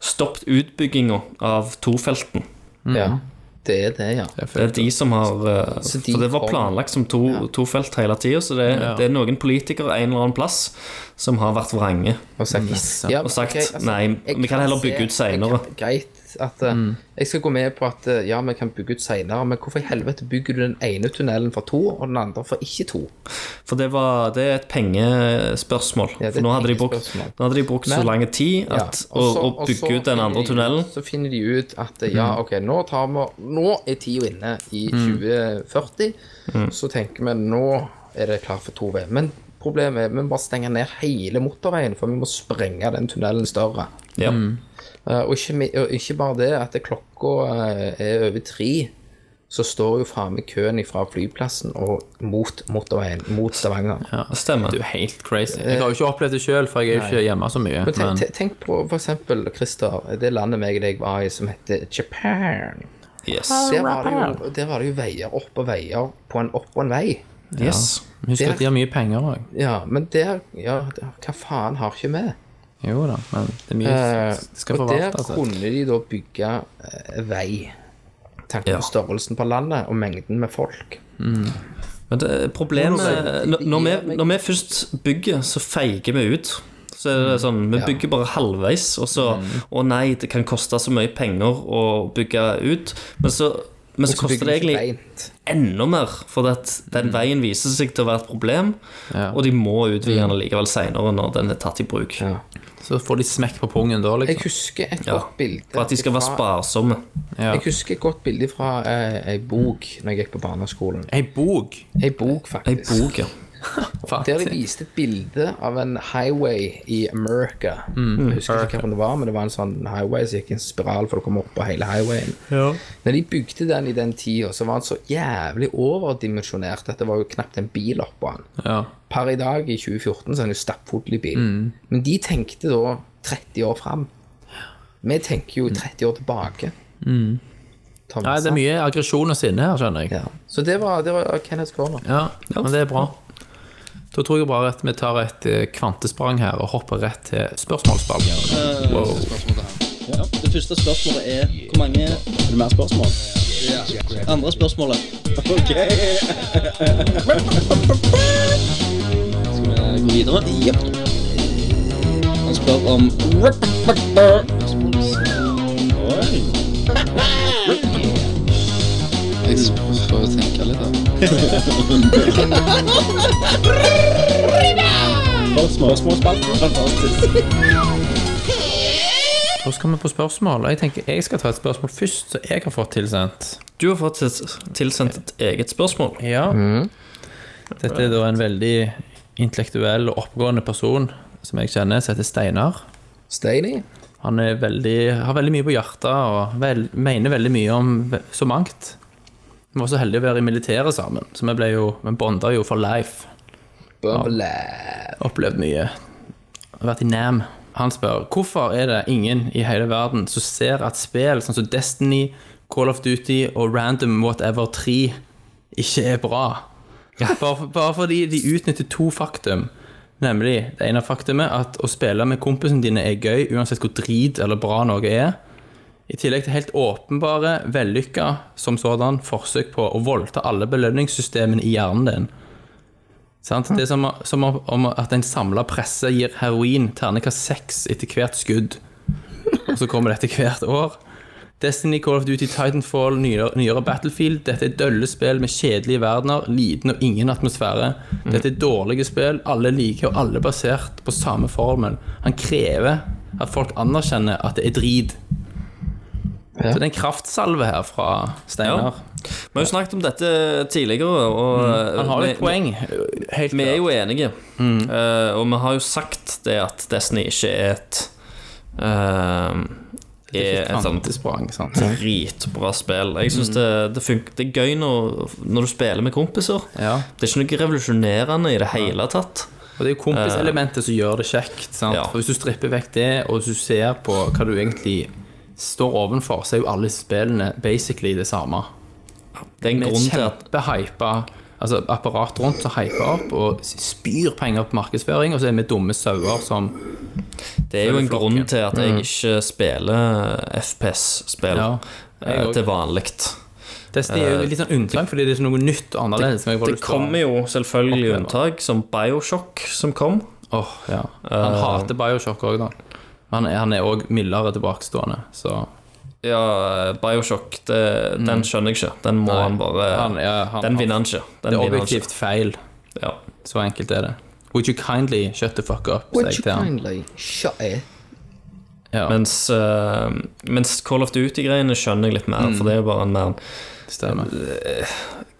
Stoppet utbygginga av tofelten.
Mm.
ja. Det er det, ja.
Det er de som har eh,
Så de
For det var
kom-
planlagt som to, to felt hele tida, så det, det er noen politikere en eller annen plass som har vært vrange.
Og sagt, ja,
Og sagt,
ok, altså,
nei,
jeg
vi kan heller bygge
se-
ut senere.
jeg kan- Greit at eh, Jeg skal gå med på at eh, ja, vi kan bygge ut senere, men hvorfor i helvete bygger du den ene tunnelen for to, og den andre for ikke to?
For det, var, det er et pengespørsmål.
Ja, det er
for nå
et
hadde de brukt,
pengespørsmål.
nå hadde de brukt så
Men-
lang tid
Ja,
at,
og
å,
så-
å
og så
bygge ut den
finner
andre
de-
tunnelen.
Så finner de ut at eh, ja, ok, nå tar vi Nå er tida inne i 2040,
Mm.
så tenker vi nå er det klart for 2V. Men problemet er vi må bare stenge ned hele motorveien, for vi må sprenge den tunnelen større.
Ja.
Eh, Og ikke, mi- og ikke bare det, at det klokka eh, er over tre, så står jo faen meg køen fra flyplassen og mot motorveien, mot Stavanger.
Stemmer.
Det er jo helt crazy. Jeg har jo ikke opplevd det sjøl, for jeg er jo ikke hjemme så mye.
Men tenk,
Men
te- tenk på for eksempel, Christer, det landet meg og deg var i som heter Japan.
Yes.
Der var det jo, der var det jo veier opp og veier på en opp og en vei.
yes.
husk
det-
at de har mye penger òg.
Ja, men der, ja, der hva faen har ikke vi?
Jo da, men det er mye
Eh,
som skal
og der
forvaltes. altså.
kunne de da bygge eh, vei. Tenk
Ja.
på størrelsen på landet og mengden med folk.
Men det, problemet når- når vi, når vi først bygger, så feiger vi ut. Så er det sånn, Vi bygger bare halvveis, og så Å nei, det kan koste så mye penger å bygge ut. Men så, men så
Så
koster
bygger
det
de ikke
egentlig
beint.
enda mer, fordi at den veien viser seg til å være et problem, og de må utvide den likevel seinere når den er tatt i bruk.
Ja.
Så får de smekk på pungen da,
Jeg
liksom.
husker et
Ja,
godt bilde
For at de skal være
fra-
sparsomme.
Ja.
Jeg husker et godt bilde fra eh, ei bok Når jeg gikk på barneskolen.
Ei bok!
Ei bok,
Ei
faktisk.
bok, ja.
Der de viste et bilde av en highway i America. jeg husker ikke hvilken det var, men det var en sånn highway som gikk i en spiral for å komme opp på hele highwayen. Når de bygde den i den tida, så var den så jævlig overdimensjonert at det var jo knapt en bil oppå den.
Ja.
Per i dag, i 2014, så er det jo stappfull i bil. Men de tenkte da 30 år fram. Vi tenker jo 30 år tilbake. Mm. Thomas,
Nei, det er mye aggresjon og sinne her, skjønner jeg.
Ja. Så det var, det var Kenneth Corner.
Ja, men det er bra. Da tror jeg bare at vi tar et eh, kvantesprang her og hopper rett til spørsmålsspalten.
Det første spørsmålet er hvor mange Er det mer spørsmål? Andre spørsmålet. Ok. Skal vi gå videre? Jepp. Han spør om Oi. Jeg får tenke litt, da. Spørsmålsspalten. Fantastisk.
Da skal vi på spørsmål. Jeg tenker jeg skal ta et spørsmål først, som jeg har fått tilsendt.
Du har fått tils- tilsendt et eget spørsmål.
Ja. Dette er da en veldig intellektuell og oppegående person som jeg kjenner, som heter Steinar.
Steiny?
Han er veldig, har veldig mye på hjertet og vel, mener veldig mye om ve- så mangt. Vi var så heldige å være i militæret sammen, så vi ble jo, vi bonda jo for life.
Bøbla.
Opplevd mye. Har Vært i NAM. Han spør hvorfor er det ingen i hele verden som ser at spill sånn som Destiny, Call of Duty og Random Whatever 3 ikke er bra. Bare, bare fordi de utnytter to faktum. Nemlig det ene faktumet at å spille med kompisen dine er gøy uansett hvor drit eller bra noe er. I tillegg til helt åpenbare, vellykka som sådan, forsøk på å voldta alle belønningssystemene i hjernen din. Sant? Det er som, som om at en samla presse gir heroin terningkast seks etter hvert skudd. Og så kommer dette hvert år. Destiny, Call of Duty, Titanfall, nyere, nyere Battlefield. Dette er dølle spill med kjedelige verdener, liten og ingen atmosfære.
Mm.
Dette er dårlige spill, alle like og alle basert på samme formel. Han krever at folk anerkjenner at det er drit. Så det er en kraftsalve her fra Steinar.
Vi har jo snakket om dette tidligere, og
Han har jo
vi-
et poeng. Helt
Vi er
klart. Mm.
jo enige, Eh, og vi har jo sagt det at Destiny ikke er et eh,
Det er
er
ikke et
et
Mm.
sånt
kvantesprang, sant?
dritbra spill. Jeg synes det, det, funker, det er gøy når, når du spiller med kompiser.
Ja.
Det er ikke noe revolusjonerende i det hele tatt.
Og det er jo kompiselementet som gjør det kjekt. Sant?
Ja.
For Hvis du stripper vekk det, og hvis du ser på hva du egentlig står ovenfor, så er jo alle spillene basically det samme.
Det er en
Med
grunn
et
til at
kjempehypa altså apparat rundt som hyper opp og spyr penger på markedsføring, og så er vi dumme sauer som
Det er jo en
Følger
grunn
flokken.
til at jeg ikke spiller
Mm.
FPS-spill
Ja, jeg
eh,
også.
til vanlig.
Destiny er jo litt sånn unntak, fordi det er noe nytt og annerledes. som jeg bare
Eh, Det
lyst til å-
kommer jo selvfølgelig
Oppleve.
unntak, som Bioshock, som kom.
Åh, ja. Han
Eh.
hater Bioshock òg, da. Men han er òg mildere tilbakestående, så
Ja, Bioshock, det, den skjønner jeg ikke. Den må han bare
Mm. Han- ja, han-
Den vinner han ikke. Den
det er
vinner han
objektivt feil.
ikke. Ja.
Så enkelt er det. Would you kindly shut the fuck up? sier
Would
jeg
you
til han.
kindly shut it?
Ja,
Mens, eh, mens Call of Duty-greiene skjønner jeg litt mer, for det er jo bare en mer
Mm.
Eh,
stemmer. Mm.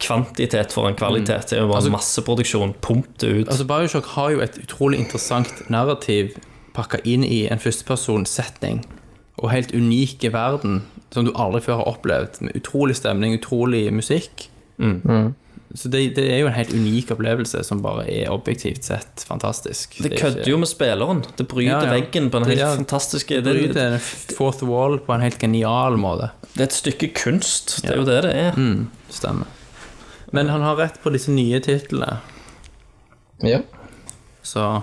kvantitet foran kvalitet. Det er jo bare masseproduksjon pumpet ut.
Altså, Bioshock har jo et utrolig interessant narrativ pakka inn i en førstepersonsetting. Og helt unik i verden, som du aldri før har opplevd. Med utrolig stemning, utrolig musikk.
Mm.
Så det, det er jo en helt unik opplevelse som bare er objektivt sett fantastisk.
det kødder jo med spilleren. Det
Ja,
bryter
ja.
veggen på en helt
Ja,
fantastisk
Det
det-
bryter den fourth wall på en helt genial måte.
Det er et stykke kunst. Det er jo det det er.
Mm. Stemmer. Men han har rett på disse nye titlene.
Ja.
Så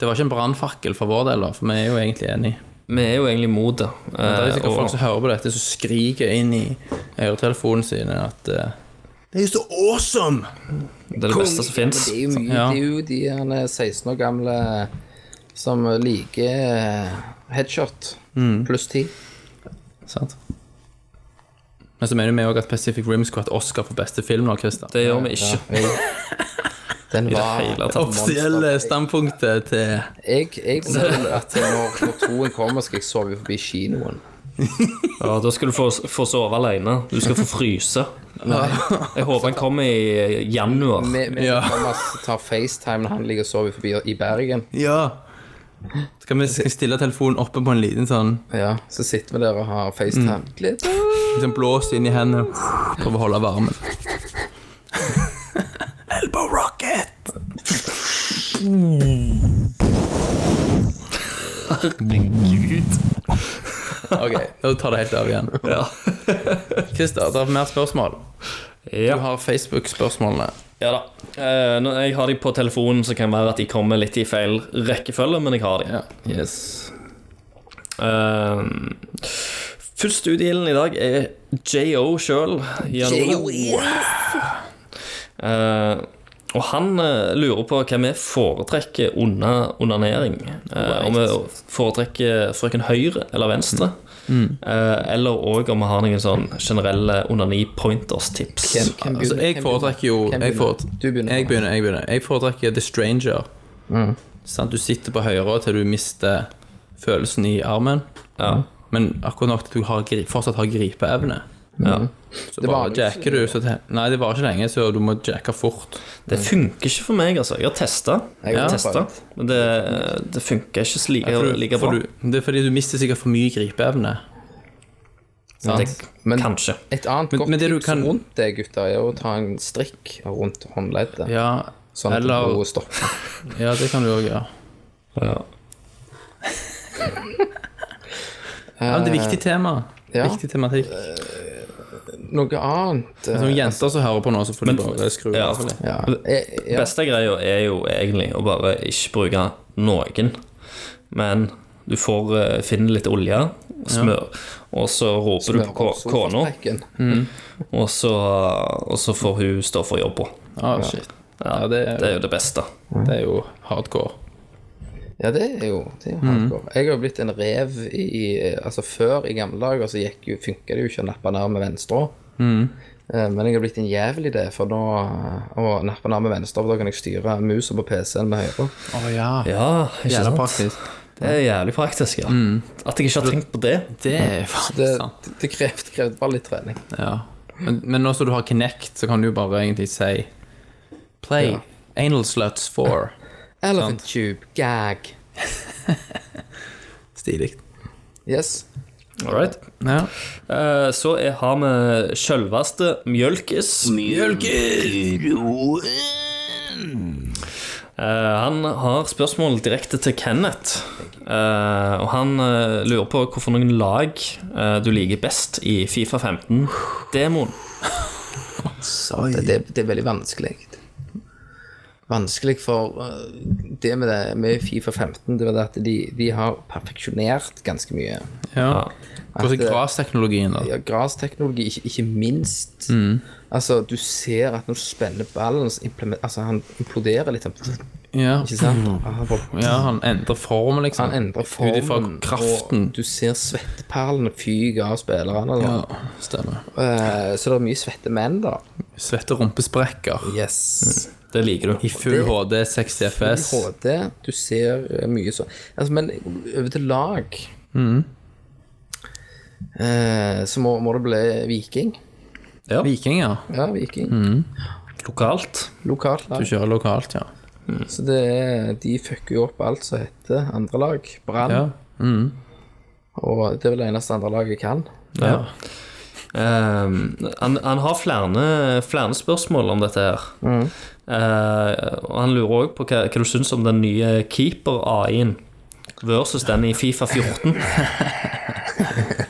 Det var ikke en brannfakkel for vår del, da, for vi er jo egentlig enige.
Vi er jo egentlig mot det.
Men det er jo sikkert
Eh,
folk som hører på dette, som skriker inn i øretelefonen sine at eh, Det er jo så awesome!
det er det beste som fins.
Det er jo mye,
Ja.
det er jo de han er 16 år gamle eh, som liker eh, headshot pluss 10.
Sant? Men så mener vi òg at Pacific Rim skulle hatt Oscar for beste film nå, Christer.
Det gjør vi ikke.
Den var
hele tatt.
Det offisielle standpunktet til
Jeg, jeg mener at når, når toen kommer, skal jeg sove forbi kinoen.
Ja, da skal du få, få sove alene. Du skal få fryse. Jeg håper han kommer i januar.
Vi vi-
Ja.
Thomas tar FaceTime når han ligger og sover forbi i Bergen.
Ja. Skal vi skal jeg stille telefonen oppe på en liten sånn
Ja, så sitter vi der og har FaceTime. Gleder.
liksom blåst inn i hendene for å holde varmen? Elbow rocket! Ok, nå tar det helt av igjen.
Ja.
Christer, det er mer spørsmål.
Ja.
Du har Facebook-spørsmålene.
Ja da. Eh, nå- jeg har de på telefonen, så kan det være at de kommer litt i feil rekkefølge, men jeg har de.
Yes.
Eh, først ut i ilden i dag er JO sjøl. Uh, og han eh, lurer på hva vi foretrekker under onanering. Eh, om vi foretrekker frøken høyre eller venstre. Eh, eller òg om vi har noen sånn generelle onani-pointers-tips.
Hvem- hvem
Altså,
begynner?
jeg
Hvem
foretrekker jo
Hvem
jeg
begynner?
foretrekker,
Du begynner.
Jeg begynner, jeg begynner. Jeg foretrekker The Stranger. Sant, du sitter på høyre til du mister følelsen i armen,
Ja.
men akkurat nok til du har, gri- fortsatt har gripeevne.
Ja.
Så bare
varer jo ikke
jacker du. Så til, nei, det varer ikke lenge, så du må jacke fort.
Det funker ikke for meg, altså. Jeg har testa,
Jeg har
men det, det funker ikke like,
For du,
like
for
bra.
du, det er fordi du mister sikkert for mye gripeevne. Sant?
Det,
Men-
kanskje.
Et annet
Men-
godt
men det du
tips
kan-
rundt det, gutter, er å ta en strikk rundt håndleddet.
Ja,
Sånn at
eller-
blodet stopper.
ja, det kan du òg gjøre.
Ja.
Ja, men det er viktig tema.
Ja.
Viktig tematikk.
Noe annet eh,
Altså, Noen jenter som hører på nå, så får de bare skru
ja.
av.
ja. Eh, ja.
Beste greia er jo egentlig å bare ikke bruke noen, men Du får, eh, finner litt olje, smør, og så roper du på ko- kona,
Solfattrekken.
og, så- og så får hun stå for jobba.
Ah, shit.
Ja,
det
det,
er-
er jo det beste.
Det er jo hardcore.
Ja, det er jo, det er
Mm.
jo hardcore. Jeg har jo blitt en rev i, i- Altså, før i gamle dager så gikk jo, funka det jo ikke å nappe ned med venstre.
Mm.
Eh, Men jeg har blitt en jævel i det, for nå å nappe ned med venstre, for da kan jeg styre musa på PC-en med høyre.
Å ja.
Ja, ikke
Jævla
sant?
praktisk.
Det er jævlig praktisk, ja. At jeg ikke har tenkt på det.
Det er faktisk
Det,
sant.
det krevde, krevde bare litt trening.
Ja. Men, men nå som du har Kinect, så kan du jo bare egentlig si Play Anal Sluts 4.
Elephant tube, gag.
Stilig.
Yes.
All right.
Ja.
Eh, Så er, har vi sjølveste Mjølkis. Eh, Han har spørsmål direkte til Kenneth. Eh, Og han eh, lurer på hvorfor noen lag eh, du liker best i Fifa 15-demoen.
Det, det, det er veldig vanskelig. Vanskelig for eh, det med, det, med Fifa 15, det var det at de, de har perfeksjonert ganske mye.
ja. Hvordan
At, eh,
er grasteknologien, da?
Ja, grasteknologi, ikke, ikke minst.
Mm.
Altså, du ser at når du spenner ballen, så implemen- altså, han imploderer litt. sånn,
Ja.
Ikke sant? Han, bare,
Mm. ja, han endrer form, liksom.
han endrer
Ut ifra
formen,
kraften.
og du ser svetteperlene fyke av spillerne. da.
Ja, stemmer.
Eh, så det er mye svette menn, da.
Svette rumpesprekker.
Yes.
Mm.
Det liker du.
I full HD, 60 FPS.
HD, du ser eh, mye sånn. Altså, men over til lag
Mm.
eh, Så må, må det bli Viking.
Ja,
Vikinger.
Ja, Viking.
lokalt.
Lokalt lag.
Mm. Du kjører lokalt, ja.
Så det er, de fucker jo opp alt som heter andre lag. Brann.
Ja.
Mm.
Og det er vel det eneste andre laget kan.
Ja. Ehm, han, han har flere, flere spørsmål om dette her. Eh, og han lurer òg på hva, hva du syns om den nye keeper-AI-en versus den i Fifa 14.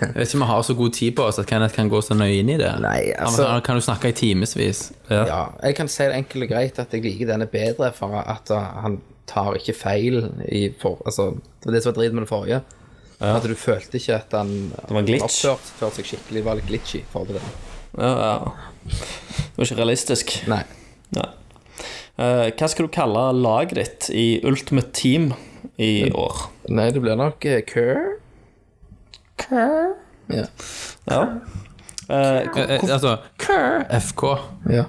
Jeg vet ikke om vi har så god tid på oss at Kenneth kan gå så nøye inn i det.
Nei,
Han-
altså-
Han kan jo snakke i timevis.
Ja. Jeg kan si det enkelt og greit at jeg liker denne bedre for at uh, han tar ikke feil i for, altså, Det var det som var dritt med det forrige. At du følte ikke at han
var en glitch.
oppførte følte seg skikkelig, var litt glitchy i forhold til det.
ja, ja. Det var ikke realistisk.
Nei.
Nei. Eh, hva skal du kalle laget ditt i Ultimate Team i år?
Nei, det blir nok eh, Kerr. Ja.
Ja. Eh,
Eh, eh, altså FK.
ja.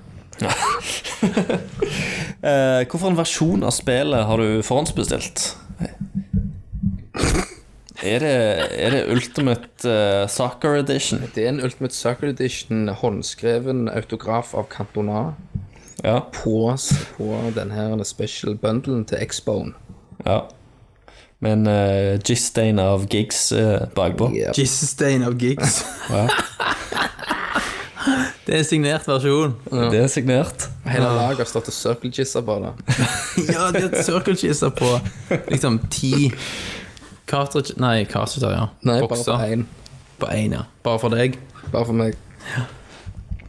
eh, hvorfor en versjon av spillet har du forhåndsbestilt? Er det, er det Ultimate eh, Soccer Edition?
Det er en Ultimate Circle Edition, håndskreven autograf av Cantona.
Ja.
på, på den her special bundlen til X-Bone.
ja. Med en uh, G-stain av gigs eh, bakpå.
Yep.
Gissestein av gigs. det er en signert versjon.
Det er signert.
Hele
Ah.
laget har stått og circle-jizza på det.
ja, de har circle-cheeser på liksom ti cartridge Nei, cartridger, ja.
Nei, bare
Bokser.
for én.
På én, ja. Bare for deg.
Bare for meg.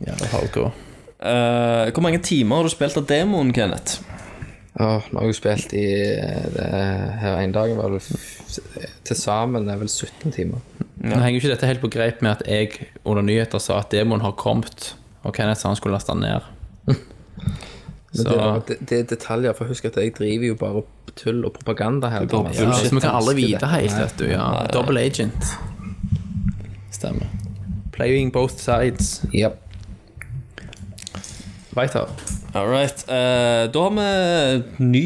Ja, det er hardcore.
Eh, hvor mange timer har du spilt av demoen, Kenneth?
Åh, nå har jeg jo spilt i eh, det her en dag, var det f- til sammen er vel 17 timer.
Nå henger jo ikke dette helt på greip med at jeg under nyheter sa at demoen har kommet, og Kenneth sa han skulle laste den ned.
Men det,
Så-
det, det er detaljer, for husk at jeg driver jo bare tull og propaganda her. Thomas.
Ja, så vi kan alle
Vanskelig.
vite helt, vet du. Ja. Double agent. Stemmer. Playing both sides.
Ja.
Weiter.
All right. eh, da har vi ny,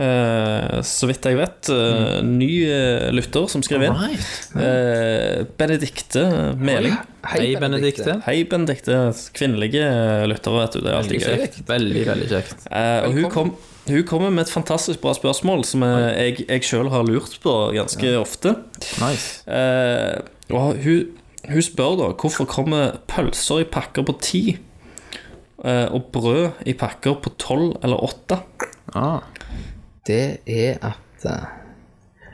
eh, så vidt jeg vet, eh, ny eh, lytter som skrev inn.
Mm. Right.
Eh, Benedikte Meling.
Hei, Benedikte.
Hei, Benedikte. Kvinnelige eh, lyttere, vet du. Det er alltid gøy.
Kjekt. Veldig, veldig kjekt.
Eh, og hun, kom, hun kommer med et fantastisk bra spørsmål som eh, jeg, jeg sjøl har lurt på ganske ofte.
Nice.
Eh, og hun, hun spør da hvorfor kommer pølser i pakker på ti eh, og brød i pakker på tolv eller åtte?
Ah.
det er at eh,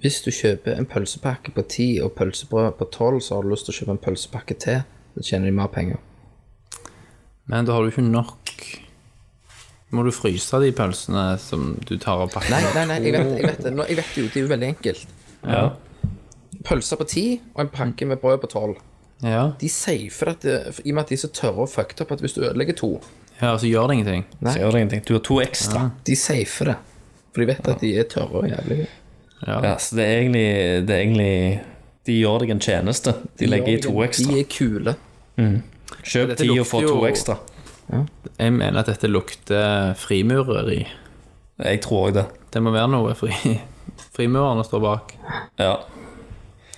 hvis du kjøper en pølsepakke på 10 og pølsebrød på 12, så har du lyst til å kjøpe en pølsepakke til. Så tjener de mer penger.
Men da har du ikke nok Må du fryse de pølsene som du tar av pakken?
Nei, nei, nei, jeg vet, jeg vet det. Nå, jeg vet jo, det er jo veldig enkelt. Pølser på 10 og en pakke med brød på 12.
Ja.
De safer at det, i og med at de er så tørre og fucked up at hvis du ødelegger to,
ja, så gjør det ingenting.
Så gjør det ingenting. Du har to ekstra.
de safer det. For de vet at de er tørre og jævlige.
Ja, så det er egentlig, det er egentlig De gjør deg en tjeneste. De legger i to
De
ekstra.
er kule.
Kjøp
Dette
ti og
lukter
få to
jo-
ekstra.
Jeg mener at dette lukter frimureri.
Jeg tror òg det.
Det må være noe fri... frimurerne står bak.
Ja.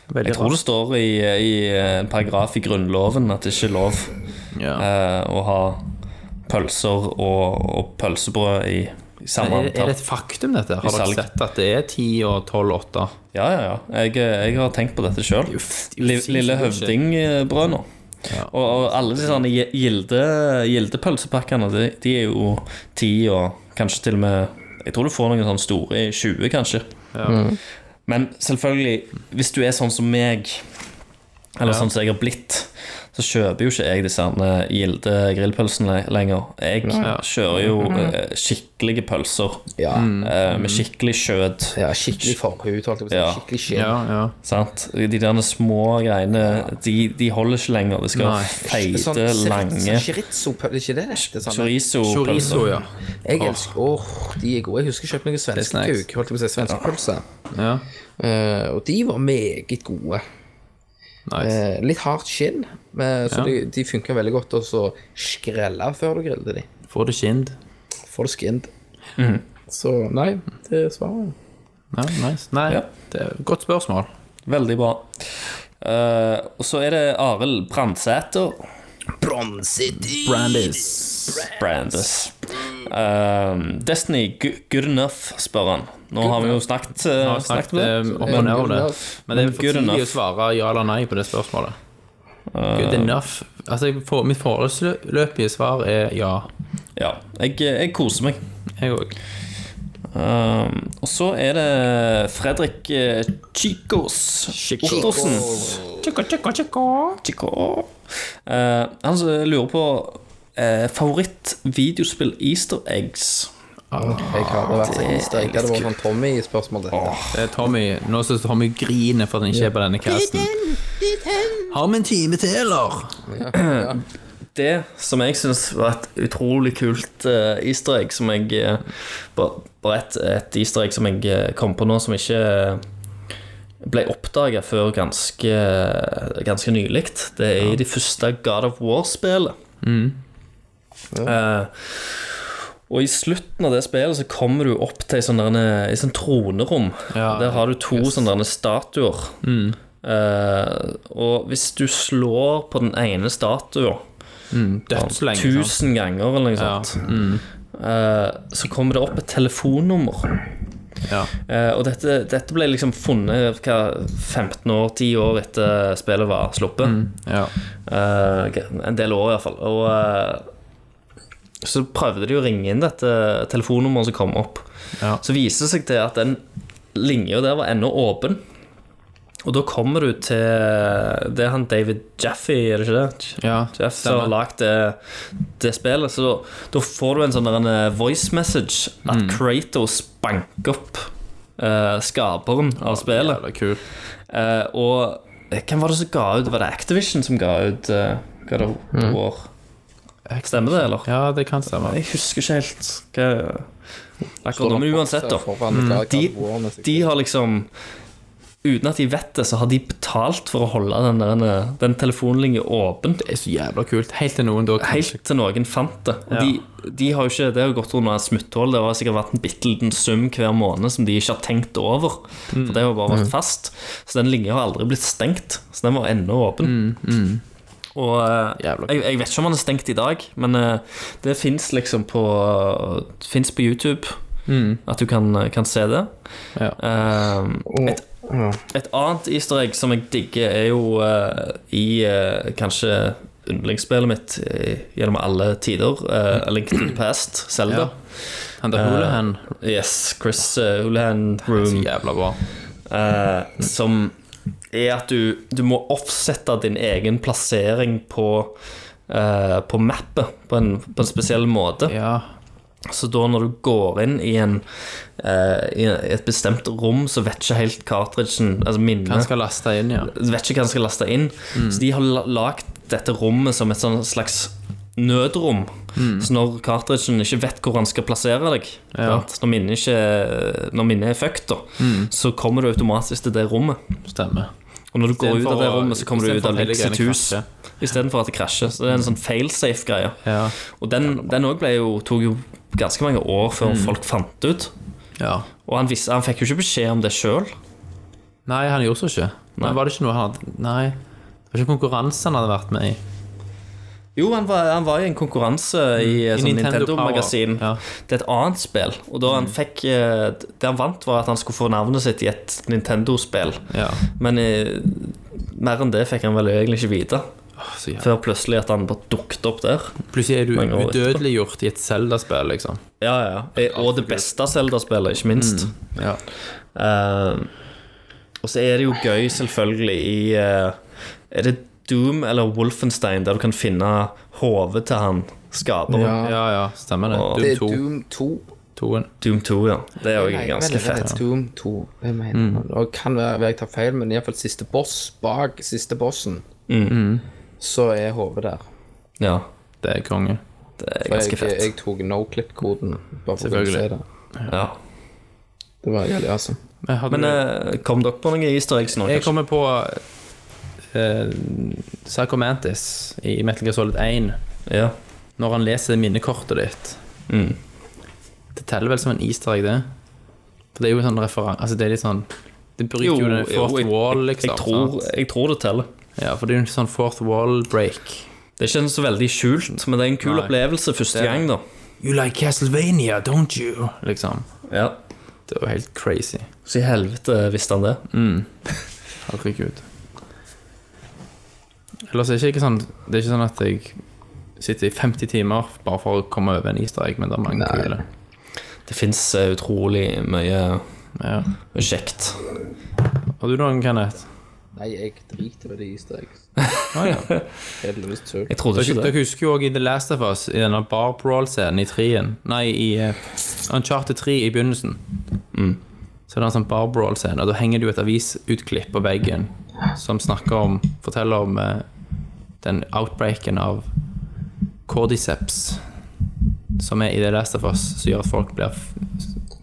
Veldig
Jeg tror det står i, i en paragraf i Grunnloven at det ikke er lov
Ja.
eh, å ha pølser og, og pølsebrød i, i
er,
samme
er
antall.
det et faktum, dette? her?
I
Har dere
salg.
sett at det er 10 og 12 og 8?
Ja, ja, ja. Jeg, eh, jeg har tenkt på dette sjøl. Lille høvdingbrød nå. Og, og alle de sånne gi- gilde, gildepølsepakkene, de, de er jo ti og kanskje til og med Jeg tror du får noen sånne store i 20, kanskje. Men selvfølgelig, hvis du er sånn som meg, eller sånn som jeg har blitt, så kjøper jo ikke jeg disse her gilde grillpølsene lenger. Jeg kjører jo eh, skikkelige pølser
Ja. Mm.
eh, med skikkelig kjøtt.
ja skikkelig formhud, holdt jeg på å si.
Ja.
Skikkelig skinn.
Ja, ja.
Sant? De der små greiene, de, de holder ikke lenger. Det skal være feite,
Sånn chorizo-
lange
chorizo pøl- er ikke det det heter? Sånn.
chorizo-pølser.
Chorizo, ja.
Jeg elsker Åh, de er gode. Jeg husker jeg kjøpte noen
er
svenske
snacks.
kuk, holdt jeg på å si, svenske pølser.
ja.
Eh, og de var meget gode.
Nice.
Eh, litt hardt skinn, eh, så
Ja.
de, de funka veldig godt å så skrelle før du griller de.
Får det kind.
Får det skinned. Så nei, det er svaret.
Ja, nice. Nei,
Ja.
det er et godt spørsmål.
Veldig bra. Eh, og så er det Arild Brandsæter. Brandes. Eh, Destiny, gu- good enough, spør han. Nå har vi jo snakket, eh,
Jeg har
snakket
snakket
om det.
eh, opp og ned om det. Men det er
Men
for
good
tidlig
enough. Eh.
å svare ja eller nei på det spørsmålet. Good enough. Altså, jeg får, mitt foreløpige svar er ja.
Ja, jeg, jeg koser meg.
Jeg òg.
Um, og så er det Fredrik eh, Chicos Ottersen. Chico, chico, chico. Chico. Eh, han som lurer på uh, favoritt-videospill easter eggs.
Jeg hadde vært så easter egg. Det hadde vært sånn Tommy-spørsmål, dette.
Det er Tommy. Nå syns Tommy griner for at han ikke er på denne casten. Har vi en time til, eller?
Det som jeg syns var et utrolig kult eh, easter egg, som jeg eh, Bare bare et, et easter egg som jeg eh, kom på nå, som ikke eh, ble oppdaga før ganske, eh, ganske nylig. Det er i de første God of War-spillet. Eh, og i slutten av det spillet så kommer du opp til ei sånn derne- ei sånn tronerom.
Ja,
der har du to sånne derne statuer. Eh, og hvis du slår på den ene statuen
Mm, Dødslenge. sant?
tusen ganger eller noe
Ja. mm.
sånt, eh, så kommer det opp et telefonnummer.
Ja.
Eh, og dette, dette ble liksom funnet hva, 15 år, 10 år etter spillet var sluppet.
Ja.
Eh, en del år, iallfall. Og eh, så prøvde de å ringe inn dette telefonnummeret som kom opp.
Ja.
Så viser det seg til at den linja der var ennå åpen. Og da kommer du til Det er han David Jaffe, er det ikke det?
Ja,
Jeff som
stemmer.
har lagd det, det spillet. Så da får du en sånn der en eh, voice message at
Mm.
Kratos banker opp eh, skaperen av spillet.
Jævla kul.
Eh, og hvem var det som ga ut Var det Activision som ga ut uh, God of War? Stemmer det, eller?
Ja, det kan stemme.
Jeg husker ikke helt hva akkurat nå, Men uansett, da. De- De
De
har liksom Uten at de vet det, så har de betalt for å holde den, der, den telefonlinja åpen.
Det er så jævla kult. Helt til noen da kanskje
Helt til noen fant det. Og de, de har jo ikke, det har jo gått under et smutthull. Det har sikkert vært en bitte liten sum hver måned som de ikke har tenkt over.
Mm.
For det har jo bare vært fast. Så den linja har aldri blitt stengt. Så den var ennå åpen. Og eh,
Mm, Jævla kult.
jeg, jeg vet ikke om den er stengt i dag, men eh, det fins liksom på Det finnes på YouTube. At du kan, eh, kan se det.
Mm. Ja.
Eh, et, et annet easter egg som jeg digger, er jo eh, i eh, kanskje yndlingsspillet mitt eh, gjennom alle tider, eh, A Link to the Past, Zelda.
Han der Hulahan.
Yes, Chris uh, Hulahan
Det er så
Room,
jævla bra.
eh, som er at du, du må offsette din egen plassering på eh, på mappet på en, på en spesiell måte.
Ja.
Så da når du går inn i, en, eh, i et bestemt rom, så vet ikke helt cartridgen, altså minnet
Han skal laste inn, ja.
vet ikke hva han skal laste inn.
Mm.
Så de har la- lagt dette rommet som et sånn slags nødrom.
Mm.
Så når cartridgen ikke vet hvor han skal plassere deg, sant? når, minnet ikke, når minnet er fucked, da,
Mm.
så kommer du automatisk til det rommet.
Stemmer.
Og når du går ut
Istedenfor
av det
å-
rommet, så kommer du ut
istedenfor
av
at hele
sitt
greiene
hus.
krasjer.
Istedenfor at det krasjer. Så det er en sånn failsafe-greie.
Ja.
Og den den òg tok jo ganske mange år før
Mm.
folk fant det ut.
ja.
Og han, visste, han fikk jo ikke beskjed om det sjøl.
Nei, han gjorde så ikke.
Nei.
Nei. Var det ikke noe han hadde Nei. Det var ikke konkurranse han hadde vært med i.
Jo, han var, han var i en konkurranse i, eh, sånn
Mm. Nintendo
Nintendo-magasin.
Power. Ja. Mm.
Det er et annet spill. Og da han fikk eh, Det han vant, var at han skulle få navnet sitt i et Nintendo-spill.
Ja.
Men eh, mer enn det fikk han vel egentlig ikke vite.
så jævlig.
Før plutselig at han bare dukket opp der.
Plutselig er du
Mange år etterpå.
udødeliggjort i et Zelda-spill, liksom.
Ja, ja. Eh, Og det beste Zelda-spillet, ikke minst.
Mm. Ja.
Eh, og så er det jo gøy, selvfølgelig, i eh, Er det Doom eller Wolfenstein der du kan finne hodet til han skaperen?
Ja, ja, stemmer det. Doom
Og-
Det er
2.
Doom 2.
Toen.
Doom 2, ja. Det er jo
Nei, vel,
ganske
det
fett. Mm.
heter Doom 2. Hvem er det? Og kan være være jeg tar feil, men iallfall siste boss bak siste bossen,
Mm.
så er hodet der.
Ja,
Det er konge.
det er
For
ganske
jeg,
fett.
jeg tok noclip-koden, bare for å kunne
Selvfølgelig.
se det.
Ja.
Det var jævlig awesome.
Men, hadde
Men
du-
eh, kom dere på noen easter eggs nå?
jeg
kanskje?
kommer på eh, Psycho Mantis i Metal Gear Solid 1.
Ja.
Når han leser minnekortet ditt.
Mm.
Det teller vel som en easter egg, det? For det er jo en sånn referanse Altså, det er litt sånn Det bryter jo, den fourth
jeg,
wall, liksom.
jeg, tror,
sant?
jeg tror det teller.
Ja, for det er jo en sånn fourth wall break.
Det er ikke en så veldig skjult, men det er en kul
Nei.
opplevelse første
Det er
gang, da.
You like Castlevania, don't you? Liksom.
Ja.
Det er jo helt crazy.
Så i helvete visste han det.
Herregud. Ellers er det ikke sånn Det er ikke sånn at jeg sitter i 50 timer bare for å komme over en easter egg, men det er mange kule.
Det fins utrolig mye
Ja.
kjekt.
Har du noen, Kenneth?
Nei, jeg driter i de easter eggs.
Ah, ja.
Helt tull.
Jeg trodde
Dere,
ikke det.
dere husker jo også i The Last of Us, i denne bar brawl-scenen i 3-en Nei, i eh, Uncharted 3 i begynnelsen. Mm. Så er det en sånn bar brawl-scene, og da henger det jo et avisutklipp på veggen som snakker om Forteller om eh, den outbreaken av cordyceps som er i The Last of Us, som gjør at folk blir f-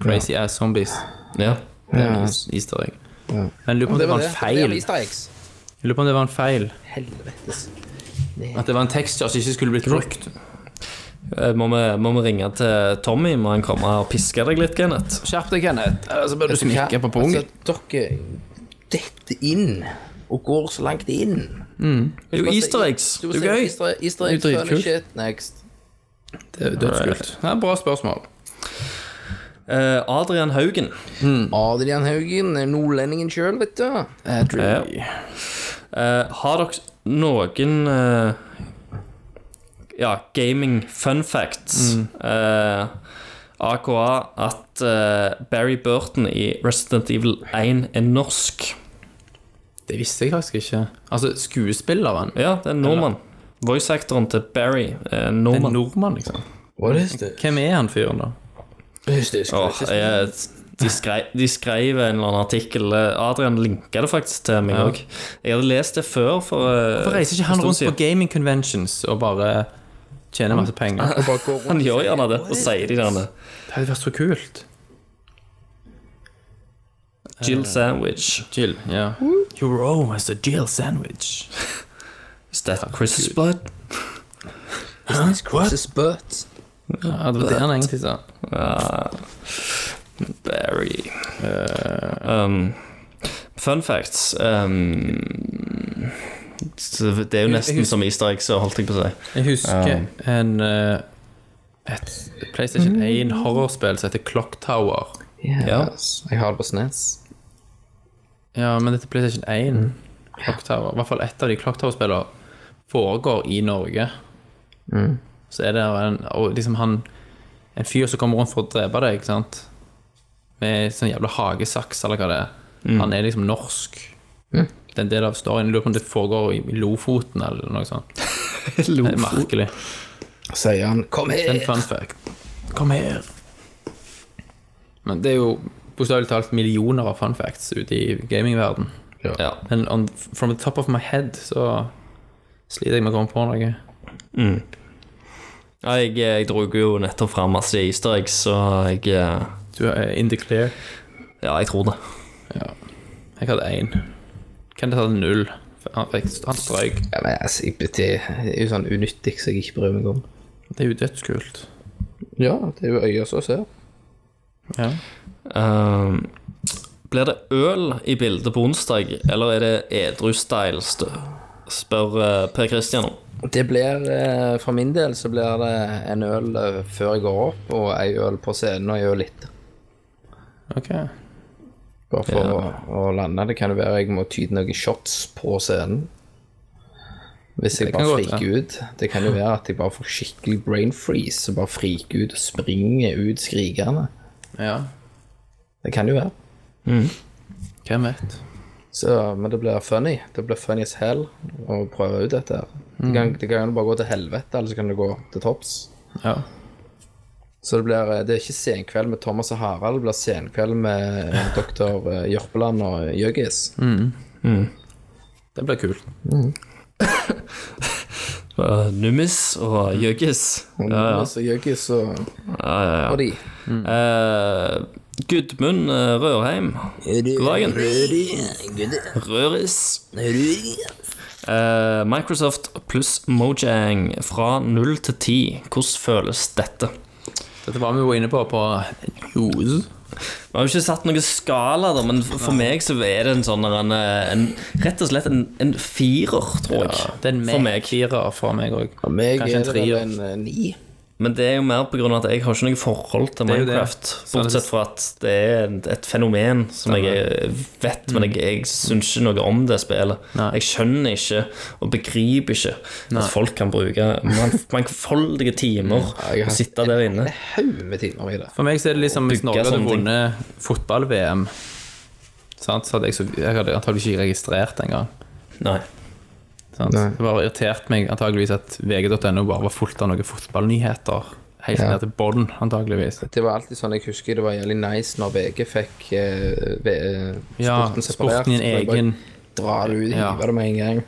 crazy ass zombies.
Ja.
Det er en Easter egg. Men jeg lurer på om det var en feil.
Easter eggs.
Jeg lurer på om det var en feil.
Helvetes.
At det var en tekst som ikke skulle blitt brukt.
Eh, Må vi, må vi ringe til Tommy? Må han komme og piske deg litt, Kenneth?
Skjerp deg, Kenneth. Eller så bør du
Hva?
smikke på pungen.
Altså, dere detter inn og går så langt inn.
Det er jo easter eggs.
Du
Det er
ser
jo gøy.
Easter, easter
Det
eggs
er jo
funny
dritkult.
shit next.
Det er dødskult. Det er bra spørsmål.
Eh, Adrian Haugen.
Adrian Haugen er nordlendingen sjøl, vet du.
Ja. Eh, har dere noen eh, Ja, gaming fun facts?
Mm.
Eh, AKA at eh, Barry Burton i Resident Evil 1 er norsk.
Det visste jeg faktisk ikke. Altså, skuespilleren
Ja, det er en nordmann. Voice-actoren til Barry er en
er
nordmann.
nordmann, liksom.
What is this?
Hvem er han fyren, da?
Åh, jeg, de, skrev, de skrev en eller annen artikkel. Eh, Adrian linka det faktisk til meg òg. Jeg hadde lest det før. For, eh,
Hvorfor reiser ikke han
en stund
rundt på
siden.
gaming conventions og bare tjener masse penger?
Han gjør gjerne det, og sier de der
Det hadde vært så kult.
Jill Sandwich.
Jill. Ja. You're always a Jill sandwich.
Is that Chris's blood?
Spurt.
Ja, det var det han egentlig sa.
Barry um, Fun facts um, så Det er jo nesten som easter egg, så holdt jeg på å si.
Jeg husker en eh, et PlayStation 1 horrorspill som heter Clock Tower.
Yes. Jeg har det på snes.
Ja, men dette er PlayStation 1 Clock Tower, i hvert fall ett av de Clock Tower-spillene foregår i Norge. Så er det en, og liksom han, en fyr som kommer rundt for å drepe deg, ikke sant? Med sånn jævla hagesaks, eller hva det er. Han er liksom norsk. Det er en del av storyen. Jeg lurer på om det foregår i i Lofoten eller noe sånt. Det er merkelig.
Sier han 'kom
Det er
her'.
en fun fact.
Kom her.
Men det er jo bokstavelig talt millioner av fun facts ute i gamingverden.
Ja.
Men on, from the top of my head så sliter jeg med å komme på noe.
Ja, jeg, eh, jeg dro jo nettopp fram masse easter eggs, så jeg eh,
Du er in the clear.
Ja, jeg tror det.
Jeg hadde én. Kenneth hadde null. Han, fikk- han strøyk.
Ja, men altså, jeg- det er jo sånn unyttig som jeg ikke bryr meg om.
Det er jo dødskult.
Ja, det er jo øya som ser.
Ehm, blir det øl i bildet på onsdag, eller er det edru-style? stø- Spør eh, Per Christian om.
Det blir, eh, For min del så blir det en øl eh, før jeg går opp, og ei øl på scenen og ei øl etter.
Ok.
Bare for å, å lande. Det kan jo være jeg må tyde noen shots på scenen. Hvis jeg
Det kan
bare
godt
friker ut. Det kan jo være at jeg bare får skikkelig brain freeze og bare friker ut og springer ut skrikende.
Ja.
Det kan jo være.
Hvem vet?
Så, men det blir funny. Det blir funny as hell å prøve ut dette her. Det
Mm.
kan, det kan jo bare gå til helvete, eller så kan det gå til topps.
Ja.
Så det blir eh, Det er ikke senkveld med Thomas og Harald, det blir senkveld med eh, doktor Jørpeland og Jøggis.
Mm.
Det blir kult.
Eh, Nummis og Jøggis.
Og
Ja, ja.
Jonas og Jøggis og, og de.
Eh, Gudmund eh, Rørheim. God dagen. Røris. Eh, Microsoft pluss Mojang fra null til ti. Hvordan føles dette?
Dette var vi jo inne på på news.
Vi har jo ikke satt noen skala, da, men for for meg så er det en sånn en, en, rett og slett en, en firer, tror jeg.
Det er en
for meg.
meg-firer fra meg òg.
Meg
Kanskje en
er det vel
trier.
en eh, ni.
Men det er jo mer på grunn av at jeg har ikke noe forhold til
er jo det.
Minecraft.
det-
Bortsett fra at det er en- et fenomen som jeg eh, vet, men jeg, jeg syns ikke noe om det spillet.
Mm. Nei.
Jeg skjønner ikke og begriper ikke at folk kan bruke man- mangfoldige
Mm.
timer
jeg har-
og sitte der inne.
Haug med timer i det.
For meg så er det liksom hvis
bygge
Norge hadde
sånne ting.
vunnet fotball-VM, sant, så hadde jeg, så, jeg hadde antageligvis ikke registrert engang.
Nei.
Sant?
Nei.
Det bare irriterte meg antageligvis at vg.no bare var fullt av noen fotballnyheter. Helt
Ja.
ned til bånn, antageligvis.
Det var alltid sånn jeg husker det var jævlig nice når VG fikk eh, V- eh,
Ja, sporten i en
så jeg bare
egen
Dra det ut,
Ja.
hive det med en gang.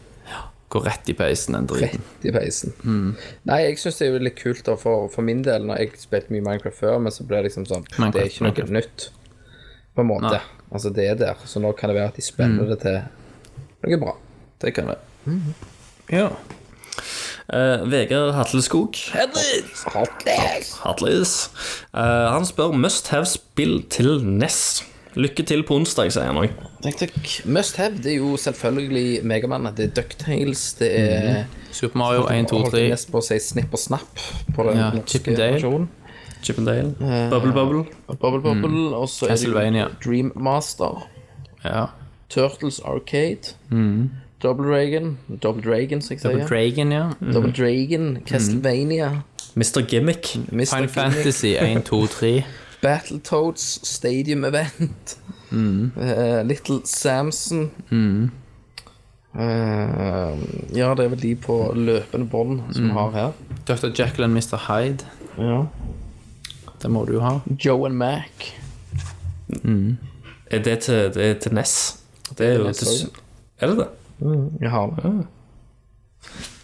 Går rett i peisen, den driten.
Rett i peisen.
Mm.
Nei, jeg syns det er jo litt kult, da, for, for min del, når jeg spilte mye Minecraft før, men så ble det liksom sånn Det er
Minecraft,
ikke noe
Minecraft.
nytt, på en måte. Altså, det er der. Så nå kan det være at de
Mm.
spenner det til noe bra.
Det kan det.
Mhm.
Ja.
Eh, Vegard Hatleskog. Hatlis. Eh, han spør must have-spill til NES. Lykke til på onsdag, sier han òg.
Takk, takk. Must have, det er jo selvfølgelig Megaman. Det er Ducktales, det er
Mm. Super Mario 1, 2,
Holdt
3.
jeg nesten på å si snipp og snapp på den
Ja, Chip
norske
and Dale.
versjonen.
Chip and Dale. Bubble Bubble.
Bubble Bubble, og så er det
Mm. Castlevania.
jo Dream Master.
Ja.
Turtles Arcade. Double Dragon. Double Dragon, som jeg sier.
Mm. Double Dragon, ja.
Double Dragon, Castlevania,
Mr. Gimmick.
Mr.
Final
Gimmick,
Fantasy 1, 2, 3.
Battletoads, Stadium Event,
Mm.
eh, Little Samson eh, Ja, det er vel de på løpende bånd
Mm.
som har her.
Dr. Jekyll and Mr. Hyde.
Ja.
Det må du jo ha.
Joe and Mac.
Er det til, det er til NES? Det er jo til
også,
Er det det?
Jeg har det.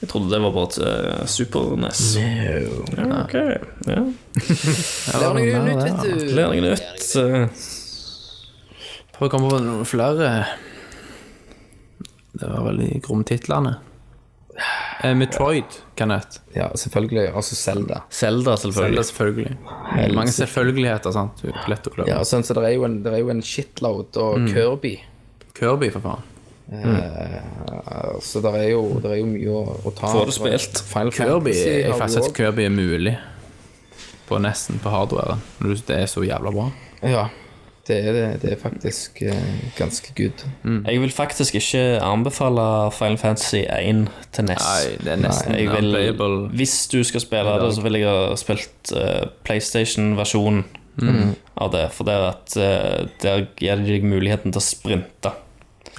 Jeg trodde det var bare til eh, Super NES. Ja, ok. Ja.
Det er noe nytt, vet du.
Lærer noe nytt. eh,
Prøv å komme på noen flere. Det var veldig grumme titlene. Eh, Metroid, Kenneth.
Ja, selvfølgelig. Altså Selda.
Zelda,
Zelda,
selvfølgelig.
selvfølgelig. Mange selvfølgeligheter, sant. Det er Lett å klare.
Ja, sånn, så det er jo en, det er jo en shitload
Mm.
og Kirby.
Kirby, for faen. Mm.
Eh, Så det er jo, det er jo mye å, å ta.
Får du spilt?
Final
Kirby,
Fantasy
jeg
har
har
du
faktisk
også.
at Kirby er mulig. På nesten på hardwaren. Når du- Det er så jævla bra.
Ja, det er, det. det er faktisk eh, ganske good.
Mm.
Jeg vil faktisk ikke anbefale Final Fantasy 1 til NES.
Nei, det er nesten
jeg vil,
unplayable.
hvis du skal spille det, så vil jeg ha spilt eh, PlayStation-versjonen Mm. av det. For det er at eh, der gir de deg muligheten til å sprinte.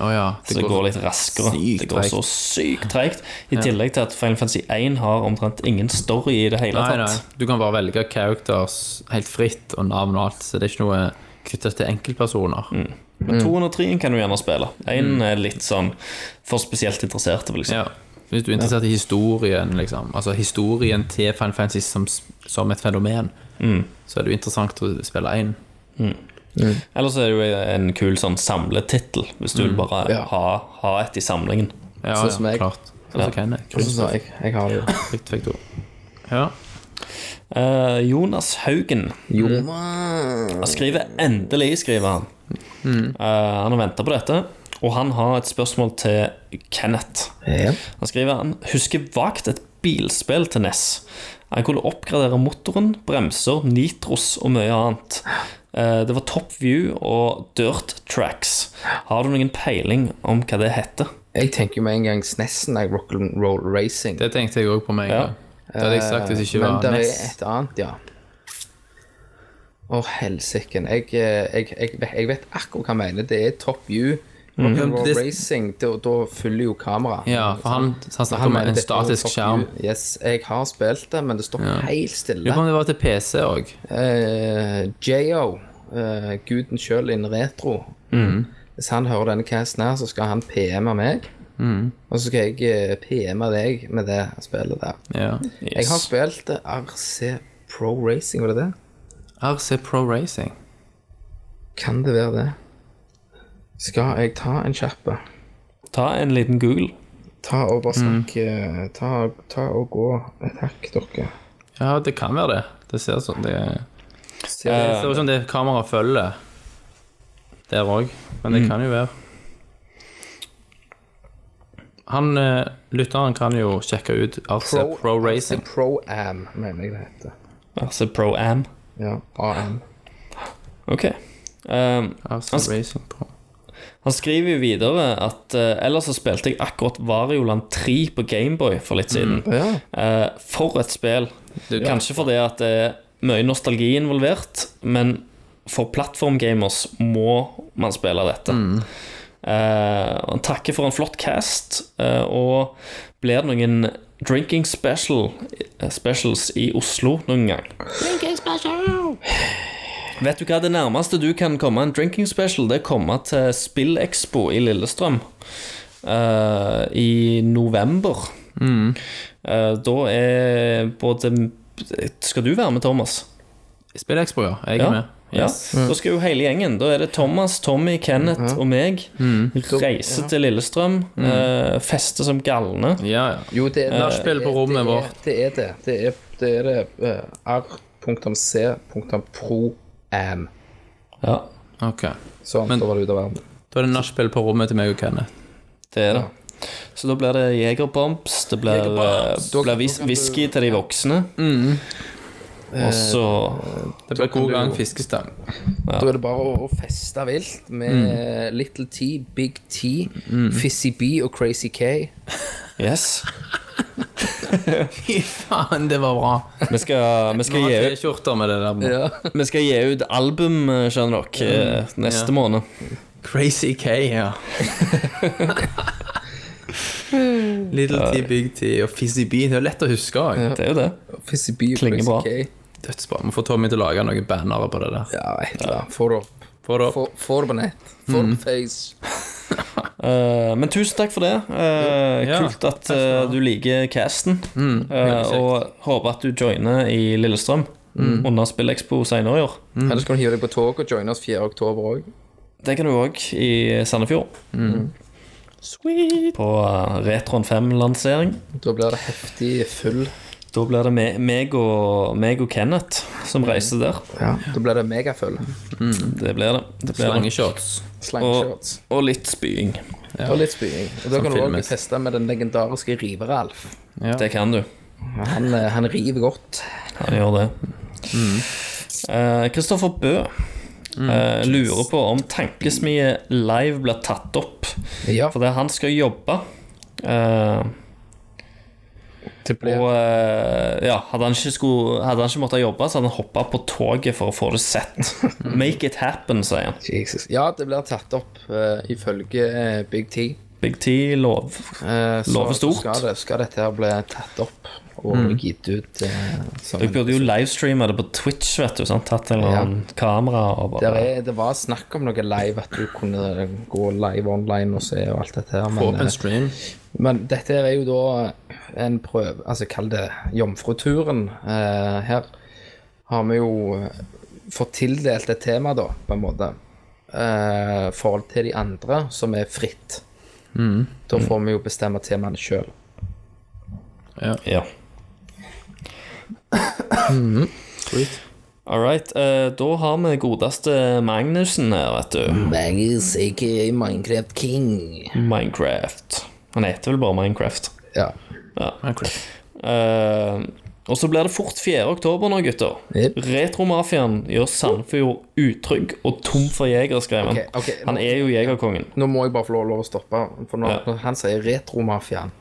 Å ja.
Så det går litt raskere. Det går så sykt tregt. I tillegg til at Final Fantasy 1 har omtrent ingen story i det hele
Nei,
tatt.
nei. Du kan bare velge characters helt fritt, og navn og alt. Så det er ikke noe knyttet til enkeltpersoner.
Men 203 kan du gjerne spille. Én er litt sånn for spesielt interesserte, vil jeg si.
Ja. Hvis du er interessert i historien, liksom. Altså historien til Final Fantasy som, som et fenomen, så er det jo interessant å spille én.
Ellers er det jo en kul sånn samletittel, hvis du vil bare
Ja.
ha, ha et i samlingen.
Ja,
Sånn som
ja,
jeg.
klart. Sånn som Kenneth.
Sånn som jeg. Jeg har det jo.
Riktig fikk du. Ja.
Eh, Jonas Haugen
Jonas.
Han skriver endelig, skriver han. Eh, han har venta på dette, og han har et spørsmål til Kenneth.
Ja.
Han skriver han husker vagt et bilspill til NES. Han kunne oppgradere motoren, bremser, nitros og mye annet. Eh, Det var top view og dirt tracks. Har du noen peiling om hva det heter?
Jeg tenker jo med en gang Snessen er rock'n'roll racing.
Det tenkte jeg òg på med en
Ja.
gang. Det hadde jeg sagt hvis det ikke
Eh, Men
var
det er
Ness.
et annet, ja. Å, helsiken. Jeg, eh, jeg, jeg, vet- jeg vet akkurat hva han mener. Det er top view. Rock'n'roll
Mm. Det-
racing, da, da fyller jo kameraet.
Ja, for han, han snakker om
mener
en
det er
statisk
top
skjerm.
view. Yes, jeg har spilt det, men det står helt
Lurer på
stille.
om det var til PC òg.
Eh, J.O., eh, guden sjøl in retro.
Mm.
Hvis han hører denne casten her, så skal han PM-e meg.
Mm.
Og så skal jeg eh, PM-e deg med det spillet der.
Ja.
Jeg har spilt eh, RC Pro Racing, var det det?
RC Pro Racing.
Kan det være det? Skal jeg ta en kjappe?
Ta en liten Google.
Ta og bare
Mm.
snakke eh, ta, ta og gå. Takk, dere.
Ja, det kan være det. Det ser sånn det er
Se,
Det ser ut som det kameraet følger der òg, men det
Mm.
kan jo være. Han eh, lytteren kan jo sjekke ut RC Pro, Racing.
RC Pro Am, mener jeg det heter.
Altså Pro Am.
Ja, AM.
Ok. Um,
RC
Altså-
Racing Pro.
Han skriver jo videre at eh, ellers så spilte jeg akkurat Varioland 3 på Gameboy for litt siden.
Ja.
Eh, for et spill. Kanskje fordi at det er mye nostalgi involvert, men for plattformgamers må man spille dette. Eh, og han takker for en flott cast, eh, og blir det noen drinking special, eh, specials i Oslo noen gang? Vet du hva, det nærmeste du kan komme en drinking special, det er å komme til Spillexpo i Lillestrøm eh, i november. Eh, da er både Skal du være med, Thomas?
Spillexpo, ja. Jeg er med.
Ja. Da skal jo hele gjengen. Da er det Thomas, Tommy, Kenneth og meg.
Mm.
Reise til Lillestrøm. eh, feste som galne.
Ja, ja.
Jo, det er
Nachspiel Eh, på
det er-
rommet
det er-
vårt.
Det er det. Det er det. Er det eh, R.C.proam.
Ja,
Ok.
Sånn,
Men-
da var det ute av verden.
Da er det nachspiel på rommet til meg og Kenneth.
det er det. Så da blir det Jegerbombs, det blir, eh, blir vis whisky til de voksne.
Mm.
Og så
Det blir god gang fiskestang.
Da er det bare å, å feste vilt med
Mm.
Little T, Big T, Fizzy B og Crazy K.
Yes.
Fy faen, det var bra.
Vi skal, vi skal
Vi
gi
har
ut
T-skjorter med det der.
Vi skal gi ut album, eh, skjønner dere, eh,
Mm.
neste
Ja.
måned.
Crazy K, ja. Little T, Big T og Fizzy B. Det er lett å huske òg.
Det er jo det.
Fizzy B og
Klinger
Crazy
bra.
K.
Dødsbra. Vi får Tommy til å lage noen bannere på det der.
Ja, et eller annet. Få det opp.
Få det opp.
Få- Få det på nett. Få
Mm.
det på face.
Eh, men tusen takk for det. Eh,
Ja.
Kult at eh, du liker casten. Eh, og håper at du joiner i Lillestrøm under Spillexpo senere i år.
Mm.
Ellers kan du hive deg på toget og joine oss 4. oktober òg.
Det kan du òg i Sandefjord. Sweet. På eh, Retron 5-lansering.
Da blir det heftig full.
Da blir det me- meg og, meg og Kenneth som reiser der.
Da blir det megafull.
Det blir det. det, blir det.
Slangeshots.
Og,
Slangshorts.
og litt spying.
Og litt spying. Og da kan du òg
filmes.
feste med den legendariske River-Alf.
Det kan du.
Han, eh, han river godt.
Han gjør det.
Mm.
Eh, Kristoffer Bø eh, lurer på om Tankesmie Live blir tatt opp.
Ja.
For det er han skal jobbe. Eh, Og eh, ja, hadde han ikke, skulle, hadde han ikke måttet jobbe, så hadde han hoppa på toget for å få det sett. Make it happen, sier han.
Jesus. Ja, det blir tatt opp eh, ifølge eh, Big T.
Big T lov.
Eh, så
Lover stort. Mm.
Skal, det, skal dette her bli tatt opp og gitt ut eh, som
Jeg
en-
burde jo livestreame det på Twitch, vet du. Sant? Tatt en eller annen kamera og
Der
bare
er, det var snakk om noe live, at du kunne gå live online og se og alt dette her. Men,
Åpen
eh,
stream.
men dette er jo da en prøve Altså, kall det jomfruturen. Eh, her har vi jo eh, fått tildelt et tema, da, på en måte. Eh, forhold til de andre, som er fritt. Da får vi jo bestemme temaene sjøl.
Ja.
Mhm.
All right. eh, da har vi godeste Magnussen her, vet
Mhm.
du.
Magus, aka Minecraft King.
Minecraft. Han heter vel bare Minecraft.
Ja.
Ja. Eh, og så blir det fort 4. oktober nå, gutter.
Jep.
Retromafiaen gjør Sandfjord utrygg og tom for jegere, skrev han.
Ok, ok,
Han
nå-
er jo jegerkongen.
Nå må jeg bare få lov, lov å stoppe, for når,
Ja.
når han sier retromafiaen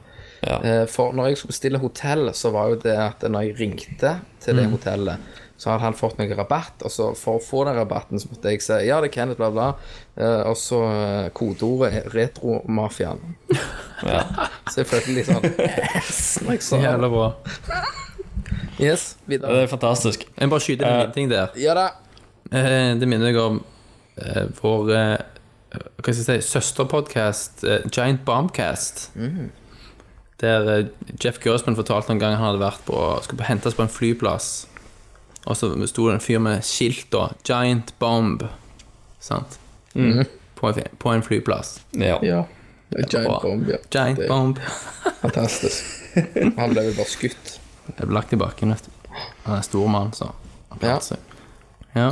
Ja.
eh, For når jeg skulle bestille hotell, så var jo det at når jeg ringte til
Mm.
det hotellet, så hadde han fått noe rabatt, og så for å få den rabatten, så måtte jeg si ja, det er Kenneth, bla, bla, eh, og så eh, kodeordet er retromafiaen.
Ja.
Selvfølgelig sånn.
Jævla bra.
Yes, videre.
Det er fantastisk.
Jeg bare skyter inn en liten ting der.
Ja da.
Eh, Det minner meg om eh, vår eh, hva skal jeg si, søsterpodkast, Giant Bombcast.
Mm.
Der eh, Jeff Gersman fortalte en gang han hadde vært på, skulle på- hentes på en flyplass. Og så sto det en fyr med skilt da, 'Giant Bomb', sant?
Mm.
På, en, fly- på en flyplass.
Ja.
Giant
Bra.
bomb, ja.
Giant
Det er
Bomb.
Fantastisk. Han ble vel bare skutt.
Jeg ble lagt i bakken, vet du. Han er en stor mann, så
Ja.
han klarte seg. Ja.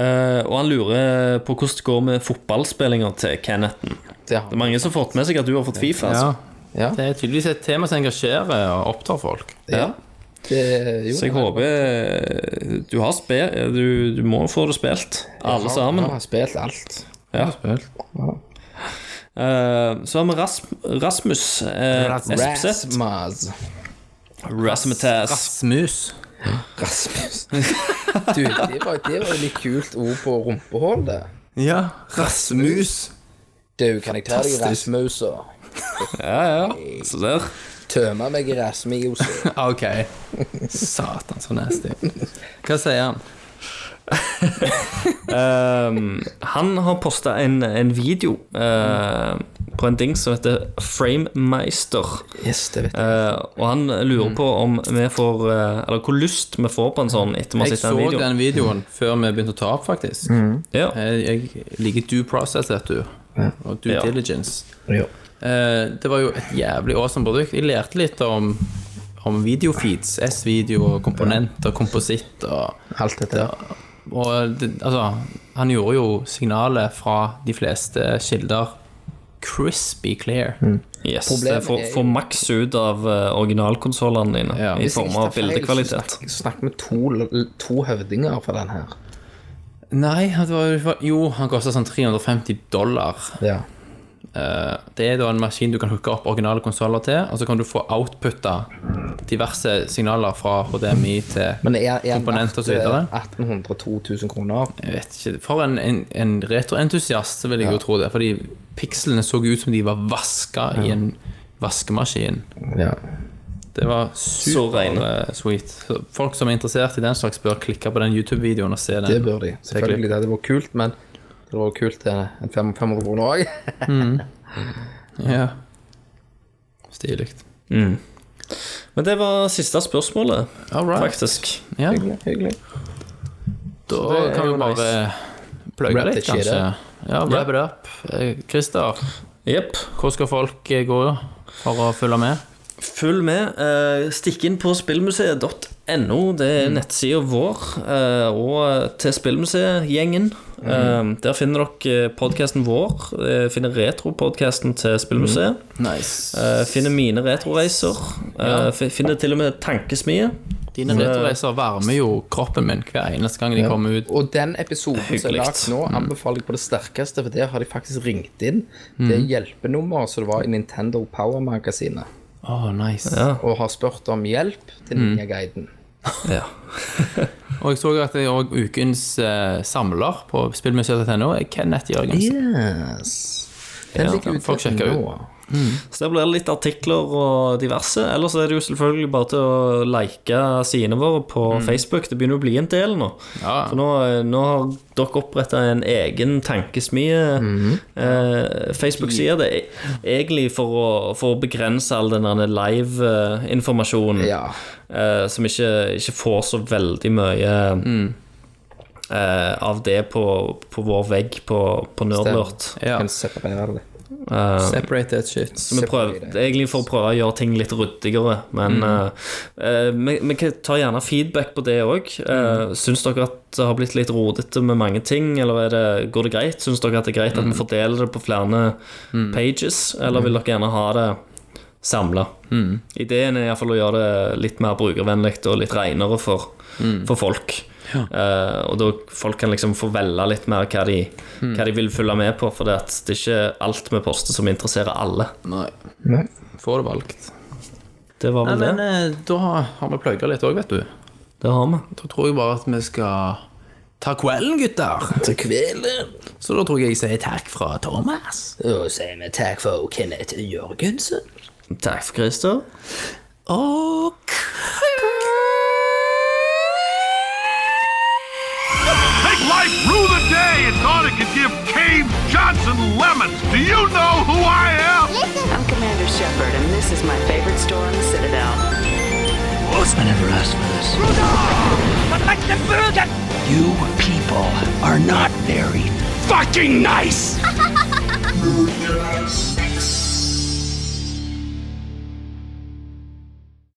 Eh, og han lurer på hvordan det går med fotballspillinga til Kennethen.
Det
Det er
har
mange som har fått med seg at du har fått Fifa.
ja.
Altså.
Ja.
Det er tydeligvis et tema som engasjerer og opptar folk.
Ja. Det, jo,
Så jeg håper eh, du har spilt du, du må få det spilt, alle sammen.
Han har spilt alt.
Ja. Eh, så har vi Rasm Rasmus uh, SFZ.
Rasmus.
Rasmetas.
Rasmus.
Rasmus. Du, det var, det var jo litt kult ord på rumpehull, det.
Ja, Rasmus.
Du, kan jeg ta deg i Rasmus og
Ja, ja. Så der.
tømme meg i Rasmus?
Ok. Satan, så nasty. Hva sier han?
Ehm, han har posta en, en video eh, på en dings som heter Framemeister.
Yes, det vet jeg.
Eh, og han lurer
Mm.
på om vi får eh, Eller hvor lyst vi får på en sånn etter vi har
Jeg
sett
så
den videoen.
den Eh, videoen før vi begynte å ta opp, faktisk.
Ja.
Jeg, jeg liker due process, vet du. Og due
Ja.
diligence.
Ja.
Eh, det var jo et jævlig awesome produkt. Jeg lærte litt om, om videofeeds. S-video og komponenter, kompositt og
Alt dette der.
Og det, altså, han gjorde jo signalet fra de fleste kilder crispy clear.
Mm.
Yes,
Problemet
det får,
er jo-
får maks ut av uh, originalkonsollene dine
Ja.
i
Hvis
form av bildekvalitet.
Jeg snakker med to, l- to høvdinger for den her.
Nei, altså, det var, jo, han kosta sånn 350 dollar.
Ja.
Eh, det er da en maskin du kan hooke opp originale konsoller til, og så kan du få outputta diverse signaler fra HDMI til
Men er, er den
Komponent og så
verdt, eh,
videre.
1800-2000 kroner?
Jeg vet ikke, For en, en, en retroentusiast så vil jeg jo tro det. Fordi pikslene så ut som de var vaska i en vaskemaskin.
Ja.
Det var
Så rene.
super-sweet. Folk som er interessert i den slags, bør klikke på den YouTube-videoen og se den.
Det bør de.
er klart.
Selvfølgelig. Det hadde vært kult, men det hadde vært kult til en fem- 500 kroner òg.
Ja. Stilig.
Men det var siste spørsmålet,
All right.
faktisk.
Ja,
Hyggelig.
da
det er
kan vi
jo
bare plugge
Wrap
litt,
it shit
kanskje.
up.
Ja, wrap it up. Eh, Christer,
Jepp.
hvor skal folk eh, gå for å følge med?
Følg med. eh, Stikk inn på spillmuseet.no. Det er nettsida vår. eh, Og til Spillmuseet-gjengen. Eh, Der finner dere podkasten vår. eh, Finner retropodkasten til Spillmuseet.
Mm. Nice.
eh, Finner mine retroreiser. eh, fi- Finner til og med Tankesmie.
Dine retroreiser varmer jo kroppen min hver eneste gang de kommer ut.
Og den episoden som er
Hyggelig.
lagt nå,
Mm.
anbefaler jeg på det sterkeste,
Mm.
for der har de faktisk ringt inn det hjelpenummeret som det var i Nintendo Power-magasinet.
Åh, nice.
og har spurt om hjelp
Mm.
til Ninja-guiden.
Og jeg så at det er også ukens eh, samler på spillmuseet.no er Kenneth Jørgensen.
Yes. Den
Ja,
ligger
den
ute
får sjekke
nå.
Så der blir det litt artikler og diverse. Ellers er det jo selvfølgelig bare til å like sidene våre på Facebook. Det begynner å bli en del nå.
Ja.
For nå, nå har dere oppretta en egen tankesmie. eh, Facebook-side. Det er egentlig for å, for å begrense all den live-informasjonen
Ja.
eh, som ikke, ikke får så veldig mye eh, av det på, på vår vegg på, på Nerdlurt.
Ja.
Kan separere det.
Separate that shit.
Så vi prøver, det er egentlig for å prøve å gjøre ting litt ryddigere, men eh, eh, vi, vi kan ta gjerne feedback på det òg. syns dere at det har blitt litt rodete med mange ting, eller er det, går det greit? Syns dere at det er greit at vi fordeler det på flere pages, eller vil dere gjerne ha det samla? Ideen er iallfall å gjøre det litt mer brukervennlig og litt renere for, for folk. Eh, og da folk kan liksom få velge litt mer hva de, hva de vil følge med på, for det at det er ikke alt vi poster som interesserer alle.
Nei.
Nei.
Får det valgt.
Det var
Nei,
vel
men
det.
eh, da har vi plugga litt òg, vet du.
Det har vi.
Da tror jeg bare at vi skal ta kvelden, gutter.
Til kvelden
Så da tror jeg jeg sier takk fra Thomas.
Og sier vi takk for Kenneth Jørgensen.
Takk for Christer.
Og
Take life rue the day and thought it could give Cave Johnson lemons. Do you know who I am?
I'm Commander Shepard, and this is my favorite store in the Citadel.
I never asked for this. You people are not very fucking nice!